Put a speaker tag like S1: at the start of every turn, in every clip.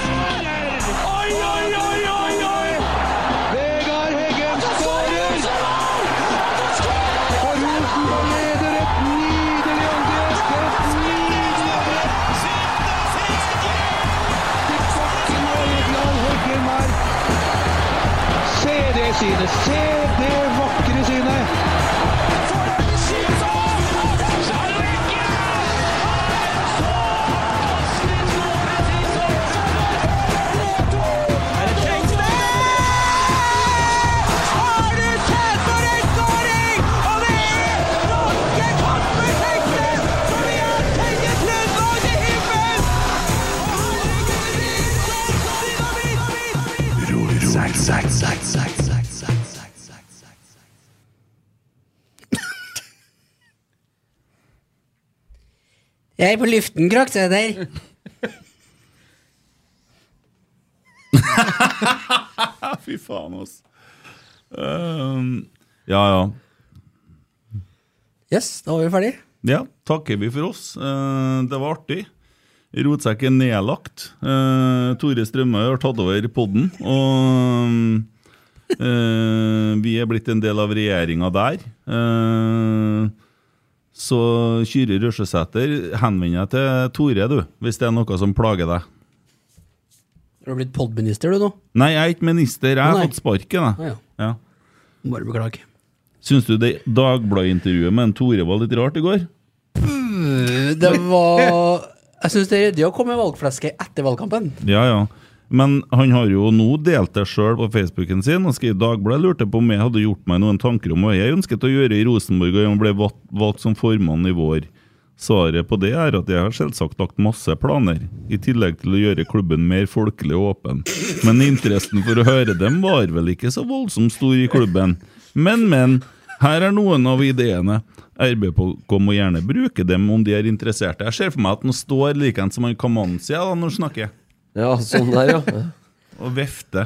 S1: Oi, oi, oi, oi, oi!
S2: Vegard Heggen skårer! Og Rosenborg leder et nydelig angrep! Et nydelig angrep! Til bakken og Egeland Heggen her. Se det synet! Se det vakre synet!
S3: Jeg er på luften, Kroksæter.
S4: Fy faen, ass. Ehm, ja, ja.
S3: Yes, da var vi ferdig.
S4: Ja, takker vi for oss. Eh, det var artig. Rotsekk er nedlagt. Eh, Tore Strømøy har tatt over podden, og eh, vi er blitt en del av regjeringa der. Eh, så Kyrre Røsjesæter, henvend deg til Tore, du, hvis det er noe som plager deg.
S3: Du har blitt podminister, du nå.
S4: Nei, jeg er ikke minister, jeg har
S3: Nei.
S4: fått
S3: Å,
S4: sparken,
S3: ja.
S4: jeg. Ja.
S3: Bare beklage.
S4: Syns du det Dagbladet-intervjuet med en Tore var litt rart i går?
S3: Det var Jeg syns det er ryddig å komme med valgfleske etter valgkampen.
S4: Ja, ja. Men han har jo nå delt det sjøl på Facebooken sin og skrevet Dagbladet lurte på om jeg hadde gjort meg noen tanker om hva jeg ønsket å gjøre i Rosenborg og jeg ble va- valgt som formann i vår. Svaret på det er at jeg har selvsagt lagt masse planer, i tillegg til å gjøre klubben mer folkelig og åpen. Men interessen for å høre dem var vel ikke så voldsomt stor i klubben. Men, men. Her er noen av ideene. RBK må gjerne bruke dem om de er interesserte. Jeg ser for meg at han står likeens som han Kamanzi da, når han snakker
S5: Ja, sånn der, ja.
S4: og vefte.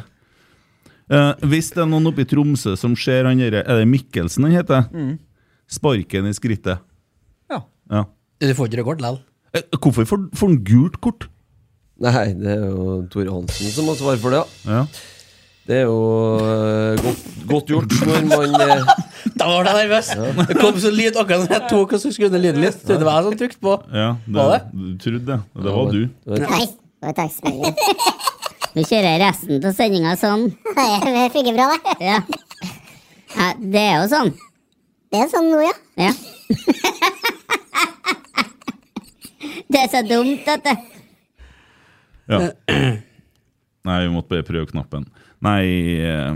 S4: Eh, hvis det er noen oppe i Tromsø som ser han derre Er det Mikkelsen han heter? Sparken i skrittet.
S2: Ja.
S4: Ja.
S3: Du får ikke rekord likevel.
S4: Eh, hvorfor får får han gult kort?
S5: Nei, det er jo Tore Hansen som har svar for det. ja.
S4: Ja.
S5: Det er jo eh, godt, godt gjort når man eh,
S3: Da var jeg nervøs! Det kom så lyd akkurat når jeg tok og så skulle ned lyden litt. Så Det var jeg som trykte på.
S4: ja det,
S3: Var det?
S4: Du trodde det. Det var du.
S6: Nei, det var tekstmelding. Vi kjører resten av sendinga sånn. Det funker bra, det. Ja. Nei, det er jo sånn. Det er sånn nå, ja. Det er så dumt, dette.
S4: Ja. Nei, vi måtte bare prøve knappen. Nei eh,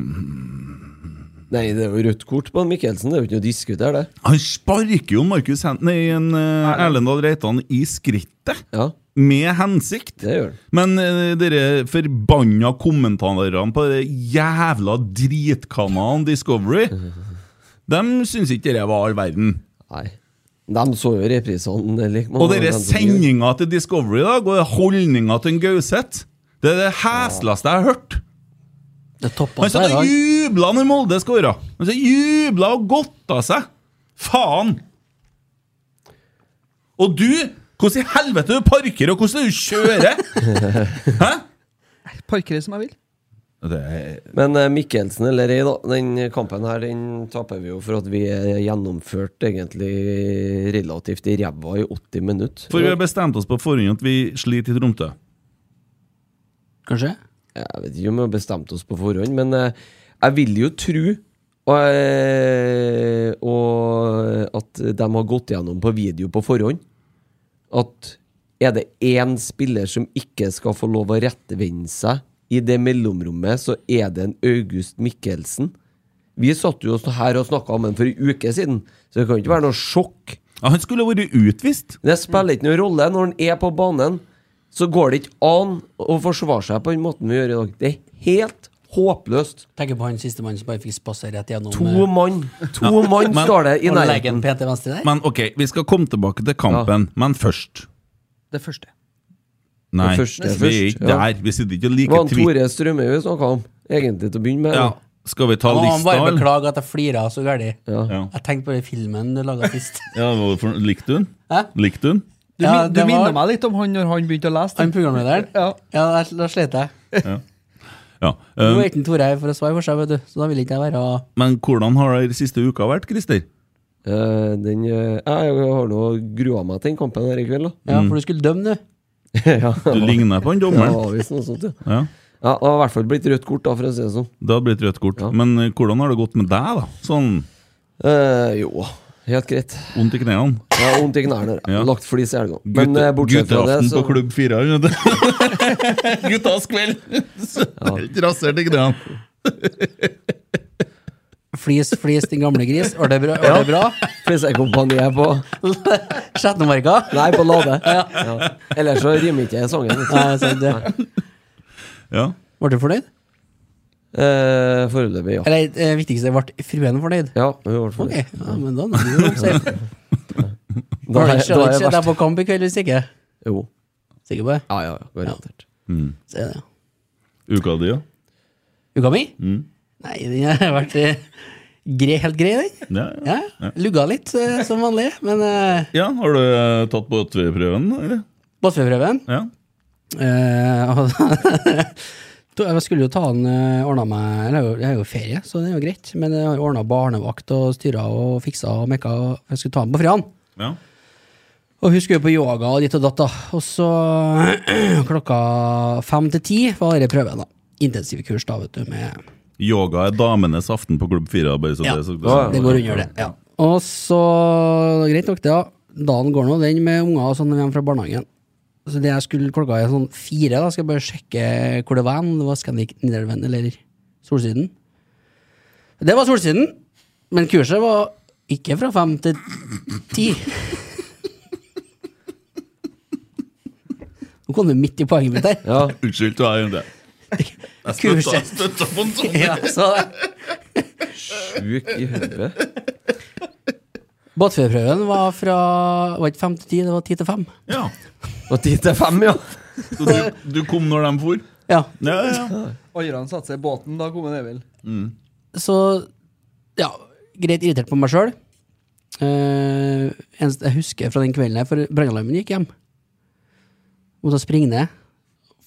S5: Nei, det er jo rødt kort på Mikkelsen. Det er jo ikke noe å diskutere, det.
S4: Han sparker jo Markus Hen... Nei, en, eh, Erlend Dahl Reitan i skrittet.
S5: Ja,
S4: Med hensikt.
S5: det gjør han.
S4: Men eh, dere forbanna kommentarene på det jævla dritkanalen Discovery De syns ikke det var all verden.
S5: Nei. De så jo reprisene. Like,
S4: Og dere sendinga til Discovery da, og holdninga til en Gauseth Det er det hesleste jeg har hørt.
S3: Det toppa
S4: Han
S3: seg i
S4: satt og
S3: dag.
S4: jubla når Molde skåra. Han satt og jubla og godta seg. Faen! Og du, hvordan i helvete du parker, og hvordan du kjører? Hæ?
S2: Parkerer som jeg vil.
S4: Det er
S5: Men eh, Mikkelsen eller ei, da. Den kampen her den taper vi jo for at vi er gjennomført egentlig relativt i ræva i 80 minutter.
S4: For vi har bestemt oss på forhånd at vi sliter i Tromsø.
S3: Kanskje?
S5: Jeg vet ikke om vi har bestemt oss på forhånd, men eh, jeg vil jo tro og, eh, og at de har gått gjennom på video på forhånd. At er det én spiller som ikke skal få lov å rettvende seg i det mellomrommet, så er det en August Mikkelsen. Vi satt jo her og snakka om ham for en uke siden, så det kan jo ikke være noe sjokk.
S4: Ja, han skulle ha vært utvist.
S5: Men det spiller ikke noen rolle. Når han er på banen, så går det ikke an å forsvare seg på den måten vi gjør i dag. Det er helt håpløst.
S3: Tenker på han siste mannen som bare fikk spasse rett gjennom
S5: To
S3: eh,
S5: mann To mann
S4: men-
S5: står det i
S3: og legge en
S5: nærheten.
S3: pen til venstre der.
S4: Men ok, vi skal komme tilbake til kampen, men først.
S2: Det første.
S4: Nei,
S5: Men først-
S4: vi er
S5: først,
S4: ikke
S5: ja.
S4: der. Vi sitter ikke og
S5: Det var
S4: liker
S5: han
S4: Twitter.
S5: Tore Strømøy vi snakka om, egentlig, til å begynne med.
S4: Ja. Skal vi ta
S3: Jeg må
S4: lista,
S3: bare
S4: eller?
S3: beklage at jeg flira så gærent.
S5: Ja.
S4: Ja.
S3: Jeg tenkte på den filmen du laga sist.
S4: Ja, hvorfor- Likte hun?
S3: Hæ?
S4: Likte hun?
S7: Du,
S3: Ja,
S7: min- du
S3: det var-
S7: minner meg litt om han når han begynte å lese.
S3: Han programlederen?
S7: Ja.
S3: Ja, da- da slet jeg.
S4: Ja.
S3: Nå
S4: Um,
S3: er ikke Tore her for å svare for seg, vet du. Så da vil ikke jeg være
S4: men hvordan har det siste uka vært, Christer?
S5: Eh, den, eh, jeg har nå grua meg til den kampen her i kveld, da.
S3: Ja, for du skulle dømme, du.
S5: ja,
S4: Du ligner på han
S5: det
S4: dommeren.
S5: var visst noe sånt, ja.
S4: Ja,
S5: ja. Det har i hvert fall blitt rødt kort, da, for å si det sånn.
S4: det hadde blitt rødt kort.
S5: Ja.
S4: Men eh, hvordan har det gått med deg, da? Sånn
S5: Eh, jo, helt greit.
S4: vondt i knærne?
S5: Jeg har vondt i knærne. jeg.
S4: Ja.
S5: Lagt flis i helga. Men
S4: Gutte,
S5: eh, bortsett fra det,
S4: gutteaften
S5: så
S4: på Klubb 4. vet du. Guttas kveld! Helt rasert i knærne.
S3: Flis, flis, din gamle gris. Var det bra? Var det bra?
S5: Flisekompaniet er på
S3: Sjettemarka?
S5: Nei, på Lade. Ja. Ellers så rimer ikke jeg sangen. vet du.
S3: Nei, sant det.
S4: Ja.
S3: Ble du fornøyd?
S5: Eh, Foreløpig, ja.
S3: Eller det viktigste, ble fruen fornøyd?
S5: Ja, i hvert fall.
S3: Ok, ja, men da er det jo oppsett.
S5: Da er, da er
S3: Skjønner
S5: jeg
S3: ikke deg
S5: verst.
S3: på kamp i kveld hvis ikke.
S5: Jo.
S3: Sikker på det?
S5: Ja, ja, ja. Garantert.
S3: Se det.
S4: Uka di, ja.
S3: Uka mi?
S5: Mm.
S3: Nei, den har vært eh, grei, helt grei, den.
S4: Ja, ja.
S3: Ja, Lugga litt, eh, som vanlig. Men eh,
S4: ja, har du eh, tatt båtprøven, eller?
S3: båtførerprøven
S4: Ja.
S3: eh, og- To- Jeg skulle jo ta den eh, ordna meg eller jeg har jo- Jeg har jo ferie, så det er jo greit. Men jeg har jo ordna barnevakt og styra og fiksa og mekka. og Jeg skulle ta den på fredag.
S4: ja.
S3: Og hun skulle jo på yoga og ditt og datt, da. Og så klokka fem til ti var denne prøven, da. Intensivkurs, da, vet du, med
S4: Yoga er damenes aften på Klubb 4. Bare så
S3: Ja.
S4: det, er sagt.
S5: Ja,
S3: Det går under det. ja. Og så Greit nok, det, da. Dagen går nå, den med unger og sånn når vi er fra barnehagen. Så det jeg skulle klokka er sånn fire, da, skal jeg bare sjekke hvor det var hen. Det var Scandic Nidelven eller Solsiden. Det var Solsiden, men kurset var ikke fra fem til ti. Nå kom du midt i poenget mitt her.
S5: Ja.
S4: Unnskyld, du er jo det.
S3: Kurset.
S4: Støtta på en sånn.
S3: Ja, så det.
S5: Sjuk i hodet.
S3: Båtførerprøven var fra var ikke fem til ti, det var ti til fem.
S4: Ja.
S5: Og ti til fem, ja.
S4: Så du, du kom når de for?
S3: Ja,
S4: Ja, ja, ja.
S7: Alderen satte seg i båten, da kom han Emil.
S3: så ja, greit irritert på meg sjøl. eneste jeg husker fra den kvelden her, for brannalarmen gikk hjem. Måtte springe ned.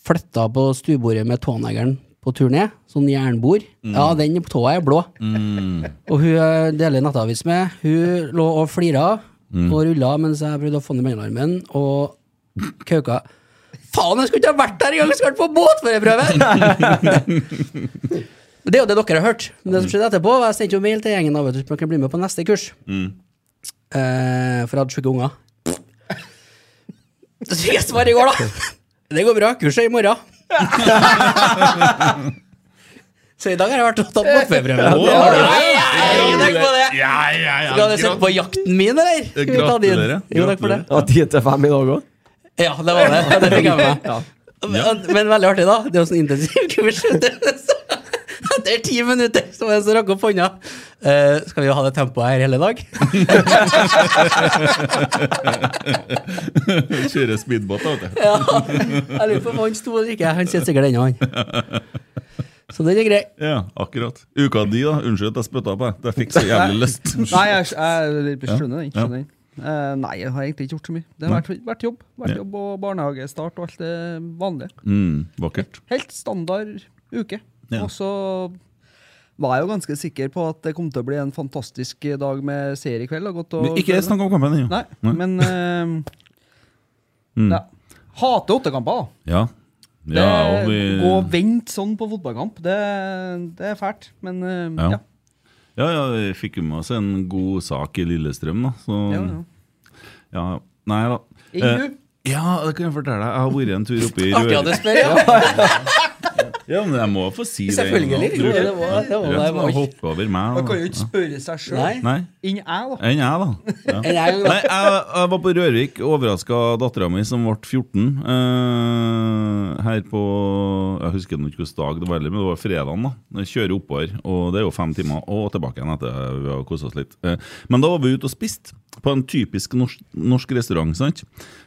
S3: Flytta på stuebordet med tånegeren på tur ned. Sånn jernbord. Ja, den tåa er blå. Og hun jeg deler nattavis med, hun lå og flira og rulla mens jeg prøvde å få ned brannalarmen, og kauka. Faen, jeg skulle ikke ha vært der engang! Jeg skulle vært på båtførerprøve! Det er jo det dere har hørt. Men det som skjedde etterpå, var jeg sendte jo mail til gjengen av at dere kunne bli med på neste kurs. Eh, for jeg hadde sjuke unger. Så fikk jeg svar i går, da. Det går bra. Kurset er i morgen. Så i dag har jeg vært og tatt båtførerprøve.
S4: Å, har du det?
S3: Nei, tenk på det!
S4: Ja, ja, ja.
S3: Skal du sett på jakten min, eller? Skal vi ta din?
S4: Eh, Gratulerer.
S3: Jo, takk for det.
S5: Ja, ti til fem i dag òg.
S3: Ja, det var det. Det fikk jeg med. Men, men veldig artig, da. Det er jo sånn intensiv kurs. Så Etter ti minutter så var jeg så rakk opp hånda. Eh, skal vi jo ha det tempoet her hele dag?
S4: Kjøre speedbåt, da, vet du.
S3: Ja. Jeg lurer på om han sto eller ikke. Han sitter sikkert ennå, han. Så den er grei.
S4: Ja, akkurat. Uka di, da. Unnskyld at jeg spytta på deg. Jeg fikk så jævlig lyst.
S7: Nei, jeg, jeg, jeg skjønner den.
S4: Ja.
S7: Skjønner den. Eh, nei, jeg har egentlig ikke gjort så mye. Det har vært, vært jobb. Vært
S4: Ja.
S7: jobb og barnehagestart og alt det vanlige.
S4: Mm, vakkert.
S7: Helt standard uke.
S4: Ja.
S7: Og så var jeg jo ganske sikker på at det kom til å bli en fantastisk dag med seer i kveld. Og godt å
S4: Men ikke snakk om kampen ennå.
S7: Nei, men eh, ja. Hater åttekamper, da.
S4: Ja.
S7: Det,
S4: Mm. Ja, og vi
S7: Gå og vente sånn på fotballkamp, det, det er fælt. Men eh,
S4: Ja.
S7: ja.
S4: Ja, ja, vi fikk jo med oss en god sak i Lillestrøm, da. Så
S7: ja,
S4: ja.
S7: ja.
S4: Nei da. Eh,
S7: Ingu?
S4: ja, det kan jeg fortelle deg. Jeg har vært en tur oppe i
S3: Artig at du
S4: Røros.
S3: spør, ja.
S4: Ja, men jeg må få si det.
S3: Selvfølgelig.
S4: en gang.
S3: Jo, det var- det var-
S4: Rett
S3: det var-
S4: og slett hoppe over meg.
S7: Man
S4: da.
S7: kan jo ikke spørre seg sjøl.
S3: Nei.
S4: ah. Nei.
S7: Enn jeg, da.
S4: Enn jeg, da. Ja.
S3: Enn jeg, da.
S4: Nei, jeg, jeg var på Rørvik, overraska dattera mi som ble 14. eh, her på Jeg husker nå ikke hvilken dag det var, heller, men det var fredagen. da Jeg Kjører oppover, og det er jo fem timer, og tilbake igjen etter vi har kosa oss litt. Eh, men da var vi ute og spiste på en typisk norsk, norsk restaurant. sant?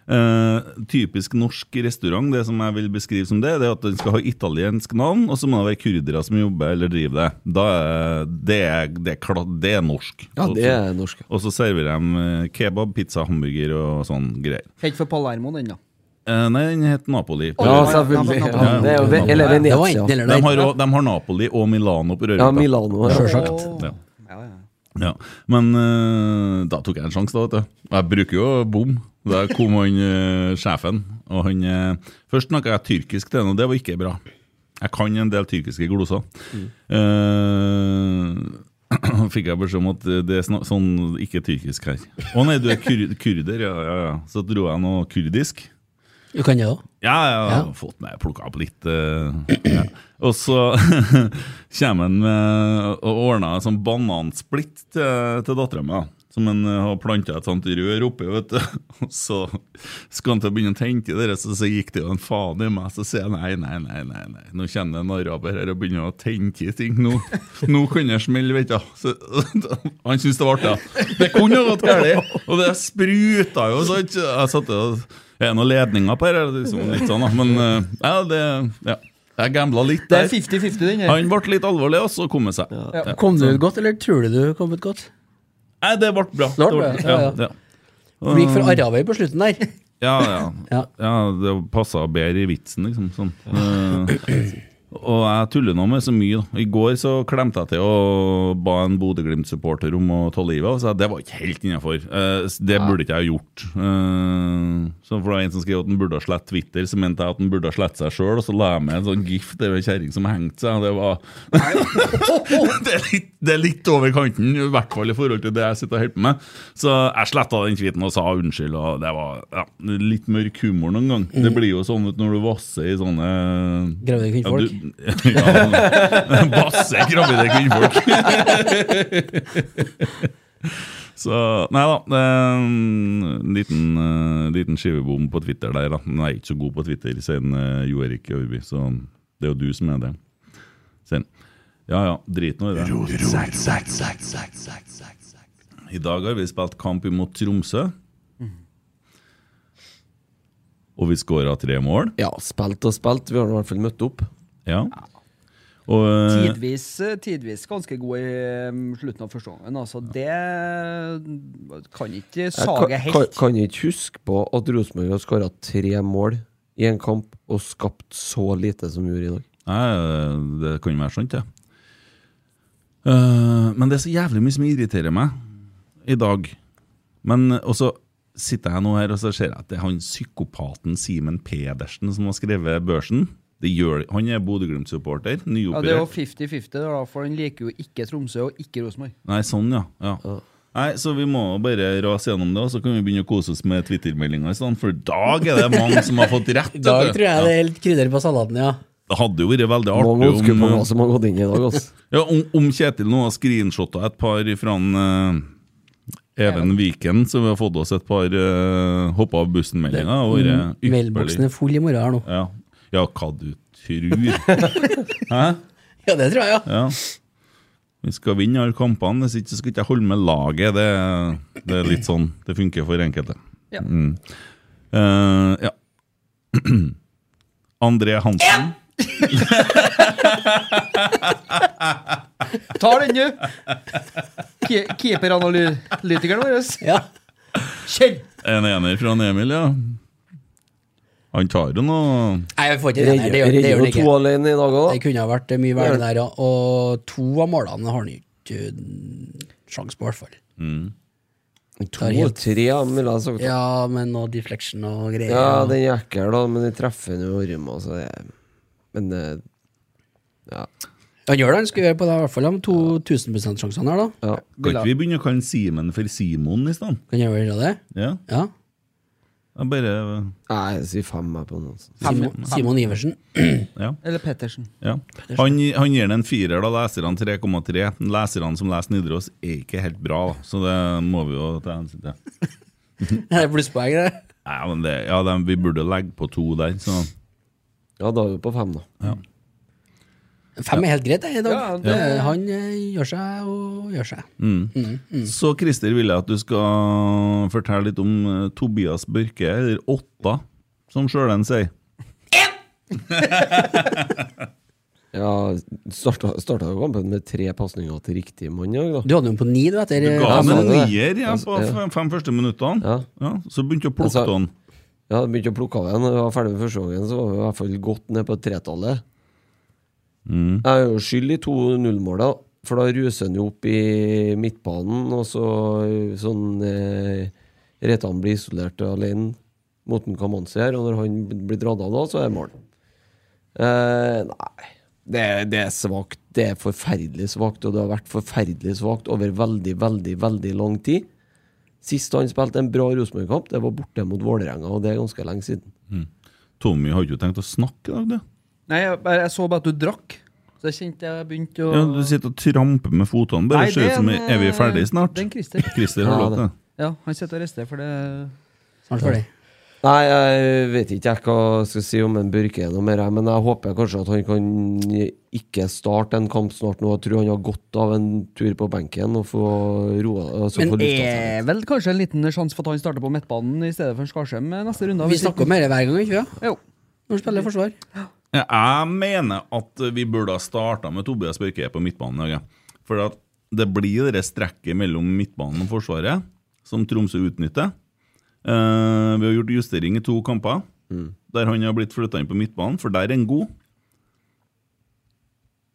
S4: Eh, typisk norsk restaurant, det som jeg vil beskrive som det, det er at den skal ha italiensk navn, og så må det være kurdere som jobber eller driver det. Da er det, er, det, er, kla- det er norsk.
S5: Ja, det er norsk.
S4: Og så serverer de eh, kebab, pizza, hamburger og sånn greier.
S7: Helt for Palermo, den, da.
S4: Eh, Nei, den heter Napoli. på
S5: Ja,
S4: Røros.
S5: selvfølgelig.
S7: Ja,
S5: Ja, det er jo, ve- eller
S3: Det var enten
S5: Venezia.
S3: eller
S4: de, har,
S3: der.
S4: også- de har Napoli og Milano på Røros.
S5: Ja, Milano. Ja.
S3: Sjølsagt.
S4: Ja.
S7: Ja, ja.
S4: Ja. Men eh, da tok jeg en sjanse, da. vet du. Og Jeg bruker jo bom. Der kom han eh, sjefen. Og han, eh, først snakka jeg tyrkisk til ham, og det var ikke bra. Jeg kan en del tyrkiske gloser. Eh, fikk jeg beskjed om at det er snak- sånn ikke tyrkisk her. Å nei, du er kur kurder, ja, ja, ja. Så dro jeg noe kurdisk.
S3: Du kan det òg.
S4: Ja, ja, ja.
S3: Ja.
S4: fått med, plukka opp litt. eh, ja. Og så kommer han med og ordner en sånn banansplitt til, til dattera mi. Som han eh, har planta et sånt rør oppi. vet du. Og så skal han til å begynne å tente i det, så, så gikk det jo en faen i meg. Så sier jeg nei, nei, nei, nei, nei. nå kommer det en araber her og begynner å tente i ting. Nå, nå kan det smelle, vet du. Så, han syntes det var artig. ja. Det kunne jo gått galt. Og det spruta jo, sant. Jeg satt og er det noen ledninger på her? Er det Liksom litt sånn, da. Men eh, ja, det, ja. jeg gambla litt
S7: Det er
S4: der.
S7: 50-50, den her.
S4: Han ble litt alvorlig, og så kom det seg.
S3: Kom du ut godt, eller tror du du kom ut godt?
S4: Nei, det ble bra.
S3: Det ble bra, ja,
S4: ja.
S3: Du gikk
S4: Um,
S3: for araber på slutten der.
S4: Ja, ja. ja.
S3: Ja.
S4: det passa bedre i vitsen, liksom. Sånn. Eh, og jeg tuller nå med så mye. da. I går så klemte jeg til og ba en Bodø-Glimt-supporter om å ta livet av seg. Det var ikke helt innafor. det burde ikke jeg ha gjort. Eh, så for det var en som skrev at han burde ha slett Twitter, så mente jeg at han burde ha slett seg sjøl, og så la jeg med en sånn gif der ei kjerring som hengte seg. og Det var det, er litt, det er litt over kanten, i hvert fall i forhold til det jeg sitter og holder på med. Så jeg sletta den tweeten og sa unnskyld, og det var ja, litt mørk humor noen gang. Det blir jo sånn ut når du vasser i sånne
S3: Gravide kvinnfolk.
S4: Ja, du, ja, Basse gravide kvinnfolk. Så Nei da. det er En liten, eh, liten skivebom på Twitter der, da. Men jeg er ikke så god på Twitter, siden eh, Jo Erik Øverby, så det er jo du som er det. Sen. Ja ja, drit nå i det. I dag har vi spilt kamp imot Tromsø. Og vi skåra tre mål.
S5: Ja, spilt og spilt. Vi har nå i hvert fall møtt opp.
S4: Ja. Og eh,
S7: Tidvis, tidvis ganske god i eh, slutten av første gangen. Altså, det kan ikke
S5: Jeg
S7: sage
S5: kan, kan,
S7: helt.
S5: kan ikke huske på at Rosenborg har skåra tre mål i en kamp og skapt så lite som vi gjorde i dag.
S4: Nei, det kan jo være sånt, det. Eh, men det er så jævlig mye som irriterer meg i dag. Men eh, Og så sitter jeg nå her og så ser jeg at det er han psykopaten Simen Pedersen som har skrevet Børsen. Det gjør, han er Bodø-Glimt-supporter.
S7: Ja, det er jo
S4: Nyoperert.
S7: 50-50, da, for han liker jo ikke Tromsø og ikke Rosenborg.
S4: Nei, sånn, ja. ja. Nei, Så vi må bare rase gjennom det, og så kan vi begynne å kose oss med Twitter-meldinger. i stedet, For i dag er det mange som har fått rett.
S3: I dag
S4: vet du.
S3: tror jeg det er helt krydder på salaten, ja.
S4: Det hadde jo vært veldig
S5: Mange
S4: artig
S5: ønsker på
S4: om,
S3: eh,
S5: hva som har gått inn i dag. Altså.
S4: Ja, om, om Kjetil nå har screenshotta et par fra en, eh, Even Viken, så vi har fått oss et par uh, hoppa av bussen-meldinger. og vært
S3: Mailboksen
S4: ypperlig.
S3: er full i morgen her nå.
S4: Ja. ja, hva du tror. Hæ?
S3: Ja, det tror jeg, ja.
S4: Ja. Vi skal vinne alle kampene, hvis ikke så skal ikke jeg holde med laget. Det, det er litt sånn det funker for enkelte.
S7: Ja.
S4: Mm. Eh, ja. André Hansen.
S7: Tar den, du! Ke- Keeperanalytikeren vår.
S3: ja.
S7: Kjell!
S4: En ener fra en Emil, ja. Han tar jo noe
S3: Nei, vi får ikke det. der, Det gjør det,
S5: Redder
S3: gjør
S5: jo
S3: det
S5: to
S3: ikke.
S5: alene i dag
S3: Det
S5: òg, da.
S3: kunne ha vært eh, mye verre der, ja. Og to av målene har han ikke eh, sjans på, i hvert fall.
S5: To og tre, ja, ville jeg sagt.
S3: Ja, med noe deflection og greier.
S5: Ja,
S3: Ja,
S5: den er ekkel, da, men den treffer nå Orma, så altså, det er- Men eh, ja.
S3: Han gjør det, han skulle gjøre på det, i hvert fall. De to 1000 sjansene her, da.
S5: ja.
S4: Kan ikke vi begynne å kalle Simen for Simon i stedet?
S3: Kan jeg gjøre det?
S4: Ja,
S3: Ja.
S4: jeg bare
S5: Nei, jeg sier fem jeg på altså. noen.
S3: Simon, Simon Iversen.
S4: ja,
S7: Eller Pettersen.
S4: ja. Han, han gir den en firer, da leser han 3,3. Leserne som leser Nidaros, er ikke helt bra, da. så det må vi jo ta hensyn til.
S3: Det er plusspoeng, det.
S4: Nei, men det, ja, de, vi burde legge på to der, så
S5: Ja, da er vi på fem, da.
S3: Fem er helt greit, det, i dag.
S7: Ja, det-
S3: Eh, Han eh, gjør seg og gjør seg.
S5: Mm.
S4: Så Christer vil jeg at du skal fortelle litt om eh, Tobias Børke, eller Åtta, som sjøl en sier.
S5: Ja, starta, starta jo kampen med tre pasninger til riktig mann i dag, da.
S3: Du hadde jo på ni, du, etter eh,
S4: Du ga
S5: Ja,
S4: ham
S5: så
S4: en
S5: det er det.
S4: nier ja, på
S5: Ja.
S4: fem, fem første minuttene.
S5: Ja.
S4: Ja, så begynte jeg å plukke
S5: Altså-
S4: han.
S5: Ja, jeg begynte å plukke av igjen. Når jeg var ferdig med første gangen, så var vi i hvert fall godt ned på tretallet. Jeg er jo skyld i to nullmål, da. For da ruser han jo opp i midtbanen, og så sånn eh, Reitan blir isolert alene mot en Kamanzi her, og når han blir dratt av da, så er det mål. Eh, nei. Det, det er svakt. Det er forferdelig svakt, og det har vært forferdelig svakt over veldig, veldig, veldig lang tid. Sist han spilte en bra Rosenborg-kamp, det var borte mot Vålerenga, og det er ganske lenge siden.
S4: Tommy hadde jo tenkt å snakke i dag, du.
S7: Nei, jeg, bare- jeg så bare at du drakk. Så jeg kjente jeg begynte å
S4: Ja, du sitter og tramper med fotene. Bare
S7: Nei,
S4: ser
S7: det
S4: ut som
S7: er en,
S4: er vi ferdige snart?
S7: det er en Christer.
S4: Christer har
S5: Ja,
S4: lov
S5: det.
S4: til det.
S7: Ja, han sitter og rister, for det
S3: Snart ferdig.
S5: Nei, jeg vet ikke jeg hva jeg skal si om en Børke er noe mer, jeg, men jeg håper kanskje at han kan ikke starte en kamp snart nå. Jeg tror han har godt av en tur på benken og få roa altså få
S3: Men eh,
S5: lufta
S7: er
S5: seg litt.
S7: vel kanskje en liten sjanse for at han starter på midtbanen i stedet for en Skarsheim eh, neste runde.
S3: Vi snakker om dette hver gang, ikke sant?
S7: Jo.
S3: Når vi
S7: Mm.
S3: spiller forsvar.
S4: Ja, Jeg mener at vi burde ha starta med Tobias Børke på midtbanen. i dag, ja. For at det blir det strekket mellom midtbanen og Forsvaret som Tromsø utnytter. Eh, vi har gjort justering i to kamper,
S5: Mm.
S4: der han har blitt flytta inn på midtbanen, for der er han god.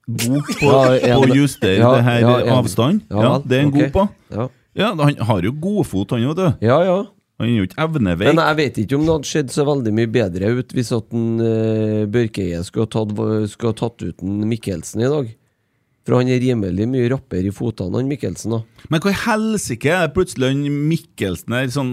S4: God på,
S5: Ja, jeg-
S4: på å justere
S5: ja,
S4: det her
S5: ja, jeg-
S4: avstand. Ja,
S5: vel,
S4: det er han
S5: ok.
S4: god på.
S5: Ja.
S4: Ja, Han har jo godfot, han, vet du.
S5: ja, ja.
S4: Han er jo ikke evneveik.
S5: Men jeg vet ikke om det hadde sett så veldig mye bedre ut hvis at en, eh, Børkeie skulle ha tatt, skulle ha tatt ut en Mikkelsen i dag. For han er rimelig mye rappere i fotene, han Mikkelsen. da
S4: Men hva i helsike er det plutselig han Mikkelsen her sånn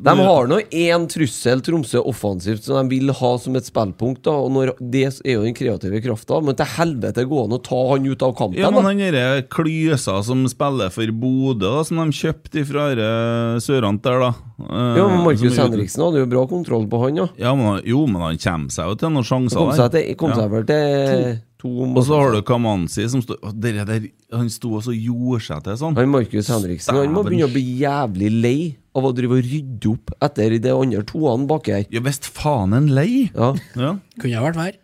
S5: De har nå én trussel Tromsø offensivt som de vil ha som et spillpunkt. da Og når Det er jo den kreative krafta, men til helvete gå an å ta han ut av kampen!
S4: Ja, men
S5: da.
S4: han derre Klysa som spiller for Bodø, da, som de kjøpte ifra eh, Sørant der, da. Eh,
S5: Jo, men Markus
S4: som-
S5: Henriksen hadde jo bra kontroll på han, ja.
S4: Ja, men, han- jo, men han kommer seg jo til noen sjanser
S5: Kom
S4: der.
S5: seg, til, kom seg vel til to
S4: Og så har
S5: mål.
S4: du Kamanzi som står Å, dere der, Han sto og så gjorde seg til sånn.
S5: Han Markus Henriksen Han må
S4: Dæven.
S5: begynne å bli jævlig lei av å drive og rydde opp etter de andre toene baki her.
S4: Ja visst faen en lei!
S5: Ja.
S4: Ja,
S3: Kunne ha vært hver.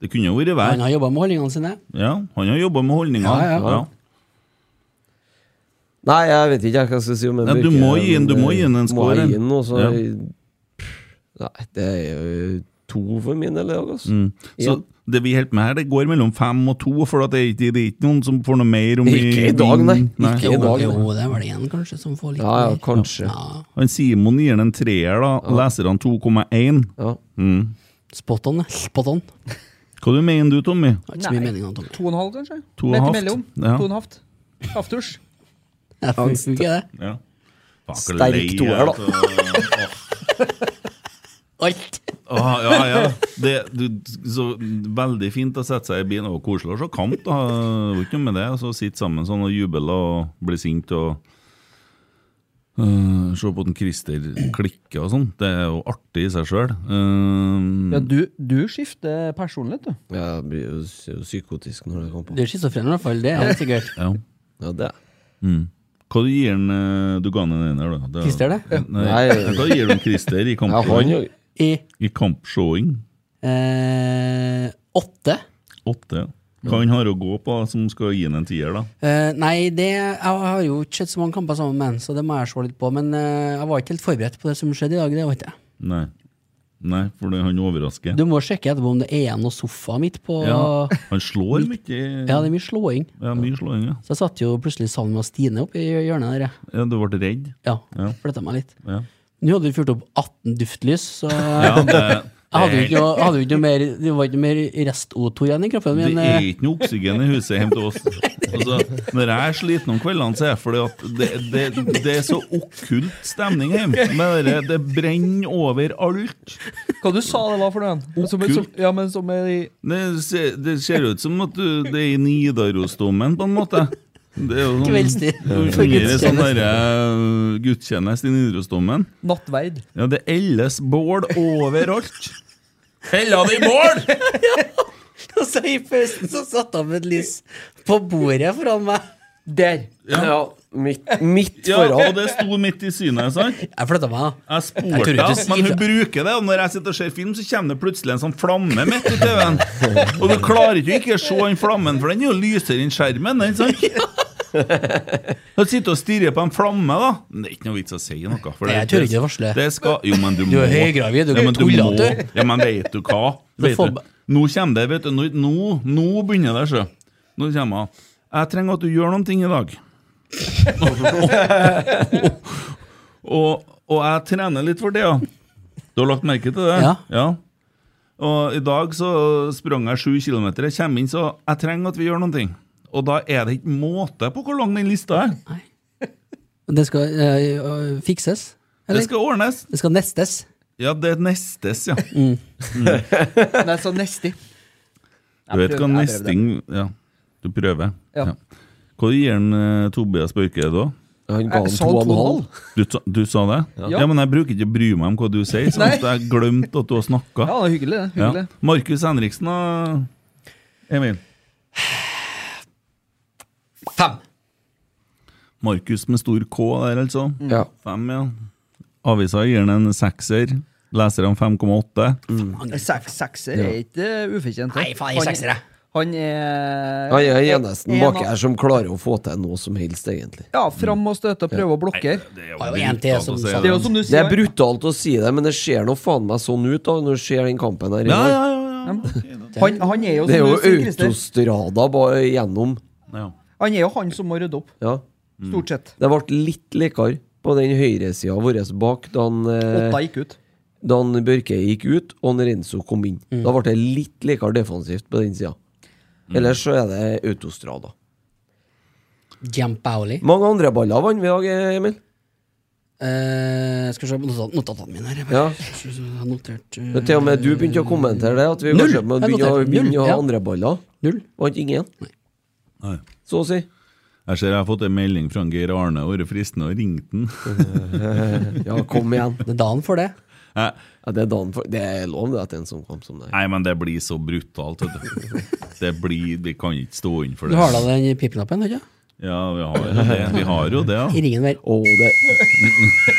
S4: det kunne jo
S3: Han
S4: vært vær.
S3: har jobba med holdningene sine.
S4: Ja, han har jobba med holdninger.
S3: Ja, ja.
S5: Nei, jeg vet ikke jeg, hva jeg skal si om en
S4: Nei, du
S5: Børke,
S4: må gi inn-
S5: men,
S4: du må gi inn en
S5: eh, må jeg
S4: score.
S5: gi inn, og så-
S4: Ja.
S5: Nei, det er jo to for min del i dag, altså.
S4: Så
S5: Ja.
S4: det vi holder med her, det går mellom fem og to, for at det, er ikke- det er ikke noen som får noe mer om
S5: Ikke i dag, nei. Ikke
S3: Jo,
S5: i dag,
S3: jo,
S5: nei.
S3: det er vel en kanskje som får litt
S5: Ja, ja,
S3: mer.
S5: kanskje.
S3: Ja,
S4: Han Simon gir den en treer, da. Leserne 2,1.
S5: Ja.
S3: Spot on, spot on.
S4: Hva du mener du, Tommy?
S3: Har ikke så mye
S7: Nei.
S3: mening om Tommy.
S7: To og en halv, kanskje?
S4: To og
S7: Midt
S4: en halvt,
S7: imellom.
S4: ja.
S7: To og en halvt. Aftusj.
S3: Jeg funker ikke det.
S4: Ja.
S5: Sterk toer, da.
S4: altså.
S3: Alt.
S4: Ah, ja, ja. Det, du, så veldig fint å sette seg i bilen. Og koselig å se kamp, da. Det var ikke noe med det. Så sitte sammen sånn og juble og bli sint og øh, Se på den Christer klikke og sånn. Det er jo artig i seg Eh, sjøl.
S7: Ja, du, du skifter personlighet, du.
S5: Jeg blir jo s- jo psykotisk når det kommer på.
S3: Du er schizofren i hvert fall, det er det sikkert.
S4: ja.
S5: Ja, det er
S4: Hva du gir den, øh, du ga den en ener, da? Det er-
S3: Christer, det?
S4: Nei,
S5: Nei.
S4: Hva gir du Christer i
S5: ja, han,
S4: kampshowing?
S5: jo-
S3: I
S4: I kampshowing?
S3: eh, åtte.
S4: Åtte. Hva han har å gå på som skal gi han en tier, da?
S3: Eh, nei, det, jeg har jo ikke sett så mange kamper sammen med han, så det må jeg se litt på. Men eh, jeg var ikke helt forberedt på det som skjedde i dag. det var ikke jeg.
S4: Nei. Nei, for det, han overrasker.
S3: Du må sjekke etterpå om det er noe sofa midt på
S4: ja.
S3: ja.
S4: Han slår mye.
S3: det er mye slåing.
S4: Ja, mye slåing, ja.
S3: Så jeg satt jo plutselig sammen med Stine oppe i hjørnet der. jeg.
S4: ja. Du ble redd?
S3: Ja,
S4: Ja.
S3: ja. flytta meg litt.
S4: Ja.
S3: Nå hadde vi fyrt opp 18 duftlys, så
S4: Ja,
S3: Jeg hadde
S4: det,
S3: jo ikke, noe- hadde jo ikke noe mer, det var ikke noe mer rest-O2 igjen i kroppen
S4: det
S3: min.
S4: er
S3: eh,
S4: ikke noe oksygen i huset hjemme til oss. Altså, når jeg er sliten om kveldene, så er det fordi at det, det, det er så okkult stemning hjemme. Men det, det brenner overalt.
S7: Hva du sa det var for noe? igjen? Som, som,
S4: Okkult.
S7: ja, men som er i
S4: Det ser, det ser ut som at du, det er i Nidarosdomen, på en måte. Det er jo sånn,
S3: Kveldstid. For
S4: Gir det sånn
S3: gudstjeneste.
S4: derre eh, gudstjeneste i Nidarosdomen.
S7: nattverd.
S4: Ja, det elles bål overalt. Hella det i bål!
S3: Og så i pausen så satte han et lys på bordet foran meg.
S7: Der!
S4: Ja.
S5: Midt, midt
S4: Ja, og
S5: foran.
S4: det sto midt i synet, sant?
S3: Jeg flytta meg, da.
S4: Jeg
S3: Jeg tror ikke
S4: spurte henne,
S3: du-
S4: men hun
S3: ikke-
S4: bruker det. Og når jeg sitter og ser film, så kommer det plutselig en sånn flamme midt i TV-en. Og du klarer ikke å ikke se den flammen, for den er jo lysere enn skjermen. Den, sant? Du sitter og stirrer på en flamme, da. Men det er ikke noe vits å si noe. For
S3: Jeg tør ikke å varsle.
S4: Det skal, jo, men du må.
S3: er høygravid, du
S4: ja, men
S3: tuller
S4: må.
S3: at
S4: Ja, men vet du hva? Vet
S3: får
S4: du.
S3: ba-
S4: Nå kommer det, vet du. Nå, nå, nå begynner det, sjø. Nå kommer hun. Jeg trenger at du gjør noen ting i dag. Og, og jeg trener litt for det, ja. Du har lagt merke til det?
S3: Ja.
S4: Og i dag så sprang jeg sju kilometer. Jeg kommer inn, så jeg trenger at vi gjør noen ting. Og da er det ikke måte på hvor lang den lista er.
S3: Det skal eh, øh, fikses.
S4: Det
S3: Eller?
S4: skal ordnes.
S3: Det skal nestes.
S4: Ja, det er nestes, ja.
S7: Nei, så nestig.
S4: Du vet hva nesting Ja, du prøver.
S7: Ja.
S4: Hva gir han eh, Tobias Børke da?
S5: Han ga han
S7: Jeg
S5: to
S7: sa
S5: og en
S7: to og en
S5: halv.
S4: Du, ta- du sa det? Ja. men jeg bruker ikke å bry meg om hva du sier, sånn at jeg glemte at du har snakka.
S7: Ja, det er hyggelig, det. Hyggelig.
S4: Markus Henriksen og Emil.
S3: Fem.
S4: Markus med stor K der, altså.
S5: Ja.
S4: Fem, ja. Avisa gir den en sekser. Leserne 5,8.
S7: Seks, sekser er ikke eh, ufortjent. det.
S3: Nei, faen, jeg
S7: Han-
S3: er sekser, jeg.
S7: Han er
S5: Han er eneste
S7: en
S5: baki
S7: av-
S5: her som klarer å få til noe som helst, egentlig.
S7: Ja, fram og støte og prøve å blokkere.
S4: Det er
S3: Har jo en til
S4: brutalt
S3: som
S4: å si
S3: sa
S7: Det er
S4: det.
S7: jo som du
S5: Det
S7: sier.
S5: er brutalt å si det, men det ser nå faen meg sånn ut da når du ser den kampen her. i
S4: Ja,
S5: dag.
S4: ja, ja.
S7: Han, han er jo
S5: Det er
S7: som
S5: jo
S7: du sier, Christer.
S5: autostrada bare gjennom.
S4: ja. ja.
S7: Han er jo han som må rydde opp,
S5: Ja.
S4: Mm.
S7: stort sett.
S5: Det ble litt likere på den høyresida vår bak da han, eh,
S7: Åtta gikk ut.
S5: da han Børke gikk ut og han Renzo kom inn. Da ble det litt likere defensivt på den sida. Ellers så er det autostrada.
S3: Jam Paoli.
S5: Mange andre baller vant vi i dag, Emil.
S3: Eh, skal vi se på notat- notatene mine her. Jeg
S5: Ja.
S3: har notert eh,
S5: Men til og med du begynte å kommentere det. At vi
S3: Null.
S5: kanskje må
S3: Jeg
S5: begynne å,
S3: noterte null,
S5: begynne å ha
S3: ja.
S5: andre baller.
S3: null.
S5: Vant ingen.
S4: Nei.
S5: Så å si.
S4: Jeg ser jeg har fått en melding fra han Geir Arne. Det har vært fristende å ringe den.
S5: Ja, kom igjen.
S3: Det er dagen for det.
S4: Jeg-
S5: Ja, det er dagen for Det er lov det at en sånn kamp som det.
S4: Nei, men det blir så brutalt. vet du. Det blir, Vi kan ikke stå inn for
S3: Du
S4: det.
S3: har da den pipknappen, ikke sant?
S4: Ja, vi har jo det. Vi har jo det ja.
S3: I ringen hver.
S5: Å, det,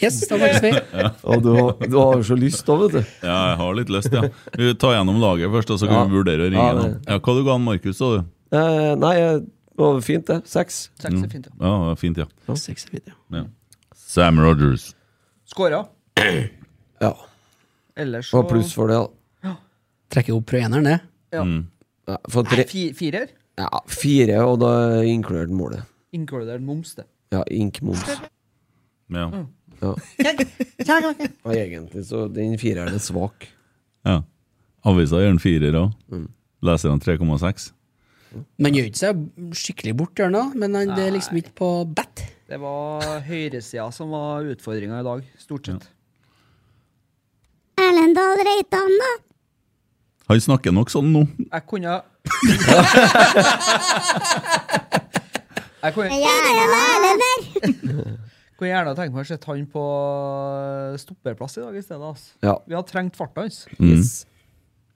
S3: Yes, da var det smitt.
S5: å du, har, du har jo så lyst da, vet du.
S4: ja, jeg har litt lyst, ja. Vi tar gjennom laget først, og så
S5: Ja.
S4: kan vi vurdere å ringe.
S5: Ja,
S4: Ja,
S5: det-
S4: ja, hva du ga han Markus, sa du?
S5: Eh, nei, eh, det var fint, det. Seks.
S7: Seks
S4: Mm.
S7: er fint, ja.
S4: Ja, det var fint, ja.
S3: Seks er fint, ja.
S4: ja. Sam Rogers.
S7: Skåra.
S5: Ja.
S7: Ellers så
S5: Og pluss for det, da.
S3: Trekker opp fra eneren, det.
S7: ja.
S5: Ja, for tre,
S7: Fi, firer.
S5: ja, fire, og da er inkludert målet.
S7: Inkludert moms, det.
S5: Ja, ink moms.
S4: Ja.
S5: Ja. Og egentlig så den fireren er svak.
S4: ja. Avisa gjør en firer
S5: Mm.
S4: òg. Leser han 3,6?
S3: Man gjør ikke seg skikkelig bort, gjør han da, men han, det er liksom ikke på bat.
S7: Det var høyresida som var utfordringa i dag, stort sett.
S6: Erlend Dahl Reitan, da?
S4: Han snakker nok sånn nå.
S7: Jeg kunne Jeg kunne,
S6: Erlend Erlend der!
S7: kunne gjerne tenkt meg å sette han på stopperplass i dag i stedet. Altså.
S5: Ja.
S7: Vi har trengt farta hans.
S5: Yes.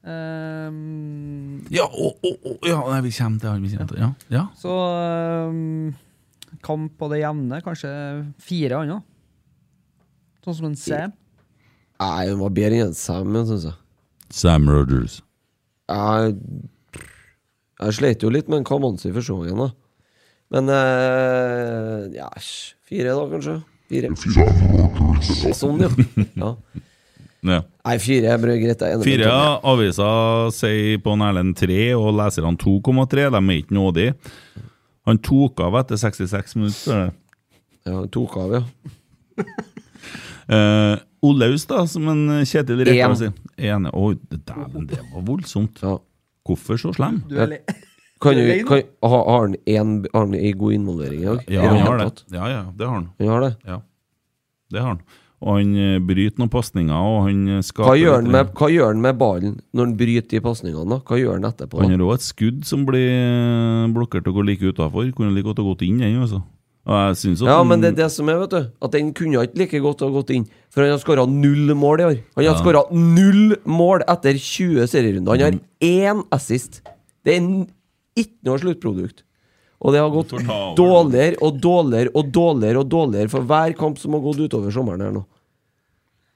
S7: Ehm,
S4: Ja, å, å, å, ja nei, vi kommer til han. Vi kommer til Ja. ja.
S7: så ehm, kamp på det jevne, kanskje fire andre. Sånn som en Sam.
S5: Nei, den var bedre enn Sam, syns jeg.
S4: Sam Rogers.
S5: Jeg, jeg sleit jo litt med en Kamanzi i første gangen, da. Men eh, ja, æsj. Fire, da, kanskje? Fire. Sånn, ja. ja.
S4: Ja.
S5: Nei, fire er bra, greit. Jeg er enig med
S4: Fire
S5: Tommy.
S4: aviser sier på en Erlend 3, og leserne 2,3. De er ikke nådige. Han tok av etter 66 minutter. står det.
S5: Ja, tok av, ja.
S4: Eh, Olaus, da, som en Kjetil Rekdal
S5: En.
S4: sier. En. Oi, dæven, det var voldsomt.
S5: ja.
S4: Hvorfor så slem?
S7: Du er litt Er
S5: Kan, du-
S7: det inn?
S5: kan, har, har han en, har han en god innvolvering i dag?
S4: Ja,
S5: I
S4: han har
S5: det hele
S4: det.
S5: tatt?
S4: Ja, ja, det har han.
S5: Han har det.
S4: Ja, det har han. Og han eh, bryter noen pasninger, og han eh, skaper
S5: Hva gjør han
S4: litt-
S5: med, hva gjør han med ballen når han bryter de pasningene? da? Hva gjør han etterpå?
S4: Han
S5: da?
S4: har òg et skudd som blir eh, blokkert og går like utafor. Kunne like godt ha gått inn, den, altså. Og jeg synes at
S5: Ja,
S4: han-
S5: men
S7: Mm.
S5: det er det som er, vet du. At den kunne ikke like godt ha gått inn. For han har skåra null mål i år. Han har skåret skåra null mål etter
S7: Mm.
S5: 20 serierunder. Han har én assist. Det er n- ikke noe sluttprodukt. Og det har gått
S4: Du får ta over.
S5: dårligere og dårligere og dårligere og dårligere for hver kamp som har gått utover sommeren her nå.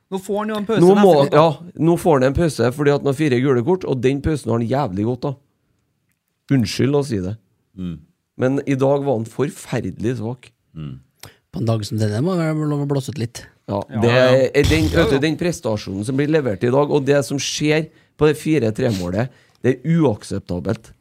S7: Nå får han jo en pause
S5: Nå, må,
S7: neste
S5: ja, nå får han en pause fordi at han har fire gule kort, og den pausen har han jævlig godt av. Unnskyld å si det.
S7: Mm.
S5: Men i dag var han forferdelig svak.
S3: På en dag som denne må det være lov å blåse ut litt.
S5: Ja, det er den, vet du, den prestasjonen som blir levert i dag, og det som skjer på det 4-3-målet, det er uakseptabelt.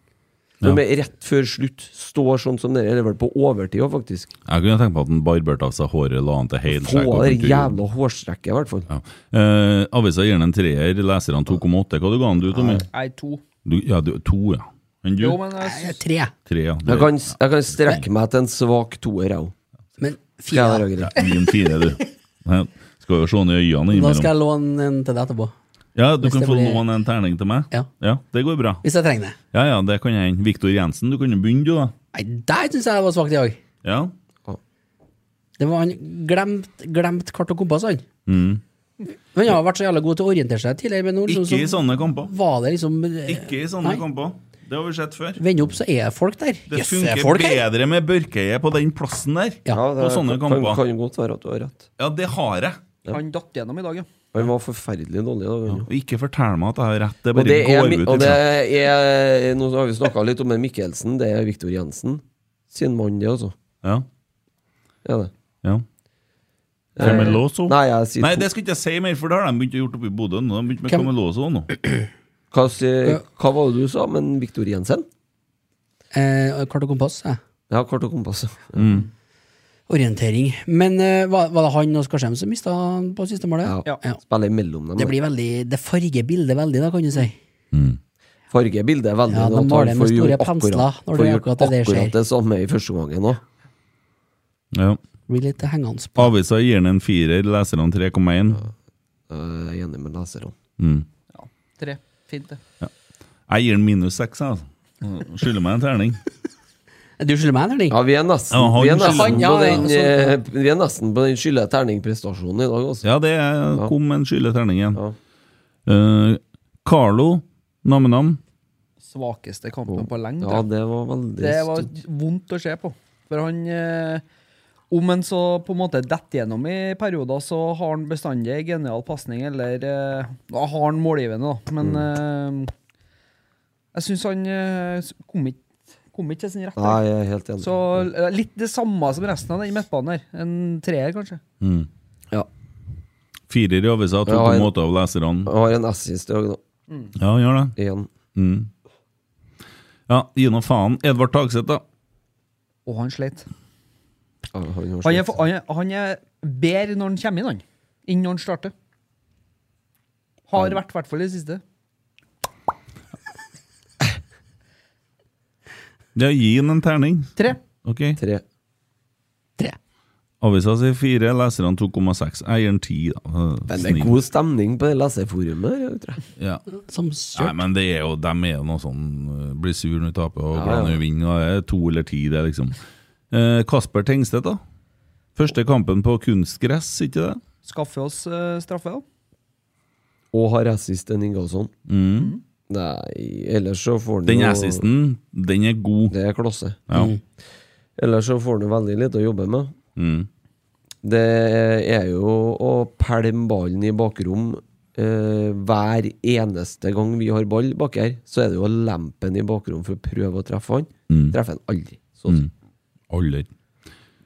S5: Når vi rett før slutt står sånn som dere leverte på overtid òg, faktisk.
S4: Jeg kunne tenke meg at han barberte av seg håret, la han til
S5: Få
S4: heilskjegg
S5: av
S4: og
S5: det
S4: kultur.
S5: jævla hårstrekket, i hvert fall.
S4: Ja. Eh, avisa gir den en treer, leserne 2,8. Hva du ga den du, Tommy?
S7: Nei, to.
S4: Du, ja, du, to, ja. Enn du?
S7: Jo, men jeg
S3: Eh,
S7: synes
S3: Tre.
S4: Tre, ja. Det
S5: Jeg kan, jeg kan strekke meg til en svak toer, jeg òg.
S3: Men fire.
S5: Skal
S3: da.
S5: jeg være grei?
S4: er en fire, du. Nei, Skal jo se han i øynene
S3: Da skal
S4: innimellom.
S3: jeg låne en til deg etterpå.
S4: Ja, du kan
S3: det
S4: få
S3: blir-
S4: låne en terning til meg.
S3: Ja.
S4: det går bra.
S3: Hvis jeg trenger det.
S4: Ja, ja, det kan jeg hende. Viktor Jensen, du kunne begynne, du, da.
S3: Nei, der syns jeg det var svakt i dag.
S4: Ja.
S3: Det var han glemt, glemt kart og kompass, han.
S4: Mm.
S3: Men han har vært så jævla god til å orientere seg tidligere, men nå liksom,
S5: sånn-
S4: Ikke i
S3: så
S4: sånne kamper.
S3: var det liksom eh,
S4: Ikke i sånne
S3: nei.
S4: kamper. Det har vi sett før.
S3: Vend opp, så er folk der.
S4: Det
S3: Jøss, er
S4: funker
S3: folk her!
S4: bedre med Børkeie på den plassen der.
S3: Ja,
S5: Ja, det
S4: på sånne
S5: kan,
S4: kamper.
S5: kan godt være at du har rett.
S4: Ja, det har jeg.
S7: han datt gjennom i dag, ja.
S5: Han var forferdelig dårlig i dag. han, jo.
S4: Og ikke fortell meg at jeg har rett. Det
S5: Og
S4: bare
S5: det er,
S4: går
S5: mi-
S4: ut
S5: og det
S4: ifra.
S5: er Nå har vi snakka litt om en Mikkelsen, det er Viktor Jensen sin mann, det, altså.
S4: Ja,
S5: Det er det.
S4: ja. Cameloso?
S5: Eh, Nei, jeg sier
S4: Nei,
S5: to.
S4: det skal ikke jeg si mer, for det har de begynt å gjøre oppe i Bodø. nå. De har begynt med
S3: Hvem-
S4: Cameloso nå.
S5: Hva, sier, hva var det du sa, men Viktor Jensen?
S3: Eh, kart og kompass, jeg.
S5: Ja, kart og kompass. Ja.
S4: Mm.
S3: Orientering. Men eh, var, var det han og Skarsheim som mista på siste målet?
S5: Ja.
S7: Ja.
S5: Spiller imellom dem.
S3: Det blir veldig, det farger bildet veldig, da, kan du si.
S5: Fargebildet er veldig
S3: Ja, de
S5: godt,
S3: maler
S5: han
S3: med
S5: får
S3: store
S5: gjort
S3: pensler
S5: akkurat-
S3: når
S5: får
S3: det er
S5: gjort
S3: akkurat det der skjer.
S5: Akkurat det samme i første gangen òg.
S4: Ja.
S3: Blir litt hengende på.
S4: Avisa gir den en firer, leserne 3,1.
S5: Eh, Jeg er enig med leserne.
S4: Mm.
S7: ja. Tre. Fint, det.
S4: Jeg gir den minus seks, jeg, altså. Skylder meg en terning.
S3: Du skylder meg en terning?
S5: Ja, vi er nesten,
S4: Ja, han
S5: vi er
S4: skylder-
S5: nesten,
S3: Ja,
S5: på,
S3: ja,
S5: den,
S3: sånn, ja.
S5: eh, vi er nesten på den skylde terning-prestasjonen i dag, altså.
S4: Ja, det er- kom en skylde terning igjen.
S5: Ja.
S4: Eh, Carlo, nam-nam.
S7: Svakeste kampen på lenge.
S5: Ja,
S7: tror jeg.
S5: det var veldig
S7: Det var
S5: stort.
S7: vondt å se på. For han eh, Om han så på en måte detter gjennom i perioder, så har han bestandig en genial pasning, eller eh, Da har han målgivende, da. Men
S5: Mm.
S7: eh, jeg syns han eh, s- kom ikke kom ikke til sin rette.
S5: Nei, jeg er helt enig.
S7: Så eh, litt det samme som resten av den midtbanen her. En treer, kanskje.
S5: ja.
S4: Firer i avisa, to
S5: Ja,
S4: på
S5: jeg-
S4: måte av leserne.
S5: Jeg har en assist i dag, da.
S4: Ja, gjør det.
S5: Igjen.
S4: Mm. Ja, gi nå faen. Edvard Tagseth, da.
S7: Og han sleit.
S5: Ja, han har
S7: Han er,
S5: slitt.
S7: for- han er, han er bedre når han kommer inn, han. Enn når han starter. Har vært, i hvert fall i det siste.
S4: Ja, gi den en terning.
S7: Tre.
S4: Ok.
S5: Tre.
S3: Tre.
S4: Avisa sier fire, leserne 2,6. Jeg gir den ti, da.
S5: Men det er god stemning på det leseforumet. her, tror jeg.
S4: Ja.
S3: Som
S4: Nei,
S3: søren.
S4: men det er jo, de er jo noe sånn øh, Blir sur når de taper og
S5: Ja,
S4: glad når
S5: ja.
S4: de vinner. og Det er to eller ti, det, liksom. Eh, Kasper Tengstedt, da? Første kampen på kunstgress, ikke det?
S7: Skaffe oss eh, straffe, da.
S5: Mm. Og har assist enn Ingalsson. Nei, ellers så får han
S4: Mm. Den
S5: jo-
S4: assisten, den er god.
S5: Det er klasse.
S4: Ja.
S5: Ellers så får han jo veldig lite å jobbe med.
S4: Mm.
S5: Det er jo å pælme ballen i bakrom eh, hver eneste gang vi har ball bak her, så er det jo å lempe den i bakrom for å prøve å treffe han.
S4: Mm.
S5: Treffer han aldri. Sånn.
S4: Aldri.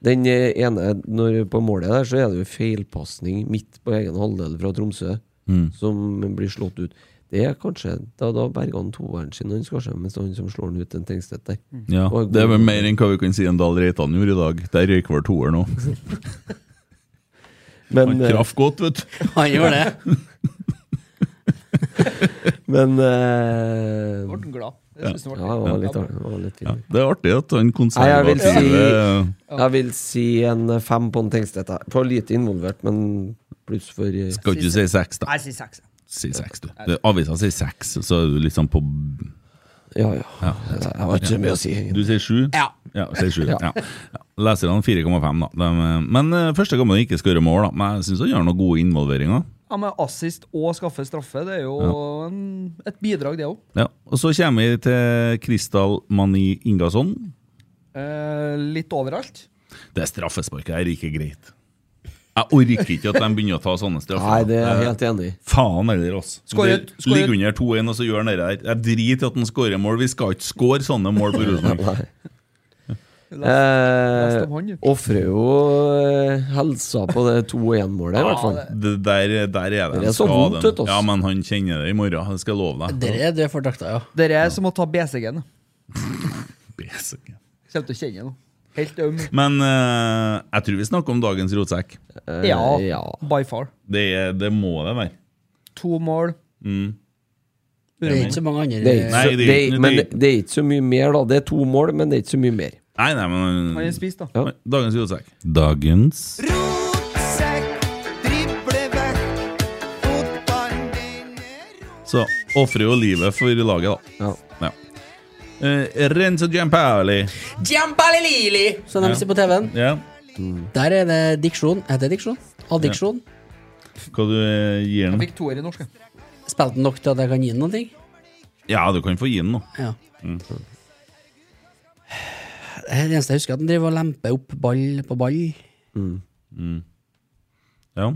S5: Den eh, ene når på målet der, så er det jo feilpasning midt på egen halvdel fra Tromsø
S4: Mm.
S5: som blir slått ut. Det er kanskje Da, da berga han toeren sin, han Skarsheim, mens han som slår han ut, en Tengstedt der.
S4: Ja.
S5: Og god.
S4: Det er vel mer enn hva vi kan si en Dahl Reitan gjorde i dag. Der røyk vel toeren òg.
S5: Men,
S4: Han
S5: eh,
S4: traff godt, vet du.
S3: Han gjorde det.
S5: men eh,
S7: Ble han glad. Det synes jeg
S5: Ja, det
S7: var
S5: var
S7: litt
S5: litt, artig, det var litt fint.
S4: Ja. Det er artig at han
S5: Nei, jeg vil
S4: konservative
S5: si- Jeg vil si en eh, fem på en Tengstedt. her. For lite involvert, men pluss for eh,
S4: Skal ikke si seks, da.
S7: Nei, si seks.
S4: Si seks, du. Det- Avisa sier seks, så er du liksom på
S5: Ja, ja. Jeg har ikke så mye å si.
S4: Du sier sju?
S3: Ja.
S4: Ja, sier sju. Ja. Ja. Leserne 4,5, da. De, eh, men eh, første gang han ikke skårer mål, da. Men jeg syns han gjør noen gode involveringer.
S7: Ja, men assist og skaffe straffe, det er jo en, et bidrag, det òg.
S4: Ja. Og så kommer vi til Kristal Mani Ingasson.
S7: Eh, litt overalt.
S4: Det straffesparket her er ikke greit. Jeg orker ikke at de begynner å ta sånne straffer. Eh,
S5: Nei, det er jeg helt enig i.
S4: Faen heller, altså.
S7: Skåret-
S4: Det
S7: skåret-
S4: Ligger under 2-1, og så gjør han det der. Jeg driter i at han skårer mål. Vi skal ikke skåre sånne mål på Rosenborg.
S7: Lest
S5: Eh,
S7: om han, jo.
S5: Ofrer jo eh, helsa på det 2-1-målet, i hvert fall.
S4: Det der, der er det
S5: Det er så vondt, vet du, ass.
S4: Ja, men han kjenner det i morgen. Det skal jeg love deg.
S3: Der er du for drakta, ja.
S7: Dere er som å ta BCG-en.
S4: Basic.
S7: Kommer til å kjenne nå. Helt øm.
S4: Men eh, jeg tror vi snakker om dagens rotsekk.
S5: Eh,
S7: Ja,
S5: ja.
S7: by far.
S4: Det, er- det må det være. Mm.
S7: To mål.
S3: Det er ikke så mange
S5: Det
S3: andre
S5: er, ikke
S4: Nei,
S5: så,
S4: det
S5: det,
S4: er
S5: er-
S4: ikke-
S5: men det er ikke så mye mer, da. Det er to mål, men det er ikke så mye mer.
S4: Nei, nei,
S7: Han er
S4: men
S7: spist, da.
S5: Ja.
S4: Dagens rotsekk. Dagens Så ofrer jo livet for laget, da.
S5: Ja.
S4: Ja. Eh, Renzo Giampali.
S3: Giampalilili, som de sier på TV-en.
S4: Ja.
S3: Der er det diksjon. Heter det diksjon? Addiksjon.
S4: Hva du eh, gir den?
S7: Fikk toer i norsk. ja.
S3: Spilte den nok til at jeg kan gi den noen ting?
S4: Ja, du kan få gi den nå.
S3: Ja. Det er det eneste jeg husker, at han driver og lemper opp ball på ball.
S4: Ja.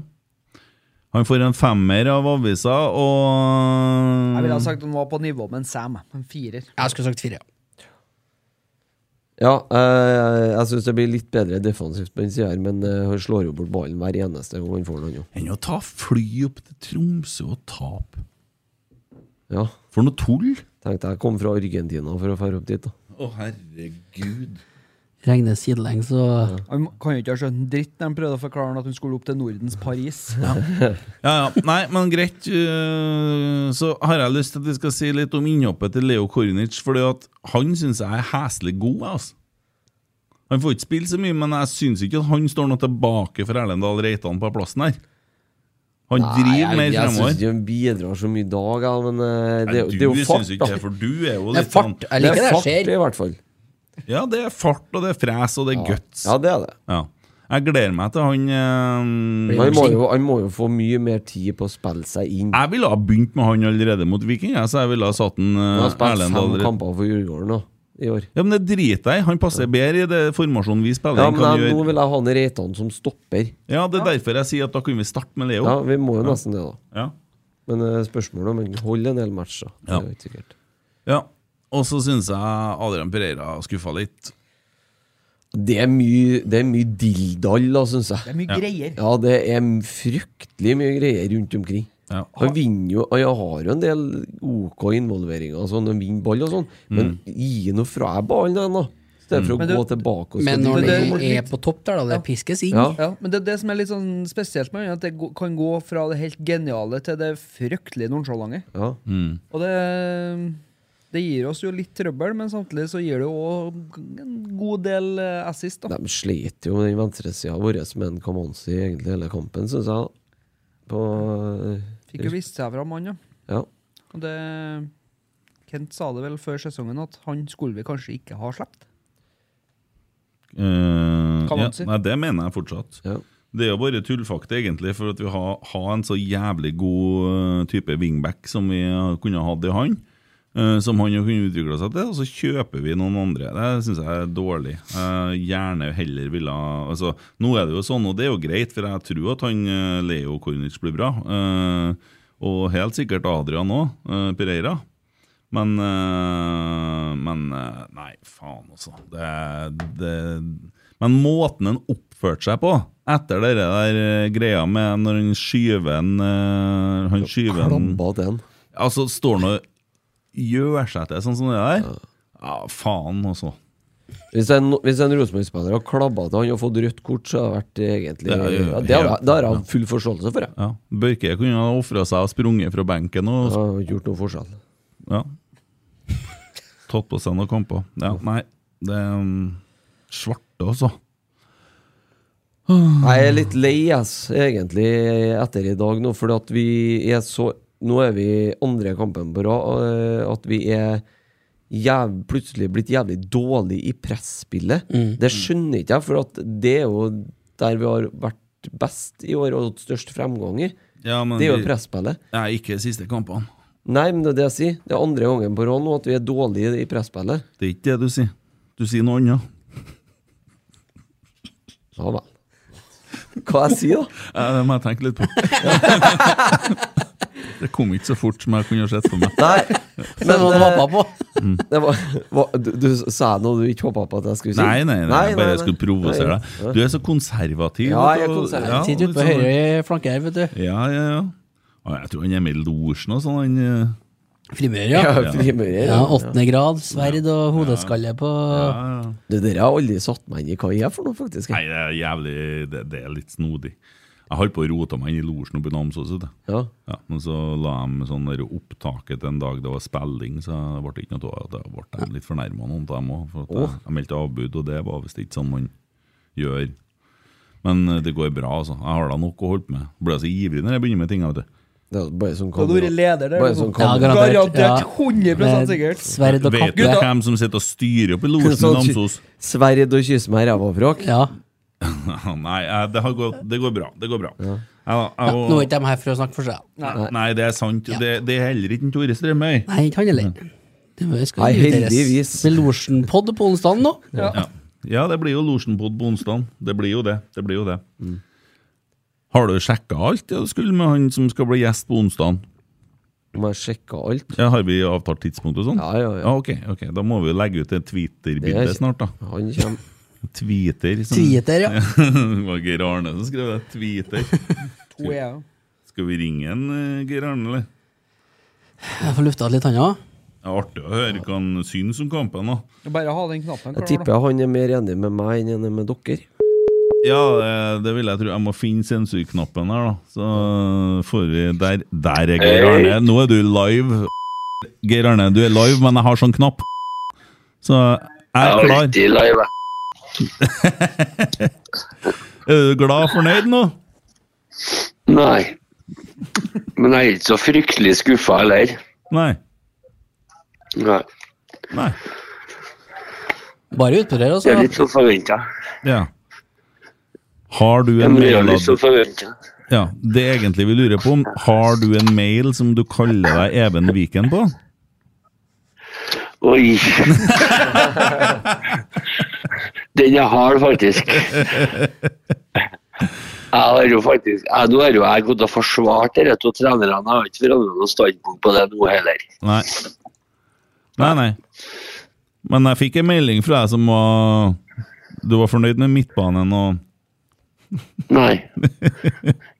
S4: Han får en femmer av avisa, og
S7: Jeg ville ha sagt han var på nivå med en Sam. En firer.
S3: Jeg skulle sagt fire.
S5: Ja, eh, jeg syns det blir litt bedre defensivt på den sida her, men eh, han slår jo bort ballen hver eneste gang han får den, han jo.
S4: Enn å ta fly opp til Tromsø og tape.
S5: Ja.
S4: For noe tull!
S5: Tenkte jeg kom fra Argentina for å fære opp dit, da.
S4: Å, herregud.
S3: Regner sidelengs og
S7: Han kan jo ikke ha skjønt en dritt når han prøvde å forklare at hun skulle opp til Nordens Paris.
S4: Ja, ja. Nei, men greit. øh, Så har jeg lyst til at vi skal si litt om innhoppet til Leo Kornic, fordi at han syns jeg er heslig god, jeg, altså. Han får ikke spille så mye, men jeg syns ikke at han står noe tilbake for Erlend Dahl Reitan på plassen her. Han driver
S5: Nei, jeg,
S4: mer
S5: jeg
S4: fremover.
S5: syns ikke han bidrar så mye i dag, ja, men eh, det,
S4: Nei,
S5: er jo-
S4: du
S5: det er jo
S4: syns
S5: fart,
S4: ikke
S5: da.
S4: det, for du er jo
S3: Det er
S4: litt sånn-
S3: fart. Jeg liker det jeg
S5: fart,
S3: ser.
S5: i hvert fall.
S4: Ja, det er fart, og det er fres, og det er guts.
S5: Ja, det er det.
S4: Ja. Jeg gleder meg til han eh,
S5: Han må, jo, han må jo få mye mer tid på å spille seg inn.
S4: Jeg ville ha begynt med han allerede mot Viking, jeg, så jeg ville ha satt han eh,
S5: Han har spilt
S4: Erlend
S5: fem
S4: allerede.
S5: kamper for Djurgården nå, i år.
S4: Ja, men det driter jeg i. Han passer bedre i det formasjonen vi spiller.
S5: Ja,
S4: enn
S5: men
S4: hva han
S5: jeg, nå
S4: gjør.
S5: vil jeg ha han Reitan som stopper.
S4: ja, Det er derfor jeg sier at da kunne vi starte med Leo.
S5: Ja, Vi må jo nesten det, da.
S4: Ja.
S5: Men eh, spørsmålet om han holder en hel match, da. Det
S4: Ja.
S5: er jo ikke sikkert.
S4: ja. Og så syns jeg Adrian Pereira skuffa litt.
S5: Det er mye, det er mye dilldall, da, syns
S7: Det
S5: jeg.
S7: er mye greier.
S5: Ja, det er m- fryktelig mye greier rundt omkring.
S4: Ja.
S5: Han vinner jo og Jeg har jo en del OK involveringer, og sånn, han vinner ball og sånn,
S4: Mm.
S5: men gi nå fra deg ballen, igjen, da. I stedet for å
S7: Men du-
S5: gå tilbake og
S3: Men når
S7: det-
S3: den
S7: det-
S3: er på topp der, da, det piskes inn.
S5: Ja.
S7: Ja, men det er det som er litt sånn spesielt med han, at det gå- kan gå fra det helt geniale til det fryktelig nonsjalante.
S5: Ja.
S7: Og det, det gir oss jo litt trøbbel, men samtidig så gir det òg en god del eh, assist. da.
S5: De slet jo med den venstresida vår med en Kamanzi egentlig hele kampen, syns jeg. På
S7: Fikk jo vist seg fra mannen, ja.
S5: Ja.
S7: Og det Kent sa det vel før sesongen at han skulle vi kanskje ikke ha sluppet.
S4: Eh, ja.
S7: man si?
S4: Nei, det mener jeg fortsatt.
S5: ja.
S4: Det er jo bare tullfakte, egentlig, for at vi har, har en så jævlig god eh, type wingback som vi har- kunne hatt i han. eh, som han jo kunne utvikla seg til, og så kjøper vi noen andre. Det syns jeg er dårlig. Jeg gjerne heller ville ha altså, Nå er det jo sånn, og det er jo greit, for jeg tror at han eh, Leo Kornic blir bra. eh, og helt sikkert Adrian òg, Pereira. Men, eh, men eh, Nei, faen, altså. Det, det, men måten han oppførte seg på etter det der eh, greia med når han skyver en eh, Han skyver en
S5: Klabba den.
S4: Altså, står han og gjør seg til sånn som det der? Ja, faen, altså.
S5: Hvis en, hvis en Rosenborg-spiller har klabba til han og fått rødt kort, så har det vært egentlig
S4: Det er jo
S5: ja, Det har
S4: helt-
S5: jeg- det har jeg full forståelse for. Jeg.
S4: Ja. Børke kunne ha ofra seg og sprunget fra benken og
S5: Det har gjort noe forskjell.
S4: Ja. Tatt på seg noen kamper. Ja, nei, det er um, svarte, altså.
S5: Jeg er litt lei, ass, egentlig, etter i dag nå, fordi at vi er så Nå er vi andre kampen på rad, og, eh, at vi er jæv, plutselig blitt jævlig dårlig i presspillet. Det skjønner ikke jeg, for at det er jo der vi har vært best i år og hatt størst fremgang i.
S4: Ja, men
S5: Det er jo
S4: vi-
S5: presspillet.
S4: Nei, ikke de siste kampene.
S5: Nei, men det er det jeg sier. Det er andre gangen på rad nå at vi er dårlige i presspillet.
S4: Det er ikke det du sier. Du sier noe annet.
S5: Ja vel. Hva jeg sier, da?
S4: Ja, det må jeg tenke litt på. det kom ikke så fort som jeg kunne ha sett for meg.
S5: Nei,
S3: Men, det Sånn var det
S5: eh,
S3: håpet på.
S5: det var, hva- du, du sa jeg noe du ikke håpa på at jeg skulle si?
S4: Nei, nei, nei, jeg bare
S5: nei.
S4: skulle provosere
S5: Nei.
S4: deg. Du er så konservativ.
S5: Ja, jeg
S4: vet
S5: er
S4: du, og-
S5: konservativ.
S4: ja,
S3: Sitter ute
S4: litt
S3: på
S4: sånn-
S3: høyre flanke her, vet du.
S4: Ja, ja, ja. Å, Jeg tror han er med i losjen og sånn. Han, eh,
S3: Frimører,
S5: Ja,
S3: ja.
S5: frimører,
S3: Ja,
S5: ja.
S3: Åttende grad, sverd og hodeskalle på
S4: ja, ja.
S5: Det der har aldri satt meg inn i hva jeg er for noe, faktisk.
S4: Nei, det er jævlig Det, det er litt snodig. Jeg holdt på å rote meg inn i losjen oppe i Namsos. vet du.
S5: Ja.
S4: Ja, men så la de sånn der opptaket en dag det var spilling, så det ble ikke noe av det. Da ble de litt fornærma, noen av dem òg. For at jeg, jeg meldte avbud, og det var visst ikke sånn man gjør. Men eh, det går bra, altså. Jeg har da nok å holde på med. Blir jeg så ivrig når jeg begynner med ting. vet du.
S5: Det er bare sånn
S7: Hadde du vært leder der?
S5: Bare
S7: liksom.
S5: sånn
S3: Ja,
S5: kamera.
S3: garantert.
S7: Garantert,
S3: ja.
S7: 100% sikkert.
S3: Med Sverd og
S4: Vet du
S3: kappe.
S4: hvem som sitter og styrer oppe i losjen i
S5: Sånn ky-
S4: Namsos?
S5: Sverd og kysse meg i ræva og frakk.
S3: Ja.
S4: Nei, eh, det, har gått, det går bra. Det går bra. Jeg,
S3: Ja,
S4: jeg,
S3: nå er ikke de her for å snakke for seg.
S4: nei. det er sant. Det, det er heller ikke en Tore Strømøy.
S3: Nei, ikke han
S4: Mm.
S3: heller. Det var- skal
S5: Nei,
S3: inviteres.
S5: heldigvis.
S3: Med Lorsen-pod på onsdagen nå.
S4: Ja. ja, det blir jo Losjenpod på onsdag. Det blir jo det. det, blir jo det. Har du sjekka alt det du skulle med han som skal bli gjest på onsdag?
S5: Må jeg sjekke alt?
S4: Ja, har vi avtalt tidspunkt og sånn?
S5: Ja, ja, ja.
S4: ok, ok, Da må vi jo legge ut et Twitter-bilde
S5: Det er-
S4: snart, da.
S5: Han kommer.
S4: Tweeter. Som,
S3: Tvieter, ja.
S4: det var Geir Arne som skrev det. Tweeter.
S7: To er jeg.
S4: Skal vi ringe en eh, Geir Arne, eller?
S3: Jeg får lufta litt han òg.
S4: Det er artig å høre hva han syns om kampen. da.
S7: Bare ha den knappen
S5: Jeg
S7: klar, da.
S5: tipper han er mer enig med meg enn han er med dere.
S4: Ja, eh, det, det vil jeg tro. Jeg må finne sensurknappen her, da. Så eh, får vi Der, der er Geir Arne. Nå er du live. Geir Arne, du er live, men jeg har sånn knapp. Så jeg er klar.
S8: Alltid live. jeg.
S4: Er du glad og fornøyd nå?
S8: Nei. Men jeg er ikke så fryktelig skuffa heller.
S4: Nei.
S8: Nei.
S4: Nei.
S3: Bare utpå der,
S8: Det
S3: altså.
S8: er litt sånn. som forventa.
S4: Ja. Har du en mail
S8: Litt som forventa.
S4: Ja, det er egentlig vi lurer på om Har du en mail som du kaller deg Even Viken på?
S8: Oi. Den er hard, faktisk. Jeg har jo faktisk jeg, Nå har jo jeg gått og forsvart de to trenerne. Jeg har ikke forandret noe standpunkt på det nå heller.
S4: Nei. Nei, nei. Men jeg fikk en melding fra deg som var Du var fornøyd med midtbanen og
S8: Nei.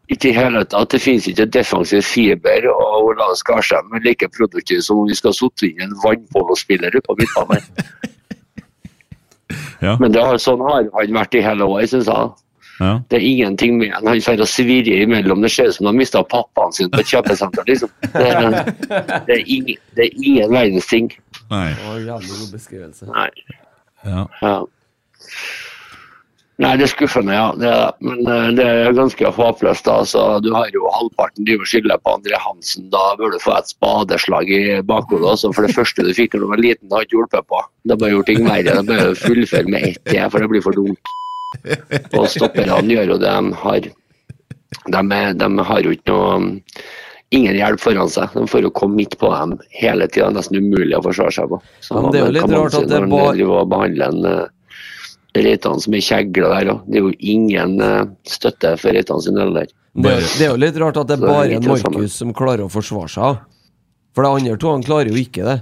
S8: Ikke i hele tatt. Det finnes ikke defensiv fiber, og Olav Skarsheim er like produktiv som om vi skal sitte inn en vannpolospiller på midtbanen.
S4: Ja.
S8: Men det har, sånn har han vært i hele år, syns jeg.
S4: Ja.
S8: Det er ingenting med han. Han får å svirre imellom. Det ser ut som han har mista pappaen sin på et kjøpesenter, liksom. Det er, det er, ingen, det er ingen verdens ting.
S4: Nei.
S5: Å, jævlig god beskrivelse.
S8: Nei.
S4: Ja.
S8: Ja. Nei, det er skuffende, ja. Det er, det. men eh, det er ganske håpløst. da. Så du har jo halvparten driver og skylder på André Hansen. Da bør du få et spadeslag i bakhodet. Også, for det første du fikk da du var liten, har ikke hjulpet på. Det har bare gjort ting verre. Det bør fullføre med ett til, for det blir for dumt. Og stopperne gjør jo det de har. De, er- de har jo ikke noe um, Ingen hjelp foran seg. De får jo komme midt på dem hele tida. Nesten umulig å forsvare seg på.
S5: Ja,
S8: Så
S5: men det er jo
S8: hva
S5: litt
S8: kan man
S5: rart
S8: si
S5: at det
S8: når de
S5: bare-
S8: driver og behandler en eh, Reitan som er kjegla der òg. Det er jo ingen eh, støtte for Reitan sin del der.
S5: Det er, det er jo litt rart at det er
S8: Så det er
S5: bare
S8: litt
S5: en
S8: det samme.
S5: Markus som klarer å forsvare seg. For de andre to han klarer jo ikke det.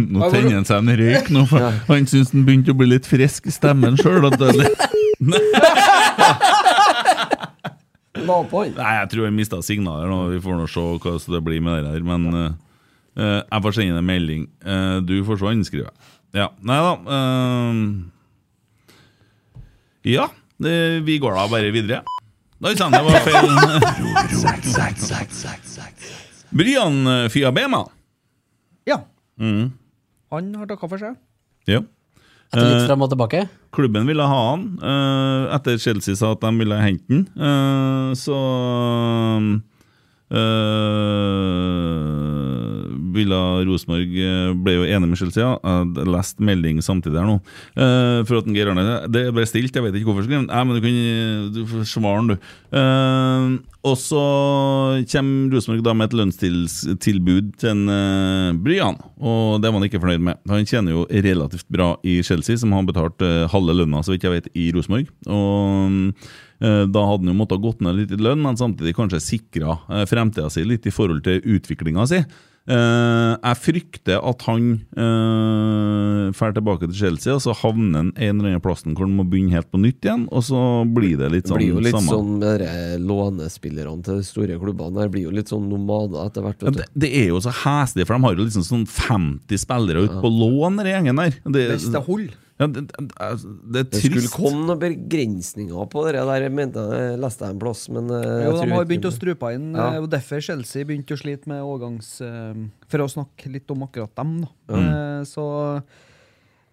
S4: Nå tenner han seg en røyk nå, for han syns han begynte å bli litt frisk i stemmen sjøl. Nei,
S5: La på han.
S4: jeg tror jeg mista signaler nå. Vi får nå se hva så det blir med det der. Men eh, eh, jeg får sende en melding. Eh, du forsvant, skriver jeg. Ja. Nei da. eh, ja. Det, vi går da bare videre. Da er det sant, det var feil. Brian eh, Fiabema.
S7: Ja. Mm. Han har takka for seg.
S4: Ja.
S3: Etter
S4: Eh,
S3: litt frem og tilbake.
S4: Klubben ville ha han eh, etter Chelsea sa at de ville hente han. Eh, så eh, vil ville Rosenborg eh, ble jo enig med Chelsea. ja. Jeg hadde lest melding samtidig her nå. Eh, for at Geir Arne Det ble stilt, jeg vet ikke hvorfor. skrev han. Nei, men du kan du får svare den, du. Eh, og så kommer Rosenborg da med et lønnstilbud til en eh, Bryan, og det var han ikke fornøyd med. Han tjener jo relativt bra i Chelsea, som har betalt eh, halve lønna, så vidt jeg vet, i Rosenborg. Og eh, da hadde han jo måttet gått ned litt i lønn, men samtidig kanskje sikra eh, fremtida si litt i forhold til utviklinga si. Eh, jeg frykter at han eh, drar tilbake til Chelsea, og så havner han en eller annen plass hvor han må begynne helt på nytt igjen, og så blir det litt
S5: Det
S4: sånn
S5: blir jo litt
S4: samme.
S5: sånn med dere lånespillerne til de store klubbene her. Blir jo litt sånn nomader etter hvert,
S4: Ja,
S5: vet du.
S4: det, det er jo så heslig, for de har jo liksom sånn 50 spillere ute på lån, den gjengen der. Det,
S7: Hvis det holder.
S4: ja, det, det, det er
S5: Det skulle
S4: trist.
S5: komme noen begrensninger på det der, jeg mente jeg leste jeg en plass, men eh, jeg
S7: Jo,
S5: tror
S7: de har
S5: ikke-
S7: begynt å strupe inn,
S5: Ja.
S7: eh, og derfor Chelsea begynte å slite med overgangs... eh, For å snakke litt om akkurat dem, da.
S5: Mm.
S7: Eh, Så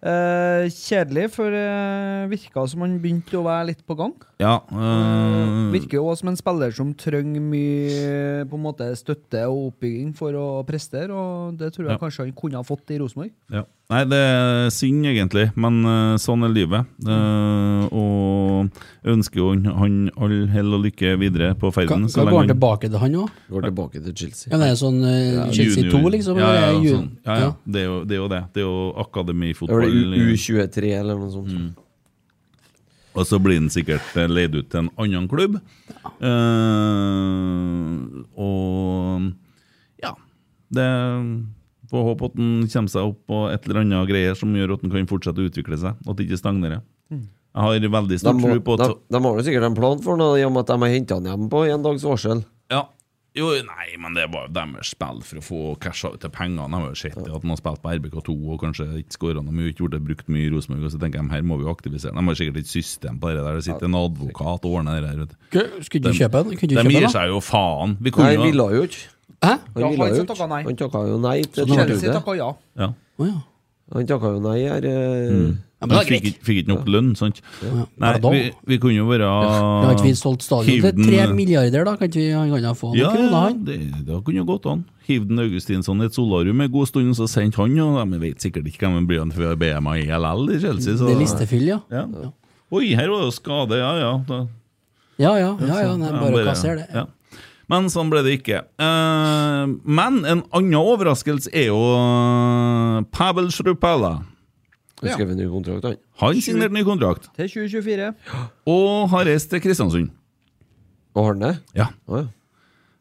S7: eh, Kjedelig, for eh, virka som han begynte å være litt på gang.
S4: Ja,
S5: Eh,
S4: øh,
S5: Mm.
S7: Virker jo også som en spiller som trenger mye på en måte, støtte og oppbygging for å prestere, og det tror jeg
S4: Ja.
S7: kanskje han kunne ha fått i Rosenborg.
S4: ja. Nei, det er synd, egentlig, men øh, sånn er livet. Eh, og jeg ønsker jo han- han all hell og lykke videre på ferden.
S3: Kan, kan går han tilbake til han òg?
S5: Går tilbake til Chelsea.
S3: Ja, det er sånn eh, Chelsea 2, liksom?
S4: Ja, ja,
S3: eller
S4: ja,
S3: ju-
S4: sånn. ja, ja. Det, er jo, det er jo det. Det er jo
S5: Det
S4: akademifotball.
S5: var det U- U23 eller noe sånt.
S4: Mm. Og så blir han sikkert eh, leid ut til en annen klubb. Eh, og ja det, Får håpe at han kommer seg opp på et eller annet greier som gjør at han kan fortsette å utvikle seg. At det ikke stagnerer. Jeg har veldig
S5: De,
S4: stor
S5: må,
S4: tro på
S5: de,
S4: at
S5: de har jo sikkert en plan for noe, i og med at de har henta han hjem på en dags varsel.
S4: Ja. Jo, nei, men det var jo deres spill for å få casha ut til pengene. Jeg har jo sett det at de har spilt på RBK2 og kanskje ikke skåra noe mye, ikke gjort det brukt mye i Rosenborg, og så tenker jeg her må vi jo aktivisere. De har sikkert et system på det der, det sitter en advokat og ordner det der. Vet du.
S3: Ku- Skulle du kjøpe den? Kunne du
S4: De
S3: kjøpe
S4: gir
S3: den, da?
S4: seg jo faen. Vi
S5: Nei,
S4: kunne
S5: han
S4: jo
S5: ville jo ikke.
S3: Hæ?
S7: Ja,
S5: Han ville
S7: han
S5: jo
S7: som
S5: ikke.
S7: takka nei.
S5: Han takka jo nei til
S7: Chelsea
S5: tilbudet.
S7: takka ja.
S4: ja.
S3: Å ja.
S5: Han takka jo nei her. eh,
S3: Ja, men
S4: De
S3: det er
S4: fikk,
S3: greit.
S4: ikke- fikk ikke nok lønn, sant? Nei,
S3: Ja, da.
S4: vi, vi kunne jo være
S3: Da har ikke vi solgt stadion til
S4: Hivden-
S3: tre milliarder, da? Kan ikke vi han kan ha få noen
S4: Ja,
S3: kroner,
S4: ja,
S3: han?
S4: det, det kunne jo gått an. Hiv den Augustinsson i et solarium en god stund, så sendte han jo De vet sikkert ikke hvem han blir før BMA ELL E i Chelsea. Så.
S3: Det er listefyll, ja.
S4: Ja. Oi, her var det jo skade, ja ja. Da,
S3: Ja ja, ja, ja nei,
S4: ja,
S3: bare å kassere det.
S4: ja. Men sånn ble det ikke. Eh, men en annen overraskelse er jo eh, Pavel Shrupala.
S5: Han skrev en ny kontrakt, han.
S4: Han signerte ny kontrakt
S7: Til 2024.
S4: og har reist til Kristiansund.
S5: Og har han det?
S4: Ja.
S5: Å ja.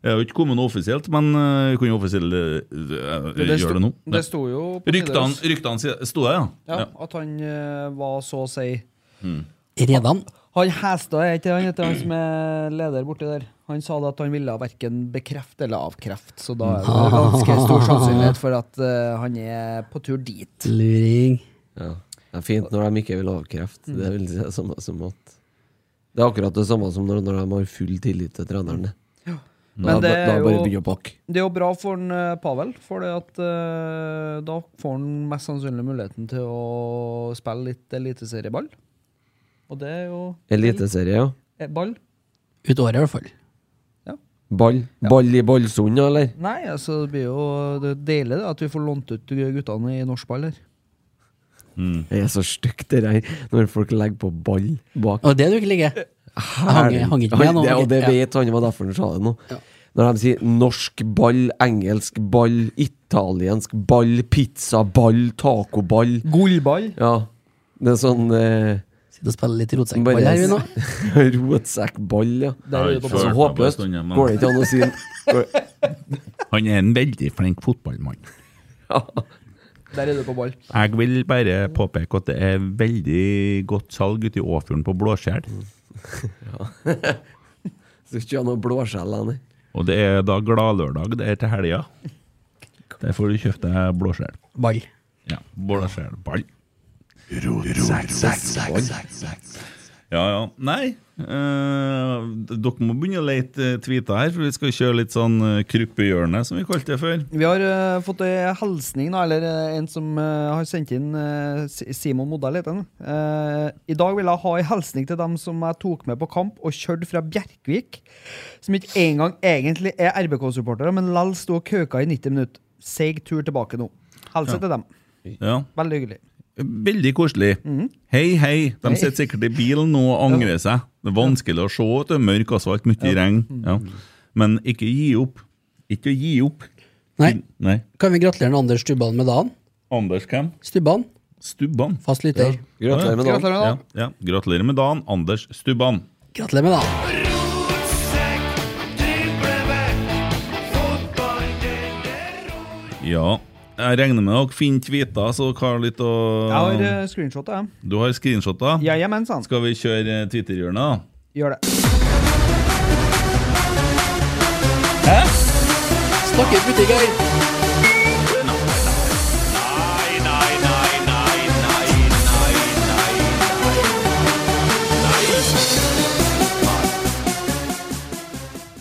S4: Jeg har jo ikke kommet noe offisielt, men eh, vi kan jo offisielt eh, eh,
S7: sto-
S4: gjøre det nå.
S7: det sto jo på
S4: Ryktene
S7: Nidaros,
S4: ryktene sier- sto der, ja.
S7: ja,
S4: ja.
S7: at han eh, var så å si
S3: Redan.
S7: Han Hestad er ikke han heter han som er leder borti der. Han sa det at han ville verken bekrefte eller avkrefte, så da er det ganske stor sannsynlighet for at eh, han er på tur dit.
S3: Luring.
S5: ja. Det er fint når de ikke vil avkrefte. Det er vel det samme som at Det er akkurat det samme som når, når de har full tillit til treneren. det. Da,
S7: Men det
S5: da
S7: er
S5: bare
S7: jo
S5: begynner å pakke.
S7: Det er jo bra for en, eh, Pavel, for det at eh, da får han mest sannsynlig muligheten til å spille litt eliteserieball. Og det er jo
S5: Eliteserie, ja.
S7: eh, ball.
S3: Ut året, i hvert fall.
S5: Ball. Ball i ballsund, ja, eller?
S7: Nei, altså det blir jo det er deilig det, at vi får lånt ut guttene i norsk ball her.
S3: Mm.
S5: Det er så stygt, det der, når folk legger på ball bak.
S3: Og det du ikke liker? Jeg hang, jeg hang ikke med nå.
S5: det, og det
S3: Ja.
S5: vet han, det var derfor han sa det nå. Når de sier norsk ball, engelsk ball, italiensk ball, pizzaball, tacoball
S7: Gullball.
S5: Ja. Det er sånn eh,
S3: Sitter og spiller litt
S5: bare-
S3: rotsekkball her, vi nå.
S5: Rotsekkball, ja.
S7: Der er
S4: Nei,
S7: det på
S4: for-
S5: Så
S7: plass.
S4: Følte meg bare
S5: håpløst.
S4: stund, ja, men-
S5: Går det ikke an å si går-
S4: Han er en veldig flink fotballmann.
S7: Der er du på ball.
S4: Jeg vil bare påpeke at det er veldig godt salg ute i Åfjorden på Blåskjell.
S5: Skal ikke ha noe blåskjell, da, nei.
S4: Og det er da gladlørdag, det er til helga. Der får du kjøpt deg blåskjell.
S3: Ball.
S4: Ja, blåskjellball. Ja, ja. Nei, eh, dere må begynne å lete eh, tweeter her, for vi skal kjøre litt sånn eh, kryppehjørne, som vi kalte det før.
S7: Vi har eh, fått ei hilsning, da, eller eh, en som eh, har sendt inn eh, Si- Simon Modell, heter han. Eh, I dag vil jeg ha ei hilsning til dem som jeg tok med på kamp og kjørte fra Bjerkvik, som ikke engang egentlig er RBK-supportere, men likevel sto og kauka i 90 minutter. seig tur tilbake nå. Helse til dem.
S4: Ja.
S7: Veldig hyggelig.
S4: Veldig koselig. Hei, hei. De sitter sikkert i bilen nå og angrer seg. Det er vanskelig å se at det er mørk asfalt, mye regn. Ja. Mhm. Men ikke gi opp. Ikke å gi opp.
S3: Nei,
S4: Nei.
S3: kan vi gratulere Anders Stubban med dagen?
S4: Anders hvem?
S3: Stubban,
S4: Stubban.
S3: fast lytter.
S5: Gratulerer med dagen.
S7: Gratulerer med
S4: Ja,
S7: dagen.
S4: ja. Gratulerer med dagen, Anders Stubban.
S3: Gratulerer med dagen.
S4: Ja. Jeg regner med dere finner tweeter, så hva er litt å
S7: Jeg har eh, screenshot, jeg.
S4: Du har screenshoter?
S7: Ja, ja, men sant.
S4: Skal vi kjøre eh, Twitter-hjørnet, da?
S7: Gjør det.
S3: Snakkes butikk her!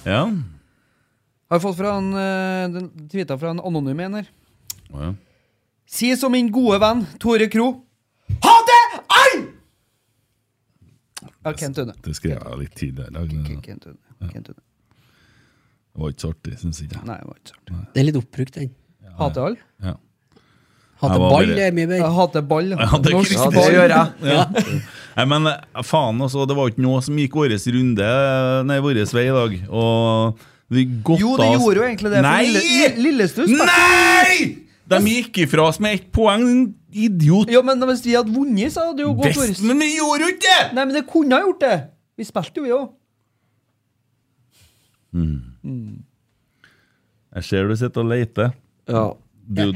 S4: Ja.
S7: Har jeg fått fra en, eh, den tweeta fra en anonym en her.
S4: ja.
S7: Si som min gode venn Tore Kro. Ha det! Ai! Ja, Kent Une.
S4: Det skrev jeg litt tidligere i dag. men Det
S7: Kent Une. Kent Une.
S4: var ikke så artig, syns jeg.
S7: Nei, det var ikke sant.
S3: Det er litt oppbrukt, den.
S7: Hater alle.
S4: Ja. Jeg
S3: Hater
S4: var
S3: ball,
S4: bare-
S3: det er mye bedre.
S7: Jeg hater ball.
S4: hater
S7: Norsk
S5: Ja,
S4: Kristin.
S5: det
S7: ball.
S5: gjør jeg.
S4: Nei, men eh, faen altså, det var ikke noe som gikk vår runde eh, Nei, vår vei i dag Og vi godt
S7: Jo, det
S4: av-
S7: gjorde jo egentlig det, for
S4: Nei!
S7: Lille- Lille- Lillestuss-
S4: Nei! De gikk ifra oss med ett poeng, din idiot
S7: Ja, men hvis vi hadde vunnet, så hadde det jo gått
S4: Best,
S7: vår.
S4: men vi gjorde jo ikke det!
S7: Nei, men det kunne ha gjort det! Vi spilte jo, vi òg.
S4: Jeg ser du sitter og leter
S5: Ja.
S4: du,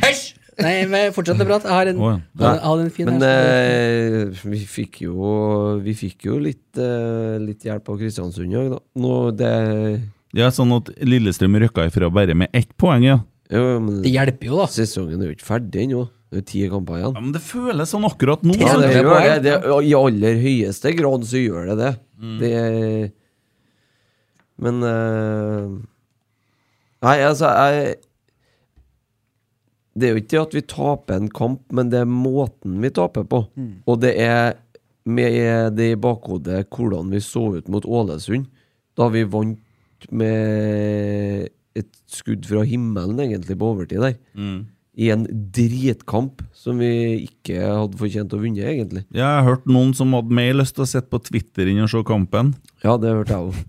S3: Nei, men fortsett å prate. Jeg har en,
S4: Å, ja.
S3: jeg har- jeg hadde en fin
S5: Men
S3: her.
S5: eh, vi fikk jo, vi fikk jo litt, eh, litt hjelp av Kristiansund i dag, da. Nå, det
S4: Ja, sånn at Lillestrøm røkka ifra bare med ett poeng, ja
S5: jo, men
S3: Det hjelper jo, da.
S5: Sesongen er jo ikke ferdig ennå. Det er jo ti kamper igjen.
S4: Ja, men det føles sånn akkurat nå
S5: Ja, det
S3: det er
S5: gjør det.
S3: poeng.
S5: det. I aller høyeste grad så gjør det det. Det er- Men eh, Nei, altså jeg, Det er jo ikke det at vi taper en kamp, men det er måten vi taper på. Og det er med det i bakhodet hvordan vi så ut mot Ålesund, da vi vant med et skudd fra himmelen, egentlig, på overtid der. I en dritkamp som vi ikke hadde fortjent å vinne, egentlig.
S4: Jeg har hørt noen som hadde mer lyst til å sette på Twitter inn og se kampen
S5: Ja, det hørte jeg òg.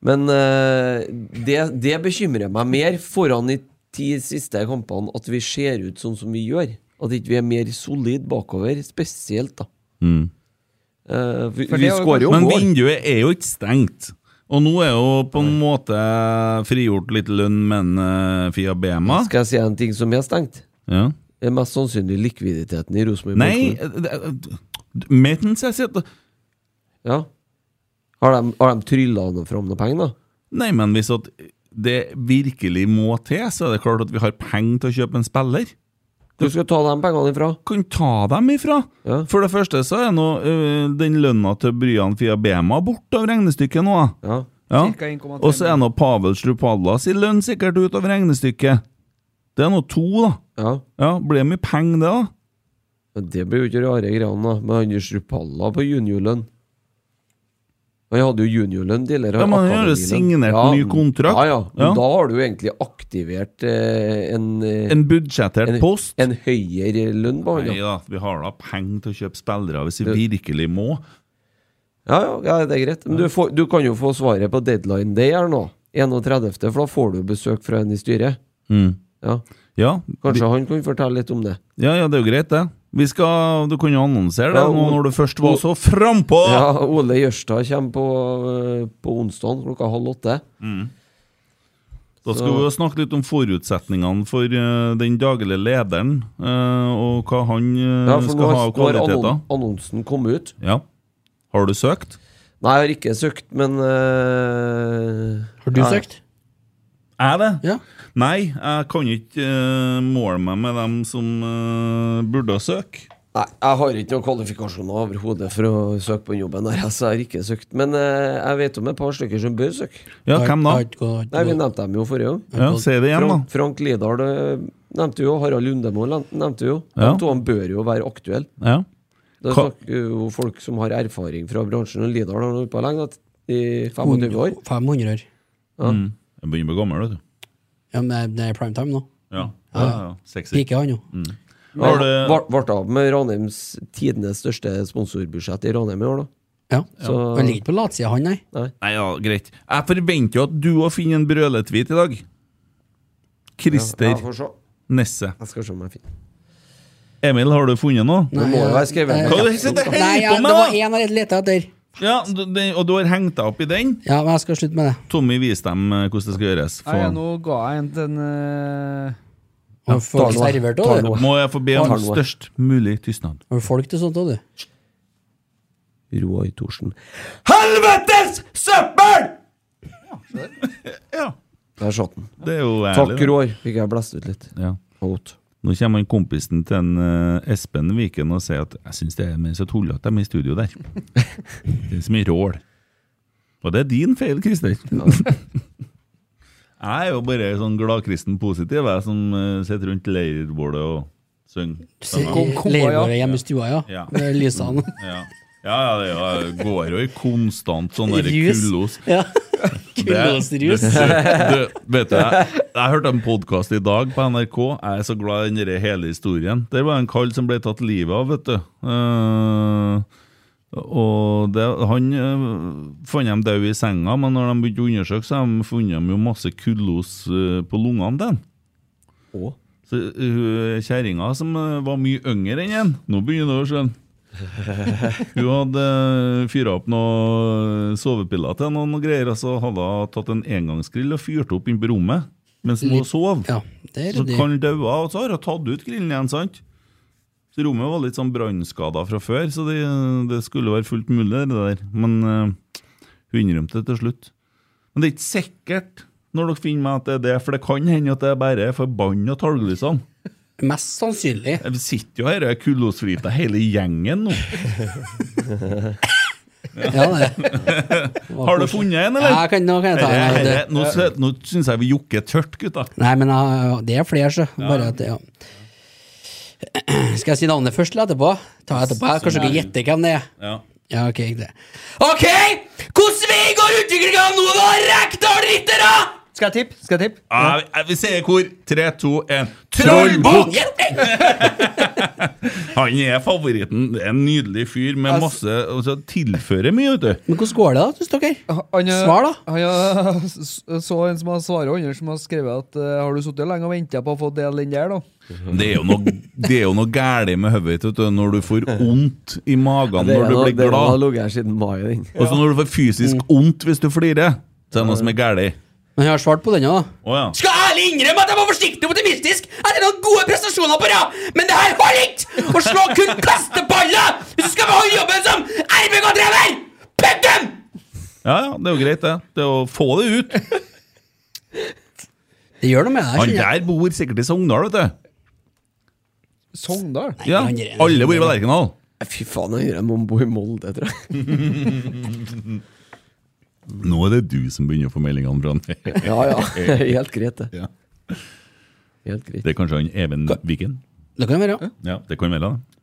S5: Men eh, det, det bekymrer meg mer foran de ti siste kampene at vi ser ut sånn som vi gjør. At ikke vi er mer solid bakover, spesielt, da. Mm. Eh, vi
S7: For det
S5: vi
S7: er jo-
S5: skårer jo
S4: Men
S5: mål.
S4: vinduet er jo ikke stengt. Og nå er jo på en måte frigjort litt lønn med en eh, Fia Bema.
S5: Skal jeg si en ting som er stengt?
S4: Ja.
S5: Det er mest sannsynlig likviditeten i Rosenborg.
S4: Nei eh,
S5: Bank.
S4: Metens, jeg sier
S5: Ja. Har de, har de trylla noe fram noe penger, da?
S4: Nei, men hvis at det virkelig må til, så er det klart at vi har penger til å kjøpe en spiller.
S5: Hvor skal du ta de pengene ifra?
S4: Kan ta dem ifra.
S5: Ja.
S4: For det første så er nå eh, den lønna til Bryan Fia Bema borte av regnestykket nå. da.
S5: Ja.
S4: Ja.
S7: Cirka 1,3
S4: Og så er nå Pavel Strupadla sin lønn sikkert ut av regnestykket. Det er nå to, da.
S5: ja.
S4: Ja, Blir det mye penger, det, da?
S5: Ja, Det blir jo ikke rare greiene, da. Med Anders Rupalla på juniorlønn. Han hadde jo juniorlønn tidligere.
S4: Ja, men han har jo
S5: akademilønn.
S4: signert ny kontrakt.
S5: Ja, ja. Men
S4: Ja.
S5: Da har du jo egentlig aktivert eh, en, eh,
S4: En budsjettert
S5: en,
S4: post?
S5: en høyere lønn på han.
S4: Nei
S5: Ja.
S4: da, vi har da penger til å kjøpe spillere hvis vi virkelig må.
S5: Ja, ja, ja, det er greit. Men du, får, du kan jo få svaret på deadline day her nå. 31., for da får du besøk fra en i styret.
S4: Mm.
S5: Ja.
S4: Ja, vi,
S5: Kanskje han kan fortelle litt om det.
S4: ja, ja det er jo greit, det. Vi skal, du kan jo annonsere det
S5: Ja,
S4: nå
S5: og-
S4: når du først var så frampå!
S5: Ja, Ole Jørstad kommer på, eh, på onsdag klokka halv åtte.
S4: Da skal vi jo snakke litt om forutsetningene for eh, den daglige lederen, eh, og hva han eh,
S5: Ja, for nå
S4: skal ha av
S5: har nå har annon
S4: kvaliteter.
S5: annonsen kommet ut.
S4: Ja. Har du søkt?
S5: Nei, jeg har ikke søkt, men øh,
S3: Har du
S5: nei.
S3: søkt?
S4: Er det?
S3: Ja.
S4: Nei, jeg kan ikke eh, måle meg med dem som eh, burde søke.
S5: Nei, jeg har ikke noen kvalifikasjoner overhodet for å søke på den jobben der, så jeg har ikke søkt. Men øh, jeg vet om et par stykker som bør søke.
S4: Ja, hvem da?
S5: Nei, vi nevnte dem jo forrige gang.
S4: Ja, Si det igjen, da.
S5: Frank, Frank Lidahl øh, nevnte jo, Harald Lundemo nevnte jo.
S4: Ja.
S5: De to han bør jo være aktuelle.
S4: Ja.
S5: Da
S4: Hva-
S5: snakker jo folk som har erfaring fra bransjen, og Lidahl har holdt på lenge, da, i 25 år.
S3: 500 år.
S4: Jeg begynner å bli gammel, vet du.
S3: Ja, men det er- det er primetime nå.
S4: Ja. Ja, ja. Sexy.
S3: Piker han jo.
S4: Mm.
S5: Ble
S4: Har du-
S5: det av med Ranheims tidenes største sponsorbudsjett i Ranheim i år, da?
S3: Ja.
S5: Så-
S3: Han ligger ikke på latsida, han, nei.
S4: Nei, ja, greit. Jeg forventer jo at du òg finner en brøletvit i dag. Christer
S5: Ja, får se.
S4: Nesse.
S5: Jeg skal se om jeg finner
S4: Emil, har du funnet noe?
S5: Det må jo være skrevet
S4: Hva er det du sitter og
S3: Nei, ja,
S4: holder på
S3: det var
S4: med? da?
S3: én jeg lette etter.
S4: Ja, du- den- og du har hengt deg opp i den?
S3: Ja, men jeg skal slutte med det.
S4: Tommy, vis dem eh, hvordan det skal gjøres.
S7: Nei,
S4: Få-
S7: nå ga jeg en til en eh,
S3: Har folk
S5: ta noe.
S3: servert
S5: Ta
S3: òg, du?
S5: noe.
S4: Må jeg få be om
S5: Tar noe.
S4: størst mulig tystnad?
S3: Har folk til sånt òg, du?
S5: Roar Thorsen. Helvetes søppel!
S4: Ja,
S5: Der satt den.
S4: det er jo ærlig.
S5: Takk,
S4: da.
S5: Roar. Fikk jeg blæst ut litt.
S4: Ja.
S5: Out.
S4: Nå kommer han kompisen til en, eh, Espen Viken og sier at jeg syns det er mer så tullete dem i studio der. det er så mye rål. Og det er din feil, Christer. jeg er jo bare sånn gladkristen positiv, jeg som eh, sitter rundt leirbålet og synger.
S7: Kom- kom, ja.
S3: Lever hjemme i stua, ja.
S4: Ja.
S3: Med lysene.
S4: Ja. Ja, ja, det er jo- går jo i konstant sånn der
S3: Rus.
S4: kullos.
S3: Ja.
S4: Det-
S3: Kullåsrus.
S4: det- det- Vet du, jeg, jeg hørte en podkast i dag på NRK. Jeg er så glad i den der hele historien. Det var en kall som ble tatt livet av, vet du. Eh, og det, han eh, fant dem død i senga, men når de begynte å undersøke, så har de funnet dem jo masse kullos eh, på lungene til han.
S5: Å?
S4: Så uh, kjerringa som eh, var mye yngre enn en Nå begynner det å skjønne. Hun hadde fyra opp noen sovepiller til noen og greier, og så hadde hun tatt en engangsgrill og fyrt opp inne på rommet mens hun
S3: Litt-
S4: sov.
S3: Ja, det er
S4: Så
S3: ryddig.
S4: kan daua, og så har hun tatt ut grillen igjen, sant? Så rommet var litt sånn brannskada fra før, så det, det skulle være fullt mulig, det der. Men eh, hun innrømte det til slutt. Men det er ikke sikkert når dere finner meg at det er det, for det kan hende at det er bare er forbanna talglysene.
S3: Mest sannsynlig.
S4: Jeg sitter jo her og er kullosfrita hele gjengen nå.
S3: Ja, det.
S4: Har du funnet en,
S3: Ja,
S4: eller?
S3: jeg kan, nå kan jeg ta
S4: Herre,
S3: den.
S4: herre,
S3: her,
S4: Nå, sø- nå syns jeg vi jokker tørt, gutta.
S3: du. Nei, men jeg- det er flere, så. Bare at, ja. Skal jeg si navnet først eller etterpå? Ta etterpå. Jeg Kanskje dere gjetter hvem det er.
S4: Ja.
S3: Ja, ok, det. Ok! Hvordan vi går utviklinga nå, da, Rekdal Rittere?
S7: Skal jeg tippe? Skal jeg tippe?
S4: Ah, vi- vi sier hvor. Tre, to, én. Trollbukk! Han er favoritten. Det er En nydelig fyr med masse altså, Tilfører mye, vet du.
S3: Men hvordan går det, da, syns dere?
S7: Han, eh,
S3: Svar, da.
S7: Han, eh, s- så en som har svaret, og andre som har skrevet at eh, har du sittet lenge og venta på å få dele den der, da?
S4: Det er jo noe, det er jo noe galt med hodet ditt vet du, når du får vondt i magen
S5: Det
S4: når du blir
S5: har
S4: glad.
S5: ligget her siden mai, den.
S4: Og så når du får fysisk vondt hvis du flirer, så er det noe som er galt.
S3: Men jeg har svart på den òg, da.
S4: Å ja.
S3: Skal ærlig innrømme at jeg var forsiktig optimistisk etter noen gode prestasjoner på rad, men det her holder ikke! Å slå kun kasteballer hvis du skal beholde jobben som RBK-trener! Punktum!
S4: Ja, ja, det er jo greit, det. Det er å få det ut.
S3: Det gjør noe med deg,
S4: Han
S3: kjenner jeg.
S4: der bor sikkert i Sogndal, vet du.
S7: Sogndal?
S4: Ja,
S3: han er-
S4: alle bor i Lerkendal.
S5: Fy faen, jeg hører jeg må bo i Molde, tror jeg.
S4: Nå er det du som begynner å få meldingene fra han.
S5: Ja, ja. Helt greit, det.
S4: Ja.
S5: Helt greit.
S4: Det er kanskje han Even Viken?
S3: Det kan være.
S4: Ja, det kan være det.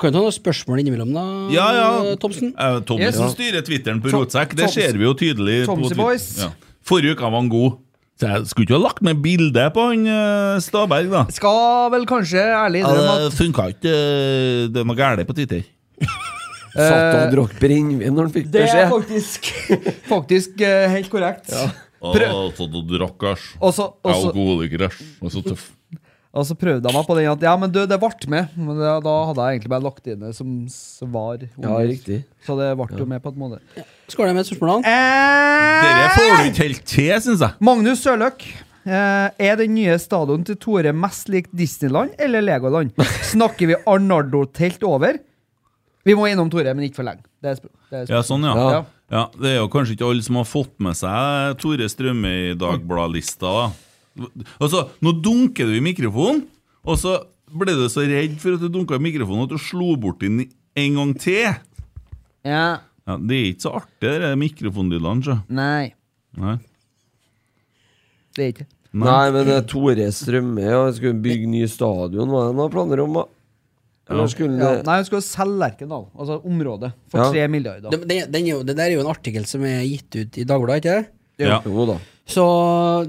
S3: Kan du ta noen spørsmål innimellom, da,
S4: Ja, ja.
S3: Thomsen?
S4: Eh, Thomsen
S7: Ja.
S4: styrer Twitteren på
S7: Tom-
S4: rotsekk, det
S7: Toms-
S4: ser vi jo tydelig. på
S7: Tomsy
S4: Twitter.
S7: boys.
S4: Ja. Forrige uke var han god. Så jeg skulle ikke ha lagt med bilde på han eh, Staberg, da.
S7: Skal vel kanskje ærlig innrømme at
S4: det funka ikke. eh, Det er noe galt på Twitter.
S5: Satt og drakk brennevin når han fikk
S7: det er
S5: beskjed.
S7: faktisk, faktisk eh, helt korrekt. Prøv-
S4: så du drakk, æsj.
S7: Og så- og så-
S4: Alkoholiker, æsj. Og så tøff.
S7: Og så prøvde jeg meg på den at ja, men du, det ble med. Men da, da hadde jeg egentlig bare lagt det inn det som svar.
S5: Ja, riktig.
S7: Så det ble jo med på en måte.
S3: Skål med spørsmålene.
S4: Dere
S7: Eh,
S4: får du ikke helt til, syns jeg.
S7: Magnus Sørløk. eh, Er den nye stadion til Tore mest lik Disneyland eller Legoland? Snakker vi Arnardo-telt over? Vi må innom Tore, men ikke for lenge. Det er sp- det er sp-
S4: Ja, sånn, ja.
S5: Ja.
S4: ja. Det er jo kanskje ikke alle som har fått med seg Tore Strømme i Dagbladet-lista. da. Altså, nå dunker du i mikrofonen, og så ble du så redd for at du dunka i mikrofonen at du slo bort den en gang til.
S7: ja.
S4: Ja, det er ikke så artig, de mikrofondydene. sjø.
S7: Nei,
S4: Nei.
S7: det er ikke
S5: Nei, men eh, Tore Strømme ja, skulle bygge ny stadion, hva er det han har planer om? da? Eller skulle
S7: ja.
S5: han
S7: Nei, hun skal selge Lerkendal, altså området, for
S5: Ja.
S7: tre milliarder.
S3: Det, det, den er jo- det der er jo en artikkel som er gitt ut i Dagbladet, ikke det?
S4: Ja.
S5: Jo da.
S3: Så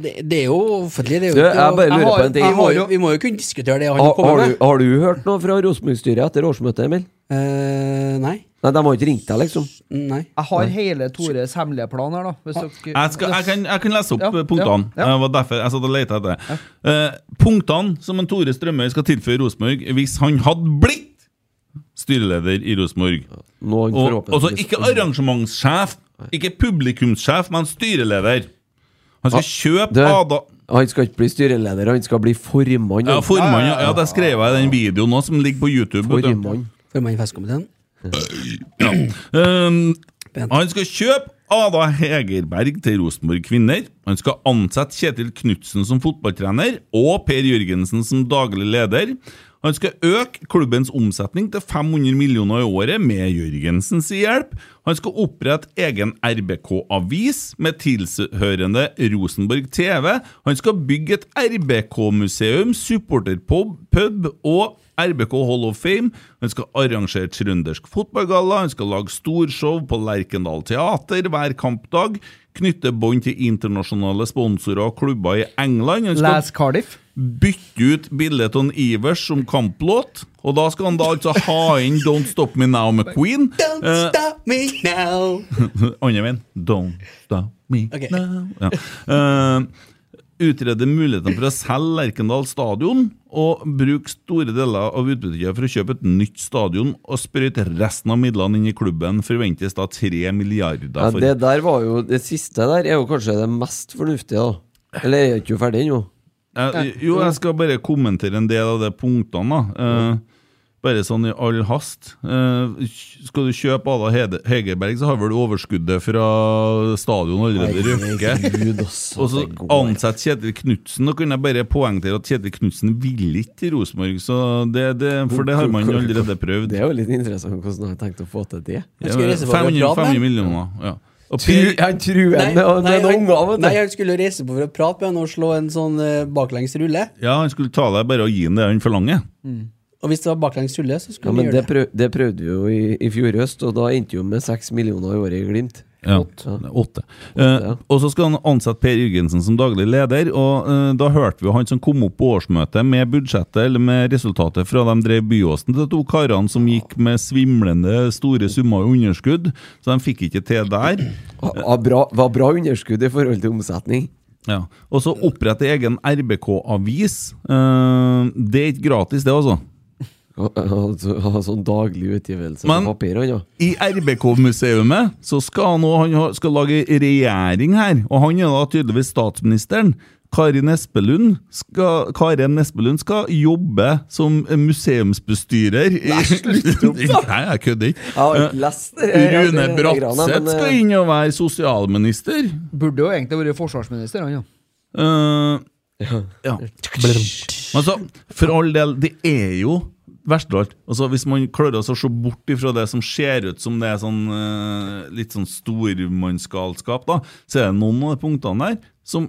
S3: det, det er jo offentlig. Det er jo,
S5: Du, jeg
S3: ikke noe-
S5: bare lurer
S3: har-
S5: på en ting.
S3: jeg har jo- Vi må jo kunne diskutere det han
S5: Har,
S3: kommer
S5: har,
S3: med.
S5: du, har du hørt noe fra Rosenborg-styret etter årsmøtet, Emil?
S3: Eh, nei.
S5: Nei, de har ikke ringt deg, liksom.
S3: Nei.
S7: Jeg har hele Tores hemmelige plan her, da. Hvis dere,
S4: Jeg, skal, jeg, kan, jeg kan lese opp
S7: Ja,
S4: eh, punktene.
S7: ja,
S4: Ja,
S7: ja.
S4: var derfor jeg satt og lette etter det. Eh, punktene som en Tore Strømøy skal tilføye Rosenborg hvis han hadde blitt styreleder i Rosenborg.
S5: Nå er han
S4: Og, altså
S5: forhåpentligvis-
S4: ikke arrangementssjef, ikke publikumssjef, men styreleder. Han skal kjøpe
S5: Du,
S4: Ada
S5: han skal ikke bli styreleder, han skal bli formann.
S4: Ja,
S5: han.
S4: formann, ja, ja, det skrev jeg i den videoen også, som ligger på YouTube. vet du.
S5: formann.
S3: Formann i festkomiteen.
S4: Um, han skal kjøpe Ada Hegerberg til Rosenborg Kvinner. Han skal ansette Kjetil Knutsen som fotballtrener og Per Jørgensen som daglig leder. Han skal øke klubbens omsetning til 500 millioner i året med Jørgensens hjelp. Han skal opprette egen RBK-avis med tilhørende Rosenborg TV. Han skal bygge et RBK-museum, supporterpub pub og RBK Hall of Fame. Han skal arrangere trøndersk fotballgalla, han skal lage storshow på Lerkendal Teater hver kampdag, knytte bånd til internasjonale sponsorer og klubber i England. Han skal
S7: Les Cardiff.
S4: bytte ut bildet av en Ivers som kamplåt, og da skal han da altså ha inn Don't Stop Me Now med Queen.
S3: Don't
S4: Eh,
S3: stop me now.
S4: Andre veien. Don't stop me
S3: Ok.
S4: now. Ja. Eh, utrede mulighetene for å selge Lerkendal stadion og bruke store deler av utbyttet for å kjøpe et nytt stadion og sprøyte resten av midlene inn i klubben. Forventes da tre milliarder.
S5: Ja,
S4: for-
S5: det der var jo Det siste der er jo kanskje det mest fornuftige, da. Eller er jeg ikke ferdig ennå?
S4: Eh, jo, jeg skal bare kommentere en del av de punktene. da. Eh, bare sånn i all hast. Eh, skal du kjøpe Ada Hede- Hegerberg, så har vel du overskuddet fra stadion allerede røkket.
S5: Gud, altså.
S4: Og så
S5: det går.
S4: ansette Kjetil Knutsen. Nå kunne jeg bare poengtere at Kjetil Knutsen ville ikke til Rosenborg, så det, det, for det har man jo allerede prøvd.
S5: Det er jo litt interessant hvordan han har tenkt å få til det.
S3: Jeg skulle reise på for å
S4: 500,
S3: prate med
S4: 500 millioner, ja. Og
S5: Tru-
S4: Per,
S5: Han truer med med noen unger,
S3: han,
S5: vet
S3: nei,
S5: du.
S3: han skulle reise på for å prate med han og slå en sånn eh, baklengs rulle.
S4: ja, han skulle ta deg bare og gi ham det han forlanger.
S3: Og hvis det var baklengs rulle, så skulle
S5: Ja,
S3: han
S5: men det,
S3: gjøre det.
S5: prøv, det prøvde vi jo i, i fjor høst, og da endte jo med seks millioner i året i Glimt.
S4: Ja. Nei, Åtte. Eh,
S5: ja.
S4: og så skal han ansette Per Jørgensen som daglig leder. Og eh, da hørte vi jo han som kom opp på årsmøtet med budsjettet eller med resultatet fra de drev Byåsen til de to karene som gikk med svimlende store summer i underskudd, så de fikk ikke til der.
S5: Ha- ha bra, var bra underskudd i forhold til omsetning.
S4: Ja. Og så opprette egen RBK-avis. Eh, det er ikke gratis, det, altså.
S5: Ha, ha, så- ha sånn daglig utgivelse
S4: Men-
S5: på papir, han, ja.
S4: I RBK-museumet så skal han, nå- han ha- skal lage regjering her, og han er da tydeligvis statsministeren. Karin Espelund skal, Karen Espelund skal jobbe som museumsbestyrer. Nei, slutt opp, da! Nei, jeg kødder ikke.
S5: Jeg har ikke lest det. jeg- jeg-
S4: Eh, Rune
S5: jeg- jeg- jeg- jeg- jeg-
S4: Bratseth skal inn og være sosialminister.
S7: Burde jo egentlig vært forsvarsminister, han, ja.
S4: Eh, ja. Men altså, for all del, det er jo verst av alt. Altså, hvis man klarer å se bort ifra det som ser ut som det er sånn eh, litt sånn stormannsgalskap, da, så er det noen av de punktene der som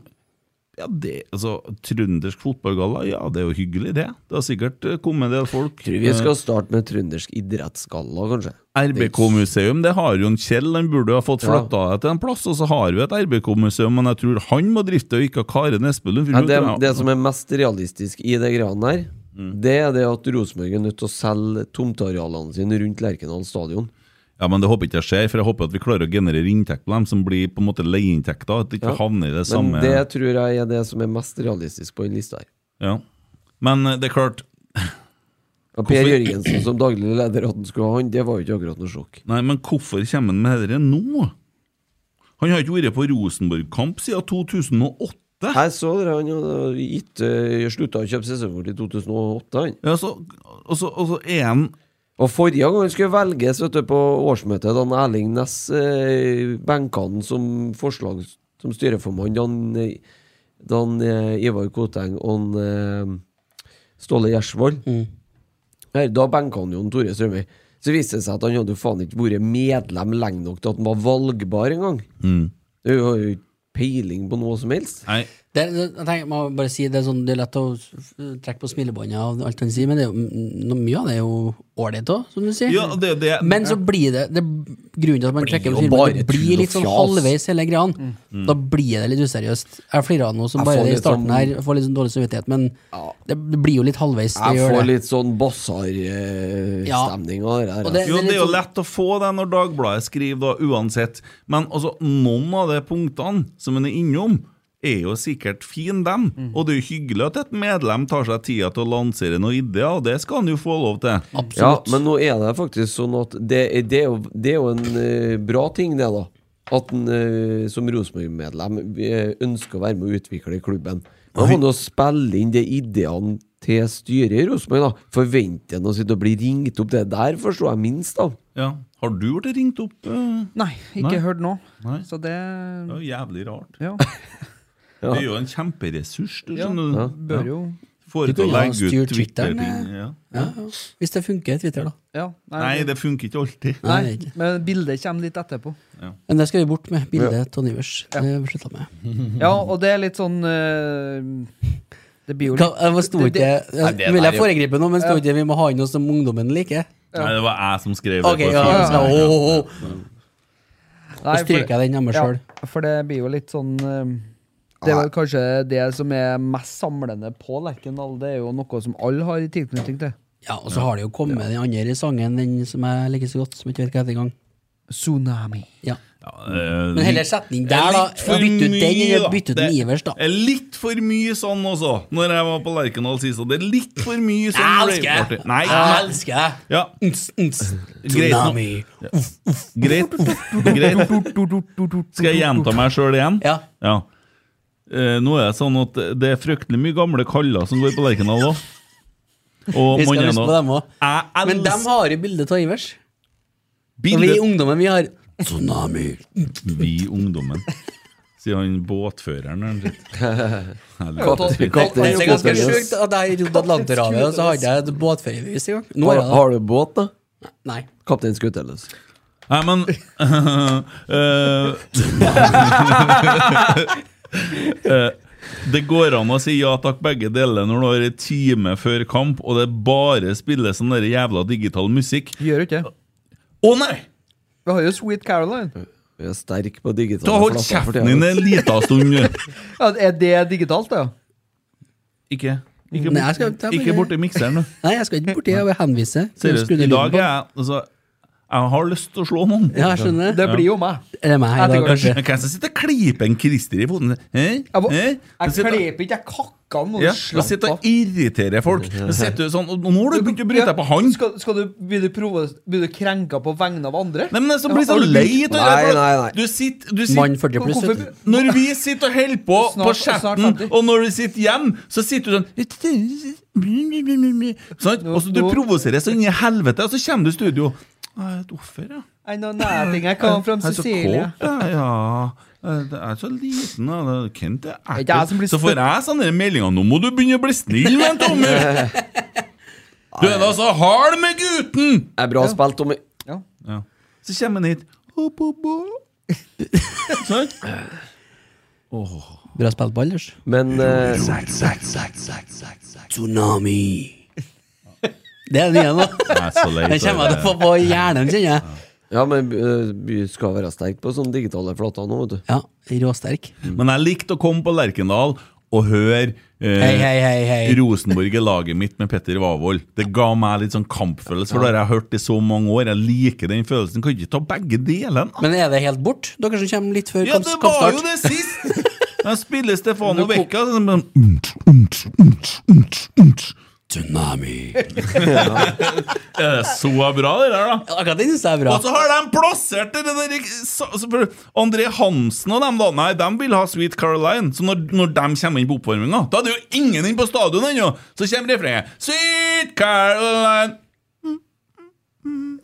S4: ja, det, altså, Trøndersk fotballgalla, ja, det er jo hyggelig, det. Det har sikkert eh, kommet en del folk.
S5: Tror vi skal starte med trøndersk idrettsgalla, kanskje.
S4: Eh, RBK-museum, det har jo en Kjell, han burde jo ha fått
S5: Ja.
S4: flytta det til en plass. Og så har vi et RBK-museum, men jeg tror han må drifte, og ikke Karen Espelund. for
S5: Ja,
S4: hun
S5: det,
S4: tror jeg-
S5: det som er mest realistisk i det greiene der,
S4: Mm.
S5: det er det at Rosenborg er nødt til å selge tomtearealene sine rundt Lerkendal stadion.
S4: Ja, men Det håper jeg ikke skjer, for jeg håper at vi klarer å generere inntekt på dem som blir på en måte leieinntekter. At det ikke
S5: Ja.
S4: havner i det
S5: Men
S4: samme
S5: det tror jeg er det som er mest realistisk på den lista her.
S4: ja. men eh, det er klart
S5: Og per
S4: Hvorfor-
S5: Jørgensen som daglig leder, at han skulle ha han, det var jo ikke akkurat noe sjokk.
S4: Nei, men hvorfor kommer han med dette nå? Han har ikke vært på Rosenborg-kamp siden 2008.
S5: Jeg så dere, han hadde gitt, eh, slutta å kjøpe sesongkort i 2008. Han.
S4: Ja, så, og, så, og så er han
S5: Og forrige gang han skulle velges vet du, på årsmøtet, da han Erling Næss eh, benka han som forslag som styreformann, da, han, eh, da han, eh, Ivar Koteng og han, eh, Ståle Gjersvold Her, Da benka han jo han Tore Strømøy. Så viste det seg at han hadde jo faen ikke vært medlem lenge nok til at han var valgbar engang. Mm. Du har jo ikke peiling på noe som helst.
S4: Nei,
S3: Det, det, jeg tenker, må bare si, det, er sånn, det er lett å s- f- trekke på smilebåndet av alt han sier, men det er jo, m- m- mye av det er jo ålreit òg, som du sier.
S4: Ja, det, det,
S3: Men så blir det, det Grunnen til at man trekker på
S5: jo
S3: filmen,
S5: bare
S3: det
S5: tull og
S3: blir litt sånn
S5: fjas. Mm.
S3: halvveis hele greia. Da blir det litt useriøst. Jeg flirer av noe som
S5: Jeg
S3: bare
S5: får
S3: det i
S5: litt
S3: starten
S5: sånn-
S3: her. Jeg får litt sånn dårlig samvittighet, men
S5: Ja.
S3: det det blir jo litt halvveis. Det
S5: Jeg
S3: gjør
S5: får
S3: det.
S5: litt sånn bassar-stemning av det der.
S3: Og det-
S5: altså.
S4: jo, det er jo
S3: litt sånn-
S4: lett å få det når Dagbladet skriver, da, uansett. Men altså, noen av de punktene som en er innom, er jo sikkert fin dem. Og det er jo hyggelig at et medlem tar seg tida til å lansere noen ideer, og det skal han jo få lov til.
S5: Ja,
S3: Absolutt.
S5: men nå er det faktisk sånn at det, er- det, er, jo, det er jo en eh, bra ting, det, da. At en eh, som Rosenborg-medlem eh, ønsker å være med å utvikle klubben. Man må nå spille inn de ideene til styret i Rosenborg, da. Forventer en å sitte og bli ringt opp? Det der forstår jeg minst, da.
S4: Ja. Har du blitt ringt opp? eh?
S7: Nei, ikke
S4: Nei.
S7: hørt nå.
S4: Nei.
S7: Så det
S4: Det er jo jævlig rart.
S7: ja,
S4: Det er jo en kjemperessurs. Du skjønner
S5: Ja.
S7: bør jo
S4: Får
S3: Du
S4: ut å
S3: kunne ha
S4: legge
S3: styrt
S4: ut
S3: Twitteren, eh?
S4: Twitter-ting. Ja.
S3: Hvis det funker, Twitter, da.
S7: Ja.
S4: Nei, det funker ikke alltid.
S3: Nei,
S7: Nei,
S3: det er ikke.
S7: men bildet kommer litt etterpå.
S3: Men det skal vi bort med. Bildet av Nivers. Det har vi slutta med.
S7: Ja, og det er litt sånn eh, Det blir jo
S3: Hva, eh,
S7: litt
S3: hva sto
S7: Det-
S3: ikke
S7: det-
S3: jeg- Vil jeg foregripe noe, men sto ikke vi må ha inn noe som ungdommen liker?
S4: Nei, det var jeg som skrev det.
S3: Ok,
S4: på
S3: ja,
S4: siden.
S3: ja, ja. Åh, åh, åh.
S7: Nei,
S3: Da stryker jeg den hjemme
S7: ja,
S3: sjøl.
S7: For det blir jo litt sånn eh, Det er vel kanskje det som er mest samlende på Lerkendal. Det er jo noe som alle har i tilknytning til.
S3: Ja, og så har det jo kommet den andre sangen, den som jeg liker så godt, som jeg ikke vet hva heter engang.
S7: Tsunami.
S3: Ja.
S4: Eh,
S3: Men heller sett den der, da.
S4: Litt for
S3: Bytt ut den,
S4: mye,
S3: eller
S4: da.
S3: bytt ut den
S4: Det
S3: Ivers, da.
S4: er Litt for mye sånn også, når jeg var på Lerkendal sist. og Det er litt for mye sånn
S3: Jeg elsker
S4: raveparty.
S3: deg!
S4: Nei,
S3: Jeg elsker deg!
S4: ja,
S3: Ns, ns.
S4: Greit nå.
S3: Tsunami.
S4: greit. greit. Skal jeg gjenta meg sjøl igjen?
S3: Ja.
S4: Eh, nå er det sånn at det er fryktelig mye gamle kaller som går på Lerkendal òg. Og
S3: Vi skal
S4: mannen
S3: lyst på dem òg.
S4: Jeg
S3: Men dem
S4: elsker
S3: har jo bilde av Ivers. Og vi
S4: bildet
S3: ungdommen, vi har Tsunami.
S4: Vi ungdommen. Sier han båtføreren. eller? Helvete.
S3: Det er ganske
S5: Kaptein-
S3: sjukt at jeg rodde Atlanterhavet, og så hadde jeg et båtførerbevis en gang. Nå har
S5: Har,
S3: jeg det.
S5: har du båt, da?
S3: Nei.
S5: Kaptein Skuteløs.
S4: Nei, men eh, Eh, Det går an å si ja takk begge deler når du har en time før kamp, og det bare spilles sånn der jævla digital musikk.
S7: Vi gjør jo ikke det.
S4: Å nei!
S7: Vi har jo Sweet Caroline.
S5: Vi er sterk på
S4: Da
S5: digitale
S4: hold
S5: flater for
S4: kjeften
S5: tiden.
S4: din en lita stund. nå.
S7: Ja, er det digitalt, da?
S4: Ikke ikke,
S3: Nei, jeg skal-
S4: borti- ikke borti mikseren nå.
S3: Nei, jeg skal ikke borti og henvise.
S4: Seriøst, i dag er jeg altså, Jeg har lyst til å slå noen.
S3: Ja, jeg skjønner.
S7: Det blir jo meg.
S3: Er det meg i
S7: Jeg
S3: dag,
S7: tenker-
S3: kanskje?
S4: Hvem som sitter og klyper en Christer i foten? Hæ?
S7: Jeg, må-
S4: Hæ?
S7: jeg
S4: sitter-
S7: kleper ikke, jeg kakker nå.
S4: Ja,
S7: slapp
S4: og sitter
S7: av.
S4: og irriterer folk. Og sitter du sånn, og nå har du begynt å bryte deg på han!
S7: Skal, skal du, blir, du provo, blir du krenka på vegne av andre?
S4: Nei, men det som blir sånn lei av det
S5: Nei,
S4: for at
S5: nei, nei.
S4: Du sitter, du sitter
S3: Mann 40 pluss. vet du.
S4: Når vi sitter og holder på
S7: Snart-
S4: på
S7: snart
S4: chatten,
S7: ferdig.
S4: og når du sitter hjemme, så sitter du sånn sant? Og så du
S7: nå-
S4: provoserer så inn i helvete, og så kommer du i studio. Jeg er et offer, ja.
S7: I know nothing. I come from
S4: Jeg er så
S7: Sicilia.
S4: kåt, jeg, ja. Jeg er så liten, da. Kent
S7: Det
S4: er
S7: er jeg som
S4: ekkel.
S7: blir
S4: Så får jeg sånne meldinger Nå må du begynne å bli snill med en Tommy! Du er da så hard med gutten!
S5: Er bra spilt, Tommy.
S4: Ja. Så kommer han hit Opp, opp, opp. Sånn.
S3: Bra spilt på alders.
S5: Men eh,
S3: Tsunami. Det er den nye nå.
S4: Jeg er så lei
S3: Den kommer jeg til å få på hjernen, kjenner jeg.
S5: Ja, men eh, vi skal være sterk på sånne digitale flater nå, vet du.
S3: Ja, råsterk.
S4: Men jeg likte å komme på Lerkendal og høre eh,
S3: Hei, hei, hei, hei.
S4: Rosenborg er laget mitt med Petter Wavold. Det ga meg litt sånn kampfølelse, for det har jeg hørt i så mange år. Jeg liker den følelsen. Kan ikke ta begge delene.
S3: Men er det helt bort? Dere som kommer litt før
S4: Ja,
S3: kamp-
S4: det var jo
S3: kampstart?
S4: det sist! De spiller Stefano Vecca. så liksom, de-
S3: Tsunami.
S4: Er det "Eh, så bra, det der, da?
S3: Ja, Akkurat den syns jeg er bra.
S4: Og så har de plassert det der så, så, for André Hansen og dem, da. Nei, de vil ha Sweet Caroline. Så når, når de kommer inn på oppvarminga Da er det jo ingen inn på stadion ennå! Så kommer refrenget. Sweet Caroline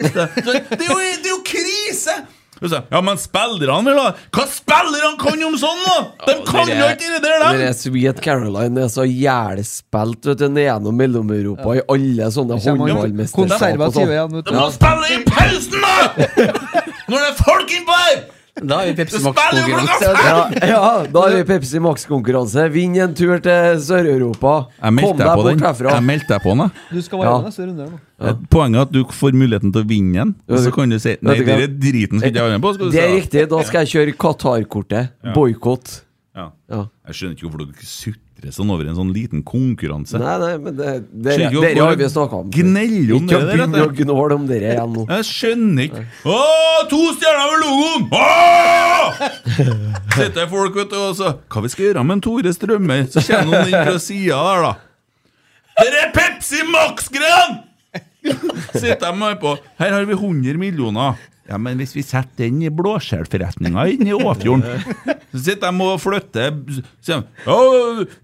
S4: så, det, er jo, det er jo krise! Og så, Ja, men spillerne vil ha Hva spillerne kan om sånn, da?! De kan jo ikke det der,
S5: Dere
S4: dem!
S5: Sweet Caroline det er så jævlig spilt vet du, ned gjennom Mellom-Europa i alle sånne
S7: kommer
S5: håndballmesterskap. og
S7: konservative
S5: sånn.
S7: igjen, vet du.
S4: De må spille i pausen, da! Når det er folk innpå her!
S3: Da har vi Pepsi Max-konkurranse.
S5: Ja, ja, da har vi Pepsi Max-konkurranse. Vinn en tur til Sør-Europa.
S4: Jeg
S5: Kom
S4: meldte
S5: deg
S4: deg på
S5: bort
S4: den.
S5: herfra.
S4: Jeg meldte deg på den, da.
S7: Du skal være
S5: Ja.
S7: med neste runde. her nå.
S4: Poenget er at du får muligheten til å vinne den, og så kan du si Nei,
S5: Vet du
S4: det
S5: hva?
S4: er driten skal ikke jeg være med på. Skal du
S5: Det er
S4: si, da.
S5: riktig. Da skal jeg kjøre Qatar-kortet. Boikott.
S4: Ja.
S5: Ja.
S4: Jeg skjønner ikke hvorfor dere sutrer sånn over en sånn liten konkurranse.
S5: Nei, nei, men det, det,
S4: Skjønner ikke
S5: dere
S4: hvorfor
S5: har vi snakka om.
S4: gneller om
S5: Ikke
S4: det der,
S5: begynn å
S4: vet du.
S5: gnåle om dere igjen nå.
S4: Jeg skjønner ikke Å, to stjerner over logoen! Åh! Sitter folk vet du, og så Hva vi skal gjøre med en Tore Strømøy? Så kommer noen inn fra sida der, da. Dere er Pepsi Max-greiene! Sitter de her på Her har vi 100 millioner. Ja, men hvis vi setter den i blåskjellforretninga inn i Åfjorden Så sitter de og flytter sier de, «Å,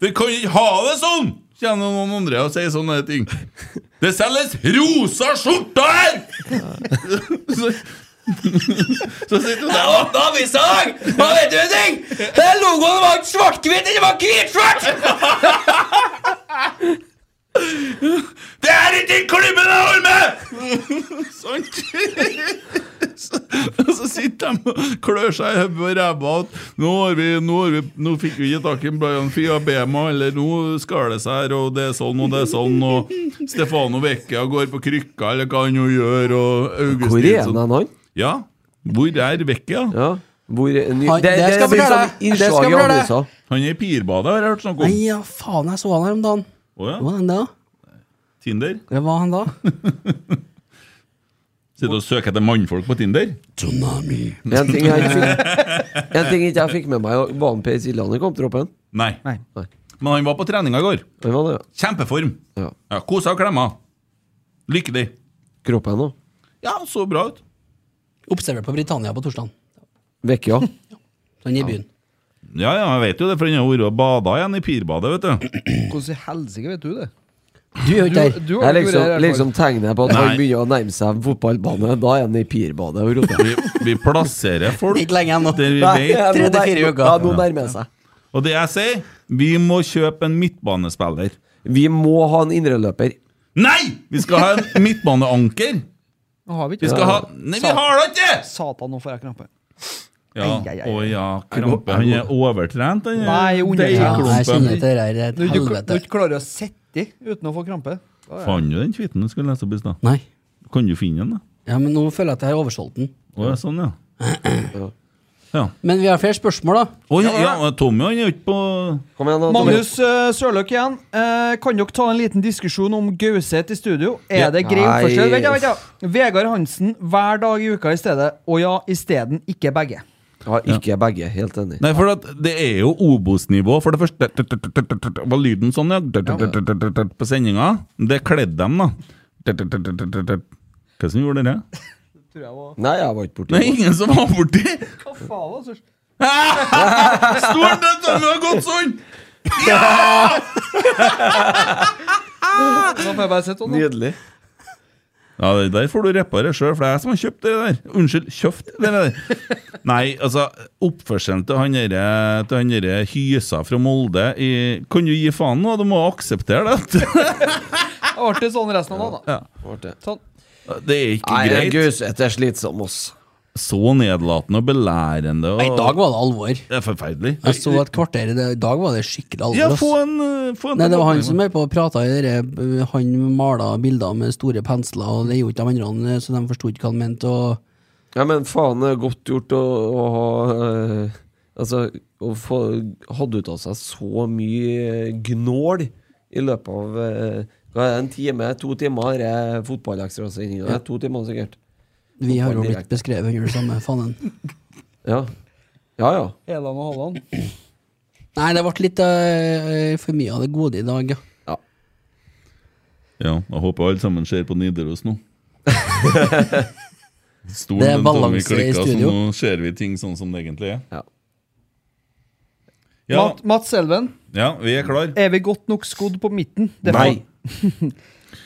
S4: Vi kan ikke ha det sånn! Kommer det noen andre og sier sånne ting. Det selges rosa skjorter her! Så, så sitter du der og åpner avisa i dag! Hva vet du en ting? Den logoen var ikke svart-hvit, den var hvitsvart! Det er ikke den klubben jeg holder med! Sånn. Og så sitter de og klør seg i hodet og ræva at nå, har vi, nå, har vi, nå fikk vi ikke tak i Brian Fiabema, eller nå skal det seg her, og det er sånn og det er sånn, og Stefano Vecchia går på krykka, eller hva han nå gjør, og
S5: Hvor er
S4: Augustin
S5: han hen, han?
S4: Ja, hvor er Vecchia?
S5: Ja. Hvor, ny,
S3: Han-
S5: det,
S3: det
S5: det,
S3: skal
S5: blir
S3: bli
S5: sånn
S3: det. Det
S5: innslag
S3: skal
S5: i
S3: bli det.
S5: avisa.
S4: Han er i pirbadet, har jeg hørt snakk
S3: Nei,
S4: om.
S3: ja, faen, jeg så han her om dagen.
S4: Å
S3: Hvor
S4: ja,
S3: var han da?
S4: Tinder?
S3: Hvor var han da?
S4: Sitter og søker etter mannfolk på Tinder?
S3: Tsunami.
S5: En ting jeg ikke fikk, en ting ikke jeg fikk med meg, var han Per Siljan i kamptroppen?
S4: Nei.
S7: Nei.
S5: Nei.
S4: Men han var på treninga i går.
S5: Han var det, ja.
S4: Kjempeform.
S5: Ja.
S4: Ja, Kosa og klemma. Lykkelig.
S5: Kroppen òg.
S4: Ja, så bra ut.
S3: Observert på Britannia på torsdag.
S5: Vekkja.
S3: Han er i byen.
S4: Ja, ja, jeg vet jo det, for han har vært og bada igjen i pirbadet, vet du.
S7: Hvordan i helsike vet du det?
S3: Du er jo
S7: Du,
S3: ikke der.
S7: du har
S5: Jeg
S7: jo vært her,
S5: liksom,
S7: i hvert fall.
S5: liksom tegner jeg på at han
S4: Nei.
S5: begynner å nærme seg en fotballbane. Da er han i pirbadet og roter.
S4: Vi, vi plasserer folk
S3: Ikke lenge ennå.
S4: der vi
S5: Nei, ja,
S4: vet.
S3: Tre
S5: nå
S3: til
S5: nær-
S3: fire uker.
S5: Ja, nå nærmer jeg seg.
S4: Og det jeg sier, vi må kjøpe en midtbanespiller.
S5: Vi må ha en indreløper.
S4: Nei! Vi skal ha en midtbaneanker.
S7: Nå har vi ikke
S4: Vi skal ha Nei, vi har da ikke!
S7: Satan, nå får jeg krampe.
S4: Ja,
S7: Ai, ai, ai.
S4: å ja, krampe. Han er overtrent, han.
S7: Nei, undertrent.
S3: Ja, jeg
S4: deigklumpen.
S3: kjenner til det her er et
S7: Når du,
S3: helvete.
S7: når du klarer å sitte uten å få krampe da er-
S4: Fant du den tweeten du skulle lese opp i stad?
S3: Nei.
S4: Kan du finne den, da?
S3: Ja, men nå føler jeg at jeg har oversolgt den.
S4: Å ja, sånn, ja. Ja.
S3: Men vi har flere spørsmål, da.
S4: Å, ja, ja, Tommy han er jo ikke på
S5: Kom igjen, da. Tommy.
S7: Magnus eh, Sørløk igjen. Eh, kan dere ta en liten diskusjon om Gauseth i studio? Er det grei
S5: Nei.
S7: oppførsel? Vent, da, vent, da. Vegard Hansen hver dag i uka i stedet. Og ja, isteden ikke begge.
S5: Ja, ikke begge. Helt enig.
S4: Nei, for at det er jo Obos-nivå. For det første Var lyden sånn, ja? På sendinga. Det kledde dem, da. Hva som gjorde det?
S7: Tror jeg var
S5: Nei, jeg var ikke
S4: Det
S5: borti
S4: er ingen som var borti!
S7: Hva faen, altså?
S4: Stolen til Tommy har gått sånn!
S7: Da får jeg bare sitte sånn. da.
S5: Nydelig.
S4: Ja, det der får du reparere sjøl, for det er jeg som har kjøpt det der. Unnskyld, kjøpt det der. Nei, altså, oppførselen til han derre til han derre hysa fra Molde i, Kan du gi faen nå? Du må akseptere det.
S7: Da ble det sånn resten av dagen, da.
S5: Vart det.
S7: Sånn.
S4: Det er ikke
S5: Nei,
S4: greit.
S5: Gauseth er slitsom, ass.
S4: Så nedlatende og belærende. Og
S3: Nei, I dag var det alvor.
S4: Det er forferdelig.
S3: Jeg så et kvarter i det. I dag var det skikkelig alvor.
S4: Ja,
S3: ass.
S4: få en, eh, få en
S3: Nei, det var han
S4: tilbakemelding.
S3: som er på og prata i det der, eh, Han mala bilder med store pensler, og det gjorde ikke de andre, så de forsto ikke hva han mente. Og
S5: Ja, men faen, det er godt gjort å, å ha eh, Altså, å få hatt ut av seg så mye eh, gnål i løpet av eh, hva er det, en time, to timer er fotballekstrasendinga. Ja. To timer, sikkert.
S3: vi har jo
S5: Fotball
S3: blitt
S5: direkte.
S3: beskrevet under det samme, fanen.
S5: Ja. Ja, ja.
S7: Helan og Halland.
S3: Nei, det ble litt eh, for mye av det gode i dag, ja.
S4: Ja, jeg håper alle sammen ser på Nidaros nå. Stolen
S3: Det er
S4: den Tommy
S3: balanse i
S4: klikka, så
S3: studio.
S4: Nå ser vi ting sånn som det egentlig er.
S5: Ja.
S4: Ja,
S7: Mat, Mats Elven,
S4: ja vi er klar.
S7: er vi godt nok skodd på midten? Det er
S5: Nei.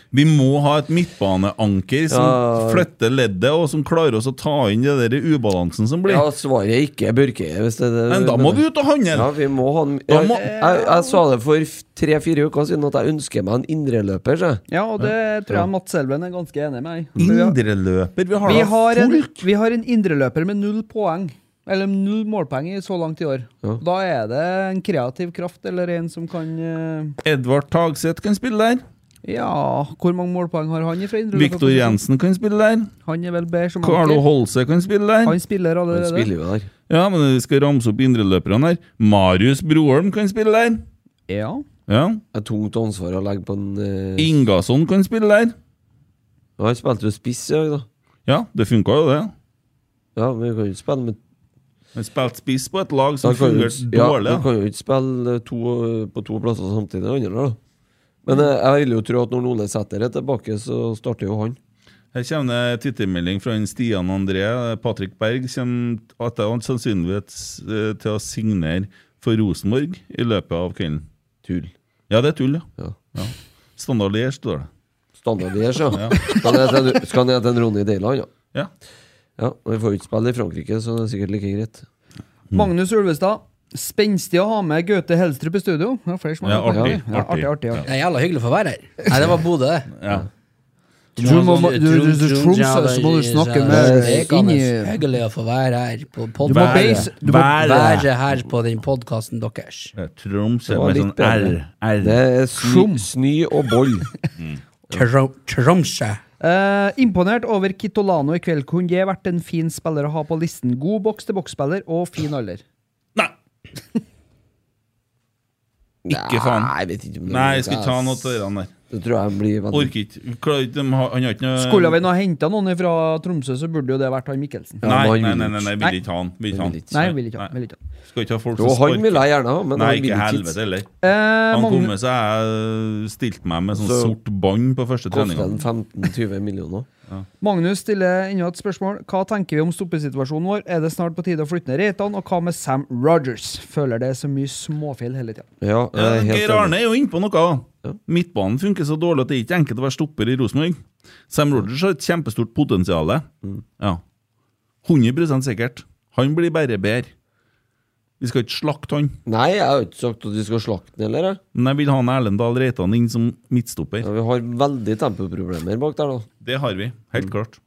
S4: Vi må ha et midtbaneanker som
S5: Ja.
S4: flytter leddet, og som klarer oss å ta inn det der ubalansen som blir.
S5: ja svaret er ikke Børke. Hvis det, det,
S4: Men da må vi ut og
S5: Ja,
S4: handle!
S5: vi må ha en
S4: Da
S5: jeg,
S4: må-
S5: jeg, jeg sa det for tre-fire uker siden at jeg ønsker meg en indreløper. så jeg.
S7: Ja, og det tror jeg Mats Elven er ganske enig med meg i.
S4: Indreløper. Vi har
S7: Vi
S4: da
S7: har en,
S4: fullt
S7: vi har en indreløper med null poeng. Eller null målpoeng i så langt i år. Da er det en kreativ kraft, eller en som kan eh,
S4: Edvard Tagseth kan spille der.
S7: Ja, hvor mange målpoeng har han ifra indreløper?
S4: Viktor Jensen kan spille der.
S7: Han er vel bedre som
S4: Carlo
S7: anker.
S4: Holse kan spille der.
S7: Han spiller
S5: Han
S7: allerede.
S5: spiller jo der.
S4: Ja, men vi skal ramse opp indreløperne her. Marius Broholm kan spille der.
S7: Ja.
S5: Mm.
S4: Ja.
S5: Det er tungt ansvar å legge på en eh,
S4: Ingasson kan spille der.
S5: Han spilte jo spiss i dag, da.
S4: Ja, det funka jo, det.
S5: Ja, men vi kan jo ikke spille med
S4: Han spilte spiss på et lag
S5: Da
S4: som
S5: kan jo
S4: fungerte
S5: ikke-
S4: dårlig.
S5: Ja, du
S4: da.
S5: kan jo ikke spille eh, to, på to plasser samtidig. det andre, da. Men eh, jeg vil jo tro at når Ole Sæter er tilbake, så starter jo han.
S4: Her kommer det twittermelding fra en Stian André. Patrik Berg kommer etter all sannsynlighet eh, til å signere for Rosenborg i løpet av kvelden.
S5: Tull.
S4: Ja, det er tull, ja.
S5: Ja.
S4: Standard Lier, står det.
S5: Standard i Ers, ja. Skal ned til en- Skal ned til en Ronny Deiland, ja.
S4: Ja.
S5: ja. og Vi får jo ikke spille i Frankrike, så det er sikkert like greit.
S7: Magnus Ulvestad. Spenstig å ha med Gaute Helstrup i studio. Det er flere som har
S4: Ja,
S7: vært på
S4: artig,
S7: det. Ja,
S4: artig.
S7: artig, artig, artig.
S3: Det er jævla hyggelig å få være her. Nei, det var Bodø, det.
S4: ja.
S7: Du må- du- du- du- du- Tromsø, så må du snakke med- inni-
S3: Hyggelig å få være her på
S7: Du må
S3: podkasten.
S7: beise du må,
S4: Være.
S3: Være her på den podkasten deres.
S4: Det er Tromsø
S5: Det var
S4: med
S5: litt
S4: sånn R.
S5: bedre.
S4: R.
S5: Det er sny, sny og boll.
S3: Trom- Tromsø.
S7: Eh, imponert over Kitolano i kveld. Kunne det vært en fin spiller å ha på listen? God boks-til-boks-spiller og fin alder.
S4: Nei! Ikke faen.
S5: Nei, jeg vet ikke om det
S4: Nei,
S5: blir
S4: jeg skal
S5: noe,
S4: ikke ta
S5: ass.
S4: noe av det der.
S5: Det tror jeg blir veldig
S4: Orker ikke. Klarer ikke. de har- Han har ikke noe
S7: Skulle vi nå henta noen fra Tromsø, så burde jo det vært han Mikkelsen.
S4: Nei,
S5: Ja, men
S4: nei,
S5: han vil
S4: nei, nei, nei,
S7: ikke.
S4: vil ikke ha han. Vil ikke ha
S5: Vil
S4: han.
S5: ikke.
S7: Nei, vil ikke ha.
S4: Nei.
S7: Vil ikke ha.
S4: Skal ikke ha folk
S5: Jo,
S4: som
S5: han vil
S4: sparker.
S5: jeg gjerne ha,
S4: Nei,
S5: men han vil
S4: ikke
S5: ikke hit.
S4: helvete heller.
S7: Eh,
S4: Han kom
S7: Magne,
S4: med seg jeg stilte meg med sånn
S5: Så-
S4: sort bånd på første
S5: Koster
S4: treninga.
S5: den 15-20 millioner?
S7: Magnus stiller enda et spørsmål. Hva tenker vi om stoppesituasjonen vår? Er det snart på tide å flytte ned Reitan? Og hva med Sam Rogers? Føler det er så mye småfeil hele tida.
S5: Ja, jeg
S4: Ja,
S5: er helt
S4: Geir
S5: enig.
S4: Arne er jo inne på noe.
S5: Ja.
S4: Midtbanen funker så dårlig at det er ikke enkelt å være stopper i Rosenborg. Sam Rogers har et kjempestort potensial.
S5: Mm.
S4: Ja. 100 sikkert. Han blir bare bedre. Vi skal ikke slakte han,
S5: Nei, jeg har jo ikke sagt at vi skal slakte den heller. jeg.
S4: men jeg vil ha en Erlend Dahl Reitan inn som midtstopper.
S5: Ja, vi har veldig tempoproblemer bak der, da.
S4: Det har vi,
S5: Mm.
S4: helt klart.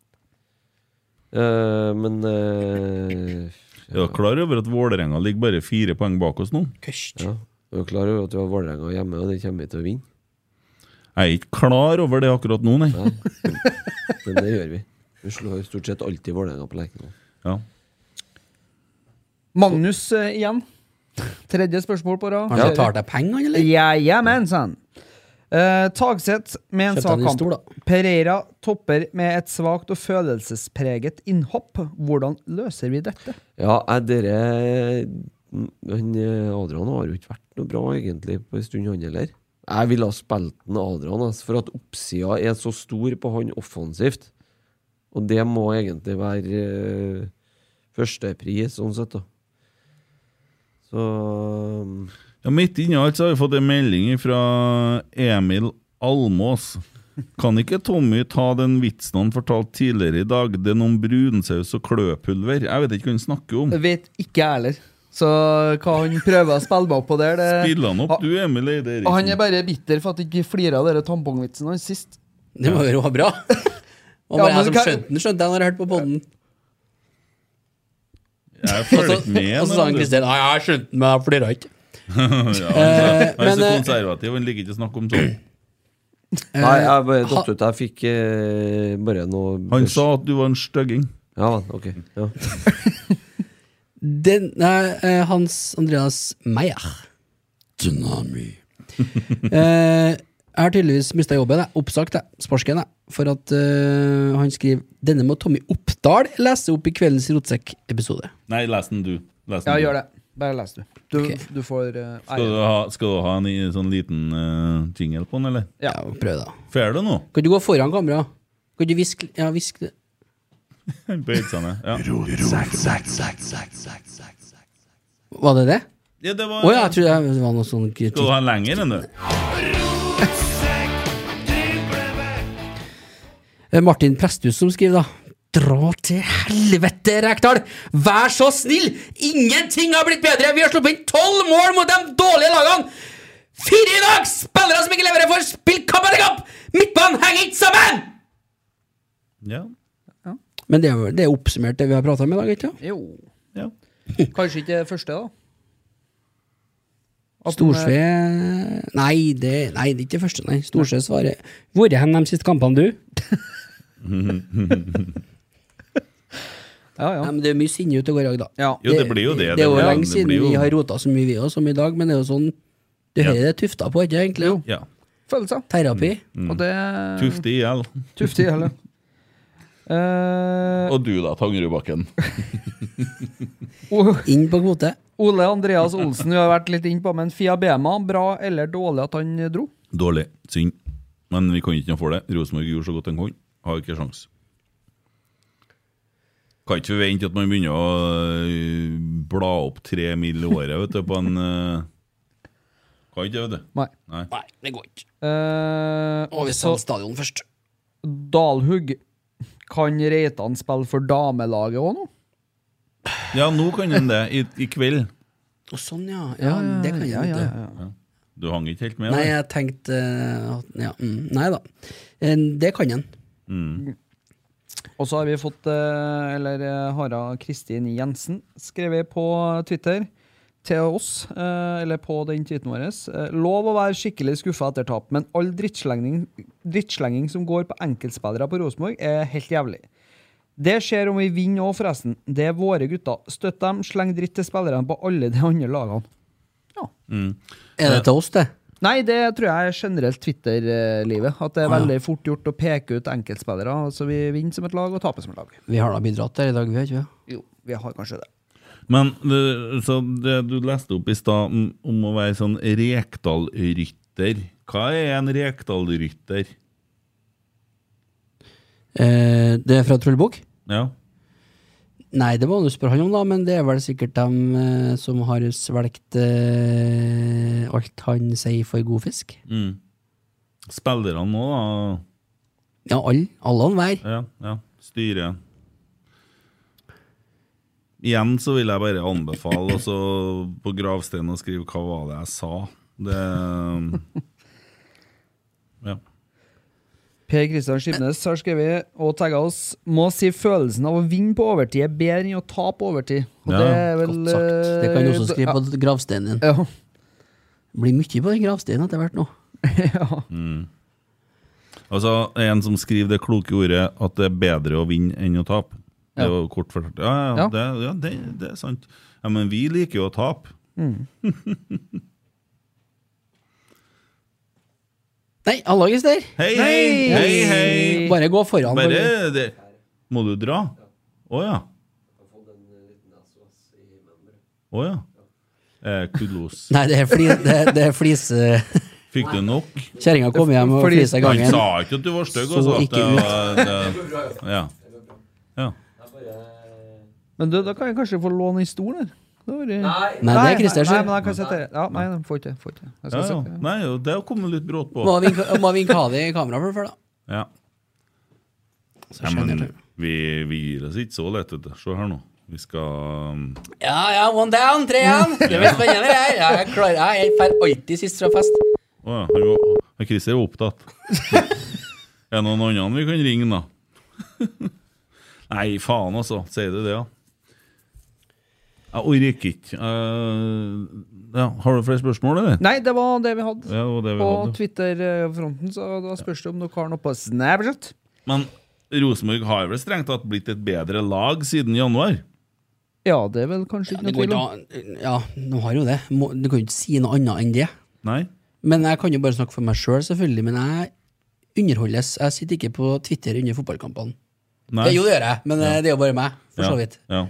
S5: Eh, men eh,
S4: Er du klar over at Vålerenga ligger bare fire poeng bak oss nå?
S3: Køst.
S5: ja. Vi er klar over at vi har Vålerenga hjemme, og det kommer vi til å vinne.
S4: Jeg er ikke klar over det akkurat nå, nei.
S5: Men det gjør vi. Vi slår stort sett alltid Vålerenga på Lerkendal.
S4: Ja.
S7: Magnus eh, igjen. Tredje spørsmål på rad.
S3: Har han betalt deg penger, han, eller?
S7: Jajamensan. Uh, Tagseth med en
S3: Kjøpte han
S7: svak
S3: en
S7: kamp.
S3: stol, da.
S7: Pereira topper med et svakt og følelsespreget innhopp. Hvordan løser vi dette?
S5: Ja, jeg, dere Men eh, Adrian har jo ikke vært noe bra, egentlig, på en stund, han heller. Jeg ville ha spilt den Adrian, altså, for at oppsida er så stor på han offensivt. Og det må egentlig være eh, førstepris, sånn sett, da. Så um,
S4: Ja, midt inni alt så har vi fått en melding fra Emil Almås. Kan ikke Tommy ta den vitsen han fortalte tidligere i dag? Det er noen brunsaus og kløpulver. Jeg vet ikke hva han snakker om.
S7: Vet ikke jeg heller. Så hva han prøver å spille meg opp på der det,
S4: Spill han opp,
S7: Ha-
S4: du, Emil Eide
S7: Og Han er
S4: Eriksen.
S7: bare bitter for at ikke flira av denne tampongvitsen hans sist.
S3: Det må jo være bra. Og
S7: Ja,
S3: bare
S7: men
S3: jeg som
S7: hva-
S3: skjønte den, skjønte jeg når jeg hørte på podden.
S4: Jeg
S3: Og så
S4: følger
S7: Altså,
S4: ikke med.
S3: og så sa han
S4: men-
S3: Kristin Nei, jeg skjønte den, men jeg flira ikke.
S4: Ja, han er- han er
S3: men,
S4: så
S3: eh,
S4: konservativ, han liker ikke å snakke om sånn.
S5: Nei, jeg bare datt ut. Jeg fikk eh, bare noe
S4: Han sa at du var en stygging.
S5: Ja, ok. Ja.
S3: Den, nei, eh, Hans Andreas Meyer. Tsunami. eh, jeg har tydeligvis mista jobben. Jeg. Oppsagt, jeg. Sparsken, jeg. For at eh, han skriver Denne må Tommy Oppdal lese opp i kveldens Rotsekk-episode.
S4: Nei, les den, du. Les den,
S7: Ja,
S4: du.
S7: gjør det. Bare les, du. Du,
S3: Ok.
S7: du får eh,
S4: Skal du
S7: eier.
S4: ha, skal du ha en i- sånn liten eh, jingle på den, eller?
S7: Ja.
S3: Ja, prøv, da.
S4: Får du nå?
S3: Kan du gå foran kamera? Kan du hviske Ja, hvisk det.
S4: Han bøyde seg ned. Ja.
S3: Var det det?
S4: Ja, det var,
S3: Å ja, jeg trodde jeg- det var noe sånn
S4: Skal du
S3: kritikk.
S4: ha en lenger enn du?
S3: Eh, Martin Presthus som skriver, da. Dra til helvete, Rekdal! Vær så snill! Ingenting har blitt bedre! Vi har sluppet inn tolv mål mot de dårlige lagene! Fire i dag! Spillere som ikke leverer, får spilt kamp etter kamp! Midtbanen henger ikke sammen!
S4: Ja.
S3: Men det er, jo- det er oppsummert, det vi har prata om i dag, ikke sant?
S7: Jo.
S4: Ja.
S7: Kanskje ikke det første, da? At de-
S3: Storsve Nei, det, nei, det er ikke det første, nei. Storsve svarer Hvor er hen de siste kampene, du?
S7: Ja,
S3: Nei,
S7: ja.
S3: men det er mye sinne ute og går i dag, da.
S7: ja.
S4: Jo, det blir jo det.
S3: Det er jo
S4: blir-
S3: lenge
S4: det
S3: siden
S4: blir jo-
S3: vi har rota så mye, vi òg, som i dag, men det er jo sånn Du
S4: Ja.
S3: hører det er tufta på, ikke egentlig? Jo.
S4: Ja.
S7: Følelser.
S3: Terapi.
S4: Mm.
S7: Og det
S4: Tufte i hjel.
S7: Tufte i hele. Eh,
S4: Og du da, Tangerudbakken. Mm.
S7: O-
S3: Inn på kvote.
S7: Ole Andreas Olsen, vi har vært litt inn på, men Fia Bema, bra eller dårlig at han dro?
S4: Dårlig. Synd. Men vi kan ikke noe for det. Rosenborg gjorde så godt de kunne. Har ikke sjans. Kan ikke forvente at man begynner å øh, bla opp tre mil i året vet du, på en øh, Kan ikke det, vet du.
S7: Nei.
S4: Nei.
S3: Nei, det går ikke.
S7: Eh,
S3: Må vi
S7: så
S3: selge stadion først.
S7: Dalhugg, kan Reitan spille for damelaget òg nå?
S4: Ja, nå kan den det. I, I kveld.
S3: Å, sånn, ja. Ja, det kan jeg
S7: Ja,
S3: ikke.
S7: ja, ja.
S4: Du hang ikke helt med?
S3: Nei,
S4: der.
S3: jeg tenkte eh, at- ja, mm, Nei da. Eh, Det kan han.
S7: Og så har vi fått, eh, eller eh, Hara Kristin Jensen, skrevet på Twitter til oss, eh, eller på den tweeten vår. eh, Lov å være skikkelig skuffa etter tap, men all drittslenging, drittslenging som går på enkeltspillere på Rosenborg, er helt jævlig. Det skjer om vi vinner òg, forresten. Det er våre gutter. Støtt dem, sleng dritt til spillerne på alle de andre lagene.
S3: Er det til oss, det?
S7: Nei, det tror jeg er generelt Twitter-livet. At det er veldig fort gjort å peke ut enkeltspillere. Så vi vinner som et lag og taper som et lag.
S3: Vi har da bidratt der i dag, vi har ikke det?
S7: Jo, vi har kanskje det.
S4: Men det, så det du leste opp i stad om, om å være sånn Rekdal-rytter. Hva er en Rekdal-rytter?
S3: Eh, Det er fra Trollbukk?
S4: Ja.
S3: Nei, det må du spørre han om, da, men det er vel sikkert dem eh, som har svelgt eh, alt han sier for god fisk.
S4: Mm. Spillerne nå, da.
S3: Ja, alle. Alle og enhver.
S4: Ja, ja. Styret. Igjen så vil jeg bare anbefale også på gravsteinen å skrive 'Hva var det jeg sa?' Det Ja.
S7: Per Kristian Skibnes har skrevet og tagga oss må si følelsen av å vinne på overtid er bedre enn å tape på overtid. Og
S4: Ja,
S7: det er vel
S3: Godt sagt. Det kan
S7: eh,
S3: du også skrive på gravsteinen din.
S7: Ja.
S3: Blir mye på den gravsteinen etter hvert nå.
S7: ja.
S4: Altså, en som skriver det kloke ordet at det er bedre å vinne enn å tape. Det var kort fortalt. Ja, ja,
S7: Ja.
S4: Det, ja det, det er sant. Ja, men vi liker jo å tape.
S3: Nei, hallagis der!
S4: Hei, hei, hei! hei.
S3: Bare gå foran.
S4: Bare
S3: Bare...
S4: det. Må du dra? Å ja. Å ja. Eh, kudos.
S3: Nei, det er, fli, det, det er flise...
S4: Fikk du nok?
S3: Kjerringa kom hjem og
S7: Fordi-
S3: flisa i
S4: Han
S3: gangen.
S4: sa ikke at du var stygg,
S3: Så
S4: altså. at
S3: ikke
S4: det
S3: ut.
S4: var- det- Ja. ja.
S7: Men du, da kan jeg kanskje få låne en stol her. eh, Nei,
S3: Nei, det er Christer
S7: Nei,
S3: sin.
S7: men jeg kan sette Ja, nei, jeg får ikke. Får ikke. Jeg
S4: ja,
S7: skal
S4: ja.
S7: sette-
S4: Nei, jo, det kom litt brått på.
S3: Må vinke- må vinke av det i kameraet for det, før, da.
S4: Ja.
S3: Så
S4: Ja,
S3: skjønner jeg
S4: men
S3: det.
S4: vi, vi gir oss ikke så lett, vet du. Se her nå. Vi skal um,
S3: Ja, ja, one down, tre igjen! Det blir spennende, det her. Jeg klarer jeg. Jeg drar alltid sist fra fest.
S4: Å ja, han var- han Christer er opptatt. Er det noen andre vi kan ringe, da? Nei, faen, altså. Sier du det, ja? Jeg orker ikke. Eh, ja, har du flere spørsmål, eller?
S7: Nei, det var det vi hadde.
S4: Ja, det var det vi
S7: på
S4: hadde.
S7: Twitter-fronten, så da spørs det om dere har noe på Snapchat.
S4: Men Rosenborg har vel strengt tatt blitt et bedre lag siden januar?
S7: Ja, det er vel kanskje ikke noe
S3: Det går
S7: tvil
S3: ikke
S7: om.
S3: an Ja, de har jo det. Må- Du kan jo ikke si noe annet enn det.
S4: Nei?
S3: Men jeg kan jo bare snakke for meg sjøl, selv, selvfølgelig. Men jeg underholdes. Jeg sitter ikke på Twitter under fotballkampene.
S4: Nei.
S3: Det, jo, det gjør jeg, men eh, det er jo bare meg, for så
S4: Ja,
S3: vidt.
S4: Ja.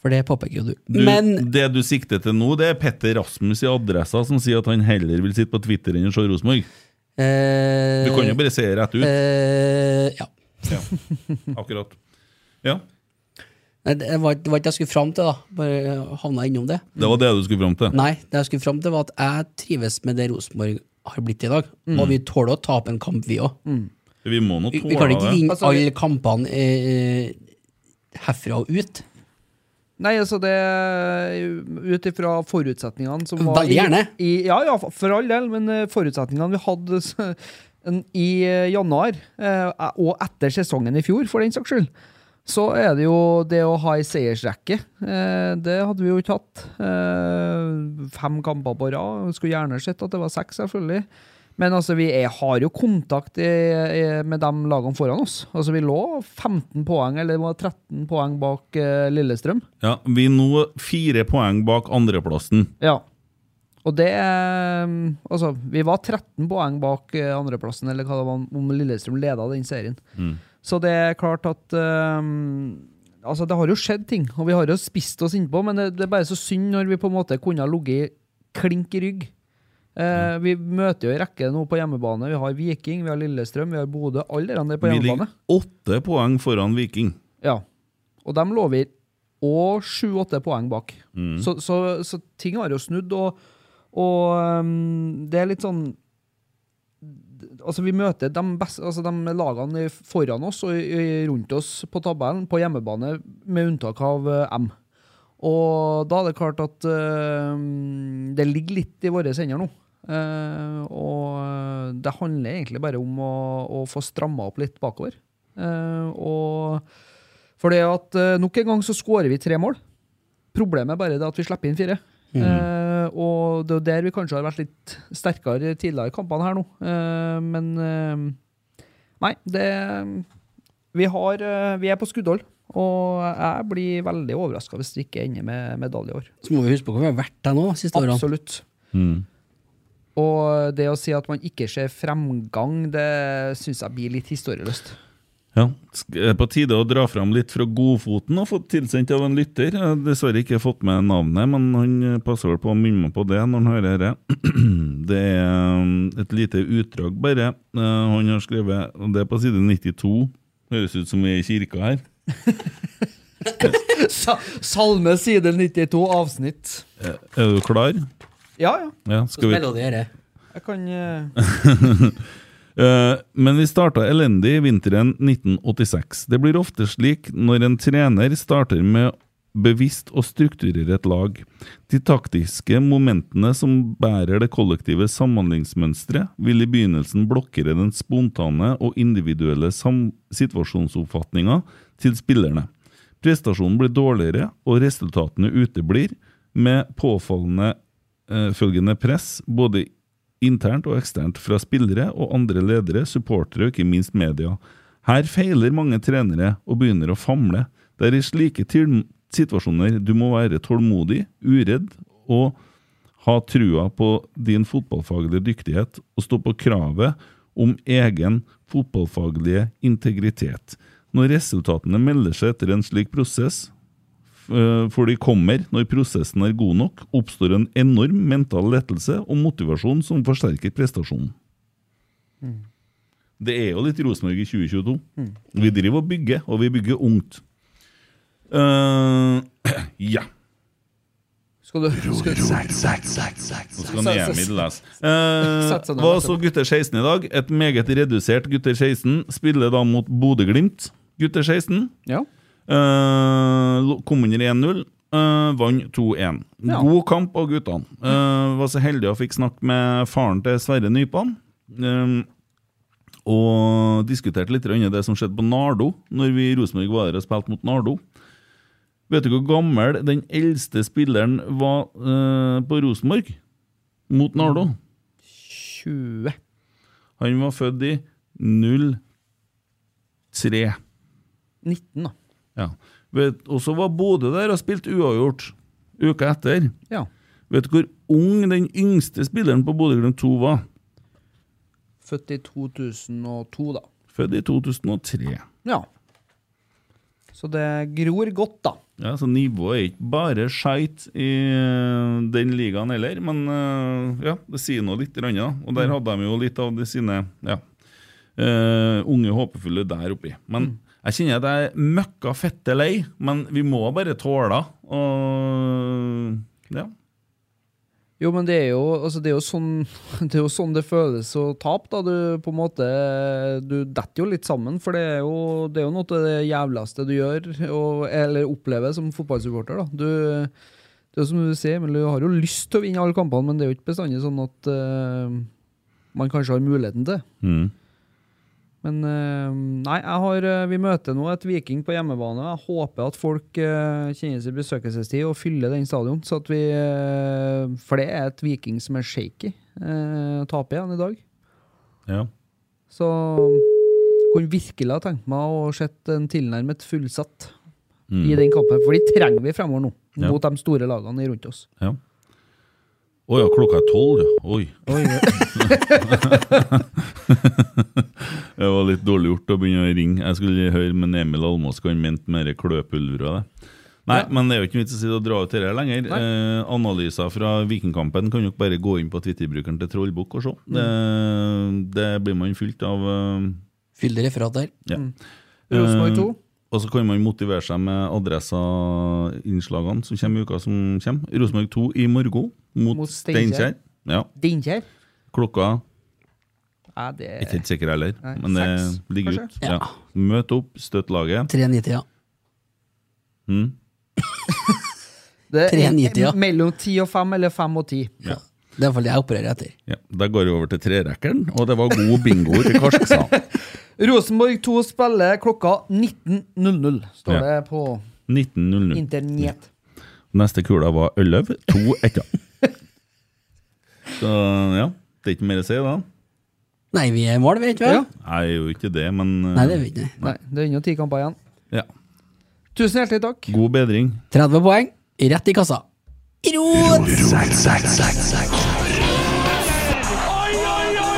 S3: For det påpeker jo du.
S4: Du,
S3: Men
S4: Det du sikter til nå, det er Petter Rasmus i Adressa som sier at han heller vil sitte på Twitter enn å se Rosenborg.
S3: eh,
S4: Du kan jo bare se rett ut.
S3: eh, Ja.
S4: Ja, akkurat. Ja,
S3: Nei, Det var, det var ikke det jeg skulle fram til, da. Bare havna innom det.
S4: det var det du skulle fram til.
S3: Nei, det jeg skulle fram til, var at jeg trives med det Rosenborg har blitt i dag.
S4: Mm.
S3: Og vi tåler å tape en kamp, vi òg.
S4: Vi må nå
S3: Vi, vi kan
S4: tåle
S3: ikke
S4: Mm, det.
S3: vinne
S7: Altså, vi-
S3: alle kampene eh, herfra og ut.
S7: Nei, altså det Ut ifra forutsetningene som var
S3: Veldig gjerne.
S7: I, i, ja, ja, for all del, men eh, forutsetningene vi hadde så, en, i eh, januar, eh, og etter sesongen i fjor, for den saks skyld, Så er det jo det å ha ei seiersrekke. Eh, det hadde vi jo ikke hatt. Eh, fem kamper på rad. Skulle gjerne sett at det var seks, selvfølgelig. Men altså, vi er, har jo kontakt i, i, med de lagene foran oss. Altså, Vi lå 15 poeng, eller det var 13 poeng bak eh, Lillestrøm.
S4: Ja, vi er nå fire poeng bak andreplassen.
S7: Ja. Og det eh, Altså, vi var 13 poeng bak eh, andreplassen, eller hva det var, om Lillestrøm leda den serien. Så det er klart at eh, Altså, det har jo skjedd ting, og vi har jo spist oss innpå, men det, det er bare så synd når vi på en måte kunne ha ligget klink i rygg. Eh, vi møter jo en rekke nå på hjemmebane. Vi har Viking, vi har Lillestrøm, vi har Bodø. Alle de der på
S4: Vi
S7: hjemmebane.
S4: ligger åtte poeng foran Viking.
S7: Ja. Og dem lå vi og sju-åtte poeng bak. Så, så, så ting har jo snudd, og, og um, det er litt sånn Altså, vi møter de, beste, altså de lagene foran oss og i- i- rundt oss på tabellen på hjemmebane, med unntak av eh, M. Og da er det klart at eh, det ligger litt i våre hender nå. Eh, og eh, det handler egentlig bare om å, å få stramma opp litt bakover. Eh, og for det at eh, nok en gang så skårer vi tre mål. Problemet er bare det at vi slipper inn fire. Eh, og det er jo der vi kanskje har vært litt sterkere tidligere i kampene her nå. Eh, men eh, nei, det vi, har, eh, vi er på skuddhold. Og jeg blir veldig overraska hvis vi ikke ender med medalje i år.
S3: Så må vi huske på hvor vi har vært der nå de siste årene.
S7: Absolutt. Og det å si at man ikke ser fremgang, det syns jeg blir litt historieløst.
S4: Ja, sk- eh, På tide å dra fram litt fra godfoten. Har fått tilsendt av en lytter. Jeg har dessverre ikke fått med navnet, men han eh, passer vel på å minne meg på det når han hører dette. Det er eh, et lite utdrag, bare. Eh, Han har skrevet, og det er på side 92. Høres ut som vi er i kirka her.
S7: Sa- Salme side 92, avsnitt.
S4: Er du klar?
S7: Ja, ja.
S4: Ja, skal vi
S3: Melodi er det.
S7: Jeg kan eh,
S4: Eh, Men vi starta elendig i vinteren 1986. Det blir ofte slik når en trener starter med bevisst å strukturere et lag. De taktiske momentene som bærer det kollektive samhandlingsmønsteret, vil i begynnelsen blokkere den spontane og individuelle sam situasjonsoppfatninga til spillerne. Prestasjonen blir dårligere, og resultatene uteblir, med påfallende eh, følgende press, både internt og eksternt, fra spillere og andre ledere, supportere og ikke minst media. Her feiler mange trenere og begynner å famle. Det er i slike til situasjoner du må være tålmodig, uredd og ha trua på din fotballfaglige dyktighet og stå på kravet om egen fotballfaglige integritet. Når resultatene melder seg etter en slik prosess, Eh, for de kommer når prosessen er god nok, oppstår en enorm mental lettelse og motivasjon som forsterker prestasjonen. Det er jo litt Rosenborg i 2022. Vi driver og bygger, og vi bygger ungt. Eh, ja.
S7: Skal du skal du-
S4: Nå skal Emil lese. Eh,
S7: Sett seg ned,
S4: var
S7: vær så
S4: så gutter 16 i dag. Et meget redusert gutter 16. Spiller da mot Bodø-Glimt, gutter 16.
S7: Ja.
S4: Eh, lo- kom under 1-0. eh, Vant 2-1.
S7: Ja.
S4: God kamp av guttene. Eh, var så heldig å fikk snakke med faren til Sverre Nypan. eh, og diskuterte litt grann det som skjedde på Nardo, når vi i Rosenborg var der og spilte mot Nardo. Vet du hvor gammel den eldste spilleren var eh, på Rosenborg? Mot Nardo.
S7: 20.
S4: Han var født i 03.
S7: 19, da.
S4: Ja. Vet- Og så var Bodø der og spilte uavgjort uka etter.
S7: Ja.
S4: Vet du hvor ung den yngste spilleren på Bodø-Glimt 2 var?
S7: Født i 2002, da.
S4: Født i 2003.
S7: Ja. Så det gror godt, da.
S4: Ja, Så nivået er ikke bare skeit i eh, den ligaen heller, men eh, ja, det sier nå litt. grann, da. Og der hadde de jo litt av de sine ja, eh, unge håpefulle der oppi. Men jeg kjenner at jeg er møkka fette lei, men vi må bare tåle og ja.
S7: Jo, men det er jo, altså, det er jo, sånn, det, er jo sånn det føles å tape, da. Du på en måte Du detter jo litt sammen, for det er jo, det er jo noe av det jævligste du gjør, og, eller opplever som fotballsupporter, da. Du, det er jo som du sier, men du har jo lyst til å vinne alle kampene, men det er jo ikke bestandig sånn at eh, man kanskje har muligheten til. Men eh, nei, jeg har, eh, vi møter nå et Viking på hjemmebane. Jeg håper at folk eh, kjenner sin besøkelsestid og fyller den stadion. Så at vi, eh, for det er et Viking som er shaky. Eh, taper igjen i dag.
S4: Ja.
S7: Så kunne virkelig ha tenkt meg å sett en tilnærmet fullsatt i den kampen. For de trenger vi fremover nå,
S4: Mm. Ja.
S7: mot de store lagene rundt oss.
S4: ja. Å ja, klokka er tolv, ja. Oi. det var litt dårlig gjort å begynne å ringe. Jeg skulle høre med Emil Almås hva han mente med det kløpulveret. det. Nei, men det er jo ikke vits i å sitte og dra ut dette lenger. Eh, analyser fra Vikingkampen kan dere bare gå inn på Twitter-brukeren til Trollbukk og se. Det, det blir man fylt av eh,
S3: Fyll det referat der.
S4: Ja.
S7: Rosenborg
S4: Eh,
S7: 2.
S4: Og så kan man motivere seg med adressainnslagene som kommer i uka som kommer. Rosenborg 2 i morgen mot,
S7: Mot Steinkjer.
S4: Steinkjer. Ja.
S7: Dinkjær?
S4: Klokka
S7: Ja, det
S4: er ikke helt sikker heller,
S7: Eh, Nei,
S4: men det
S7: seks,
S4: ligger
S7: kanskje?
S4: ut. Ja. Møt opp, støtt laget.
S3: 390, ja.
S4: Mm.
S7: det er
S3: 3,90, ja.
S7: Mellom 10 og 5, eller 5 og 10.
S4: Ja.
S3: Det er i hvert fall det jeg opererer etter.
S4: Ja. Da går vi over til trerekkeren, og det var god bingo til Karsk sa.
S7: Rosenborg 2 spiller klokka 19.00, står
S4: Ja. Mm.
S7: det på
S4: 19.00.
S7: internett.
S4: Neste kula var Elløv, to etter. Så ja, det er ikke mer å si da.
S3: Nei, vi er i mål, vet du vel?
S7: Ja.
S4: Jeg er jo ikke det, men eh,
S3: Nei, det er vi ikke.
S7: Nei, det er ennå ti kamper igjen.
S4: ja.
S7: Tusen hjertelig takk.
S4: God bedring.
S3: 30 poeng, rett i kassa. Rot!
S1: Oi, oi, oi,